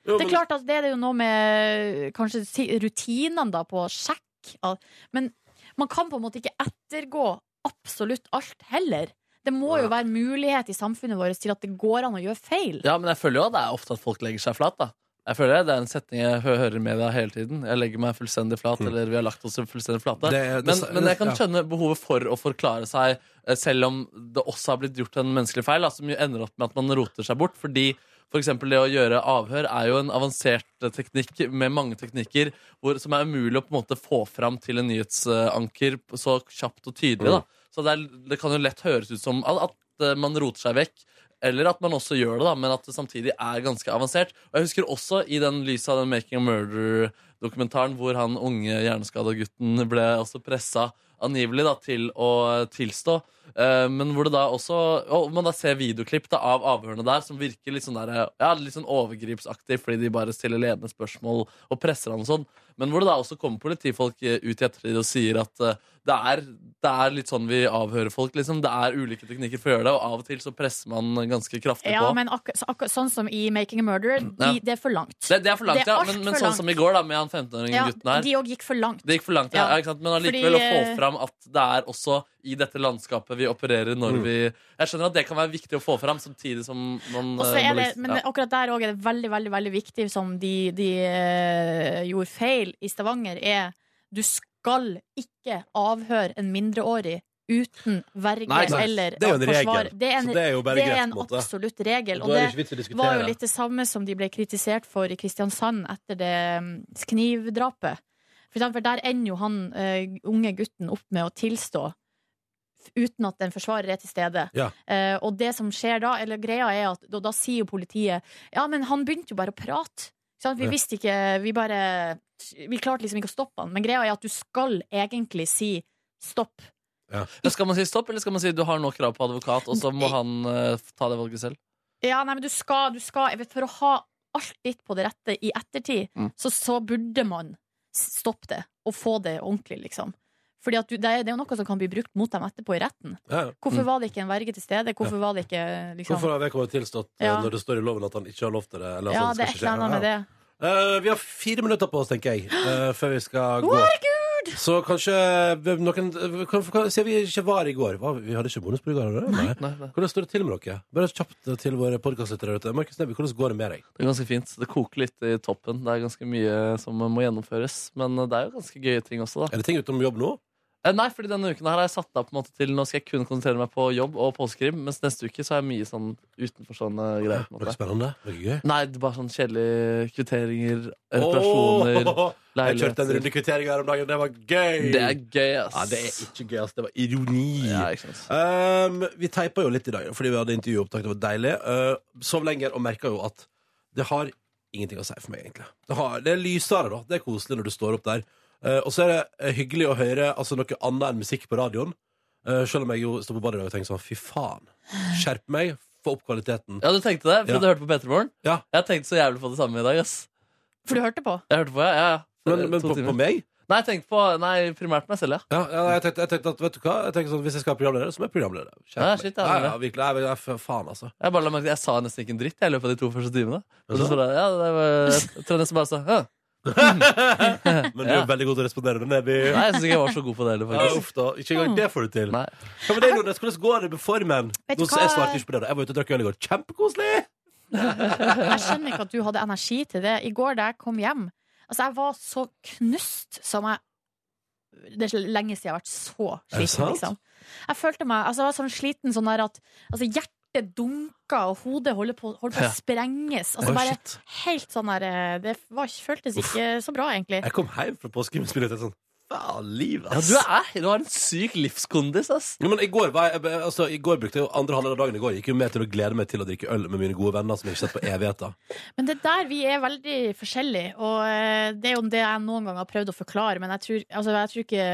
M: Jo,
C: det er
M: men-
C: klart at det er jo noe med kanskje si- rutinene da på sjekk, av- men man kan på en måte ikke ettergå absolutt alt heller. Det må jo være mulighet i samfunnet vårt til at det går an å gjøre feil.
D: Ja, men jeg føler jo at det er ofte at folk legger seg flat, da. Jeg føler Det det er en setning jeg hø- hører i media hele tiden. Jeg legger meg fullstendig flat, eller vi har lagt oss fullstendig
B: Mm.
D: flate.
B: Det- det-
D: men, men jeg kan
B: ja.
D: skjønne behovet for å forklare seg, eh, selv om det også har blitt gjort en menneskelig feil, da, som jo ender opp med at man roter seg bort. fordi for eksempel det å gjøre avhør er jo en avansert eh, teknikk med mange teknikker hvor, som er umulig å på en måte få fram til en nyhetsanker p- så kjapt og tydelig.
B: Mm.
D: da. Så det, er, det kan jo lett høres ut som at, at eh, man roter seg vekk, eller at man også gjør det, da, men at det samtidig er ganske avansert. Og Jeg husker også i den lyset av den Making a Murder-dokumentaren hvor han unge hjerneskada gutten ble også pressa angivelig da, til å tilstå. Eh, men hvor det da også Og man da ser videoklipp da, av avhørene der som virker litt sånn, der, ja, litt sånn overgripsaktig, fordi de bare stiller ledende spørsmål og presser han og sånn. Men hvor det da også kommer politifolk eh, ut i ettertid og sier at eh, det er, det er litt sånn vi avhører folk, liksom. Det er ulike teknikker for å gjøre det, og av og til så presser man ganske kraftig
C: Ja,
D: på.
C: men akkur så akkur sånn som i 'Making a Murderer', de,
D: Ja.
C: det er for langt.
D: det, det er for langt,
C: Det er
D: ja.
C: alt
D: Men, men
C: for
D: sånn som i går, da, med han 15-åringen
C: Ja,
D: gutten her.
C: de òg gikk for langt.
D: Det gikk for langt, ja.
C: Ja.
D: ja ikke sant? Men allikevel
C: Fordi-
D: å få fram at det er også i dette landskapet vi opererer når vi Jeg skjønner at det kan være viktig å få fram samtidig som man
C: Og så
D: eh,
C: er
D: må
C: det,
D: liksom-
C: men
D: ja.
C: akkurat der òg er det veldig veldig, veldig viktig, som de, de eh, gjorde feil i Stavanger, er du skal ikke avhøre en mindreårig uten verge
B: Nei, ikke sant.
C: eller
B: Det er jo en
C: forsvar.
B: regel,
C: Det er en,
B: så det er jo bare
C: det
B: greit,
C: er
B: på
C: en
B: en måte.
C: absolutt regel.
B: Da
C: Og
B: er
C: det,
B: det ikke vits å diskutere.
C: var jo litt det samme som de ble kritisert for i Kristiansand etter det mm, knivdrapet. For eksempel, der ender jo han eh, unge gutten opp med å tilstå f- uten at en forsvarer er til stede.
M: Ja.
C: Eh, og det som skjer da, eller greia er at da, da sier jo politiet Ja, men han begynte jo bare å prate. Ikke sant? Vi
M: Ja.
C: visste ikke Vi bare Vi klarte liksom ikke å stoppe han. Men greia er at du skal egentlig si stopp.
D: Men Skal man si stopp, eller skal man si du har nå krav på advokat, og så må han eh, ta det valget selv?
C: Ja, nei, men du skal, du skal jeg vet, For å ha alt ditt på det rette i ettertid,
D: Mm.
C: så, så burde man s- stoppe det, og få det ordentlig, liksom. Fordi at du, det, er, det er jo noe som kan bli brukt mot dem etterpå i retten.
B: Ja, ja.
C: Hvorfor
B: Mm.
C: var det ikke en verge til stede? Hvorfor
B: Ja.
C: var det ikke liksom
B: Hvorfor har vedkommende tilstått eh,
C: Ja.
B: når det står i loven at han ikke har lov til det? Eller at
C: Ja,
B: sånt
C: det er
B: skal
C: et
B: ikke
C: eller
B: skje?
C: annet med
B: Ja.
C: det.
B: Eh, vi har fire minutter på oss, tenker jeg, eh, før vi skal gå. Så kanskje eh, noen eh, kan, kan, Sier vi ikke var i går? Var, vi hadde ikke bonusbord i går? hadde vi? Nei. Hvordan står det til med dere? Bare kjapt eh, til våre podkastlyttere der ute. Markus Neby, hvordan går det med deg?
D: Det er ganske fint. Det koker litt i toppen. Det er ganske mye som må gjennomføres. Men eh, det er jo ganske gøye ting også, da. Eh,
B: Er det ting utenom jobb nå?
D: Nei, fordi denne uken her har jeg satt av på en måte til Nå skal jeg kun konsentrere meg på jobb og påskekrim, mens neste uke så er jeg mye sånn utenfor sånne greier. på en
B: Noe
D: måte.
B: spennende? Noe gøy?
D: Nei, det er bare sånn kjedelige kvitteringer, eh, reparasjoner,
B: Åh, jeg kjørte en runde
D: leiligheter.
B: kvittering her om dagen. Det var gøy!
D: Det er gøy, ass.
B: Ja, det er ikke gøy, ass. Det var ironi.
D: Ja, ikke sant.
B: Um, vi teipa jo litt i dag fordi vi hadde intervjuopptak. Det var deilig. Uh, sov lenger og merka jo at det har ingenting å si for meg, egentlig. Det, har, det er lysere, da. Det er koselig når du står opp der. Uh, og så er det eh, hyggelig å høre altså, noe annet enn musikk på radioen. Uh, selv om jeg jo står på badet i dag og tenker sånn fy faen, skjerp meg, få opp kvaliteten.
D: Ja, du tenkte det? Fordi
B: Ja.
D: du hørte på P3 Morgen?
B: Ja.
D: Jeg tenkte så jævlig på det samme i dag, ass.
C: For du hørte på?
D: Jeg hørte på, ja. ja, ja.
B: Men- men
D: To
B: på-
D: timer.
B: på meg?
D: Nei, jeg tenkte på, nei, primært meg selv, ja.
B: Ja, ja, jeg, tenkte, jeg tenkte at, vet du hva Jeg tenkte sånn, Hvis jeg skal være programleder, så må jeg programleder. Skjerp
D: Ja,
B: meg.
D: shit, det er
B: ja,
D: det.
B: ja, virkelig, jeg, jeg, jeg, faen, altså.
D: Jeg bare la merke til Jeg sa nesten ikke en dritt jeg, i løpet av de to første timene. Og så
B: Jaså?
D: sa jeg, ja, det var, jeg tror jeg nesten bare sa «Hæ?»
B: Men du er veldig god til å respondere med Neby.
D: Nei, jeg synes ikke jeg var så god på det heller,
B: Ja,
D: faktisk.
B: uff da. Ikke
C: Mm.
B: engang det får du til. Hva med deg, Nordnes? Hvordan går det med formen?
C: Vet
B: Nå,
C: du
B: så jeg
C: hva?
B: svarte ikke på det. da. Jeg var ute og drakk øl i går. Kjempekoselig!
C: Jeg skjønner ikke at du hadde energi til det. I går da jeg kom hjem Altså, jeg var så knust som jeg Det er så lenge siden jeg har vært så
M: Er det sant?
C: sliten, liksom. Jeg følte meg altså, jeg var sånn sliten sånn der at altså, hjertet dunka, og hodet holder på, holder på
B: Ja.
C: å sprenges.
B: Oi,
C: Altså bare
B: shit.
C: helt sånn der eh, Det var, føltes ikke så bra, egentlig.
B: Jeg kom hjem fra påskehjemspillet og tenkte sånn Faen, livet,
D: Ja,
B: ass.
D: du er Du har en syk livskondis, ass.
B: Jo, men i går, var jeg, altså, I går brukte jeg jo andre halvdel av dagen i går. Gikk jo med til å glede meg til å drikke øl med mine gode venner som jeg ikke har sett på evigheter.
C: Men det er der vi er veldig forskjellige, og eh, det er jo det jeg noen gang har prøvd å forklare, men jeg tror, altså, jeg tror ikke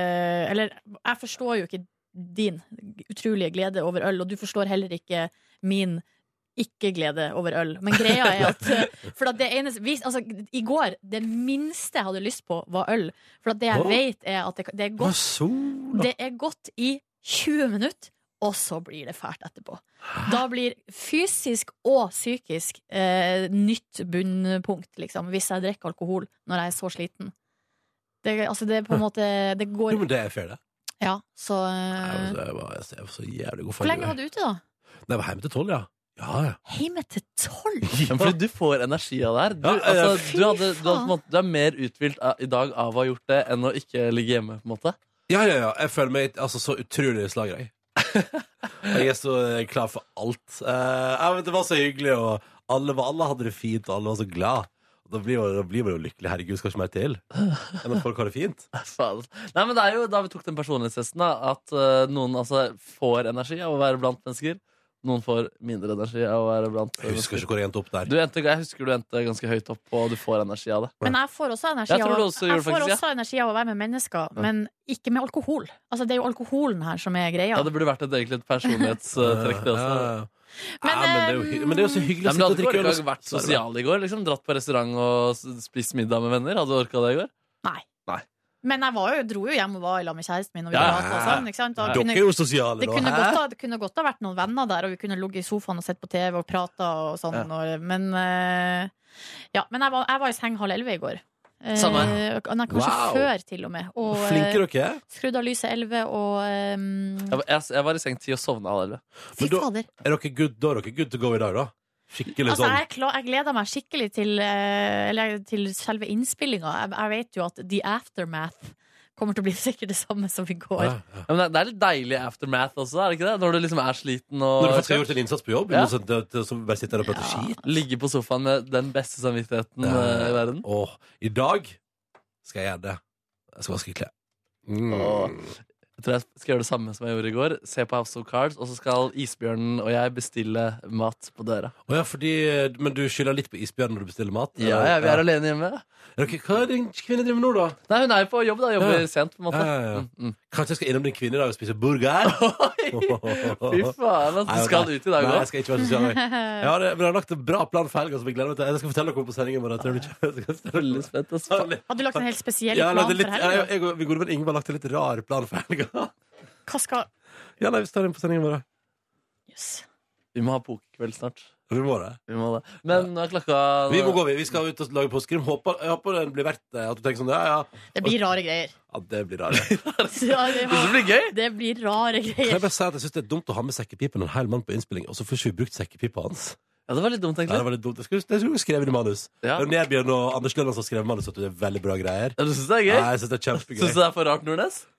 C: Eller jeg forstår jo ikke din utrolige glede over øl, og du forstår heller ikke min ikke-glede over øl. Men greia er at eh, For at det eneste vi, altså, I går, det minste jeg hadde lyst på, var øl. For at det jeg
M: Åh.
C: vet, er at det, det er godt det er godt i 20 minutter, og så blir det fælt etterpå. Da blir fysisk og psykisk eh, nytt bunnpunkt, liksom, hvis jeg drikker alkohol når jeg er så sliten. Det, altså, det er på en måte Det går
B: Jo, men det er fair, det.
C: Ja, så
B: Jeg
C: eh,
D: altså,
B: var, jeg var, jeg var så jævlig god
C: Hvor lenge var du ute, da?
B: Nei, jeg var hjemme til tolv, ja. Ja, ja.
C: Hjemme til tolv?
D: Men fordi du får energi av det her. Du,
B: Ja, ja, ja.
D: altså, du, hadde, du, hadde, på en måte, du er mer uthvilt av- i dag av å ha gjort det enn å ikke ligge hjemme, på en måte.
B: Ja, ja, ja. Jeg føler meg altså, så utrolig slagrei. jeg er så eh, klar for alt. Eh, ja, men det var så hyggelig, og alle, var- alle hadde det fint, og alle var så glad. Og Da blir, man- da blir man jo lykkelig. Herregud, skal ikke mer til enn at folk har det fint.
D: Faen. Nei, men det er jo da vi tok den personlighetstesten, da, at eh, noen altså får energi av å være blant mennesker. Noen får mindre energi av å være blant
B: Jeg husker ikke hvor jeg endte opp der.
D: Du endte, jeg husker du endte ganske høyt opp, og du får energi av det.
C: Men jeg får også energi,
D: Jeg tror
C: av,
D: du også gjorde
C: jeg får
D: faktisk, ja.
C: også energi av å være med mennesker,
D: Ja.
C: men ikke med alkohol. Altså, det er jo alkoholen her som er
D: ja.
C: greia.
D: Det burde vært et, egentlig et
B: Eh,
D: personlighetstrekk, det også.
B: Men, ja, men, det er jo,
C: eh,
B: hy- men det er jo så hyggelig å
D: Nei, men
B: sitte og
D: hadde du
B: drikke øl.
D: orka
B: og-
D: å vært sosial i går? Liksom, dratt på restaurant og s- spist middag med venner? Hadde du orka det i går?
C: Nei.
D: Nei.
C: Men jeg var jo, dro jo hjem og var i lag med kjæresten min. Og vi
D: Ja.
C: pratet og sånn, ikke sant? Og
D: Dere
C: kunne-
D: er jo sosiale,
C: det
D: da.
C: kunne,
D: Hæ?
C: godt ha, det kunne godt ha vært noen venner der, og vi kunne ligget i sofaen og sett på TV og prata og sånn.
D: Ja.
C: Og, men eh, ja, men jeg var, jeg var i seng halv elleve i går. Eh,
D: Samme.
C: Nei, kanskje
D: Wow.
C: før, til og med. Og,
D: Flinke dere
C: eh, Skrudd av lyset 11 og eh,
D: Jeg, jeg, jeg var i seng ti og sovna allerede.
C: Fy fader.
B: Er dere good, da er dere good to go i dag, da? Skikkelig
C: Altså,
B: sånn.
C: jeg, er klar, jeg gleder meg skikkelig til, eh, eller, til selve innspillinga. Jeg, jeg vet jo at the aftermath kommer til å bli sikkert det samme som i går.
D: Ja, men det, det er litt deilig aftermath også, er det ikke det? Når du liksom er sliten og
B: Når du faktisk har gjort en innsats på jobb,
D: Ja.
B: noe sånt, det- det- som bare sitter der og prater skit.
D: Ligge på sofaen med den beste samvittigheten eh, i verden.
B: Åh, I dag skal jeg gjøre det. Jeg skal vaske klær.
D: Åh. Jeg tror jeg skal gjøre det samme som jeg gjorde i går. Se på House of Cards, og så skal isbjørnen og jeg bestille mat på døra.
B: Å ja, fordi, eh, men du skylder litt på isbjørn når du bestiller mat?
D: Ja, ja, vi er alene hjemme.
B: Er dere, hva er det en kvinne driver med nå, da?
D: Nei, hun er jo på jobb, da. Jobber
B: Ja.
D: sent, på en måte. Mm,
B: Ja, ja, ja. Kanskje jeg skal innom din kvinne i dag og spise burger?
D: Fy faen, altså,
B: Nei,
D: du skal
B: nei.
D: ut i dag
B: Nei,
D: også.
B: jeg skal ikke være sosial. jeg. Jeg har, men jeg har lagt en bra plan for helga som jeg gleder meg til. Jeg skal fortelle dere om på sendingen. Bare, jeg
D: Veldig spent. altså.
C: Hadde du lagt en helt spesiell
B: jeg har
C: plan
B: lagd en litt,
C: for helga?
B: jeg- jeg og min gode venn Ingeborg har lagt en litt rar plan for helga.
C: Hva skal
B: Ja, nei, vi tar den på sendingen vår.
D: Vi må ha pokerkveld snart.
B: Vi må det.
D: Vi må det. Men nå er klokka
B: Vi må gå, vi. Vi skal ut og lage påskekrim. Håper, jeg håper den blir verdt det. At du tenker sånn, ja, ja.
C: Det blir rare greier.
B: Ja, det blir rart.
C: Ja, det,
D: blir gøy?
C: Det blir rare
B: Kan jeg
C: greier.
B: bare si at jeg syns det er dumt å ha med sekkepipen og en hel mann på innspilling, og så får ikke vi brukt sekkepipa hans.
D: Ja, det var litt dumt, egentlig.
B: Ja, det var litt dumt. Det skulle, det skulle vi skrevet i manus.
D: Ja.
B: Det er Nebjørn og Anders Lønland som skrev manus, at det er veldig bra greier.
D: Ja, du synes det er gøy?
B: Nei, jeg synes det er kjempegøy.
D: Syns du det er for rart, Nordnes?
C: Nei,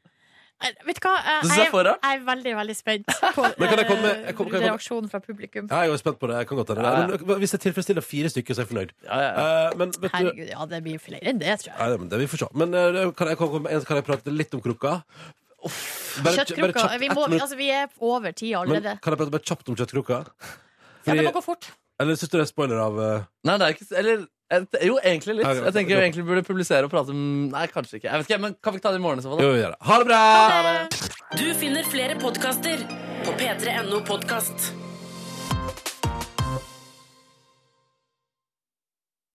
C: Eh, Vet du hva,
B: Du
C: jeg,
B: synes det er
C: jeg,
B: for rart?
C: jeg er veldig, veldig spent på
B: Men kan jeg komme- jeg
C: eh,
B: kommer- kan jeg komme-
C: reaksjonen fra publikum.
B: Ja, jeg er jo spent på det. Jeg kan godt hende.
D: Ja, ja.
B: Men Hvis jeg tilfredsstiller fire stykker, så er jeg fornøyd. Eh, men vet du
C: Herregud, ja, det blir flere enn det, tror jeg.
B: Nei, men det vi får se. Men eh, kan, jeg, kan, jeg- kan jeg prate litt om krukka? Bare- bare
C: Kjøttkrukka.
B: kjapt
C: Vi,
B: ett
C: må,
B: minutt.
C: altså, vi er over tida
B: Men
C: allerede.
B: kan jeg prate bare kjapt om kjøttkrukka?
C: Ja, det
B: Fordi-
C: må gå fort.
B: Eller syns du det er spoiler av eh,
D: Nei, det er ikke Eller et- jo, egentlig litt.
B: Ja, ja,
D: Jeg tenker
B: ja.
D: vi egentlig burde publisere og prate om Nei, kanskje ikke. Jeg vet ikke, Men kan vi ikke ta det i morgen? i Så, fall, da?
B: Jo, vi gjør det. Ha det bra!
A: Du finner flere podkaster på p3.no podkast.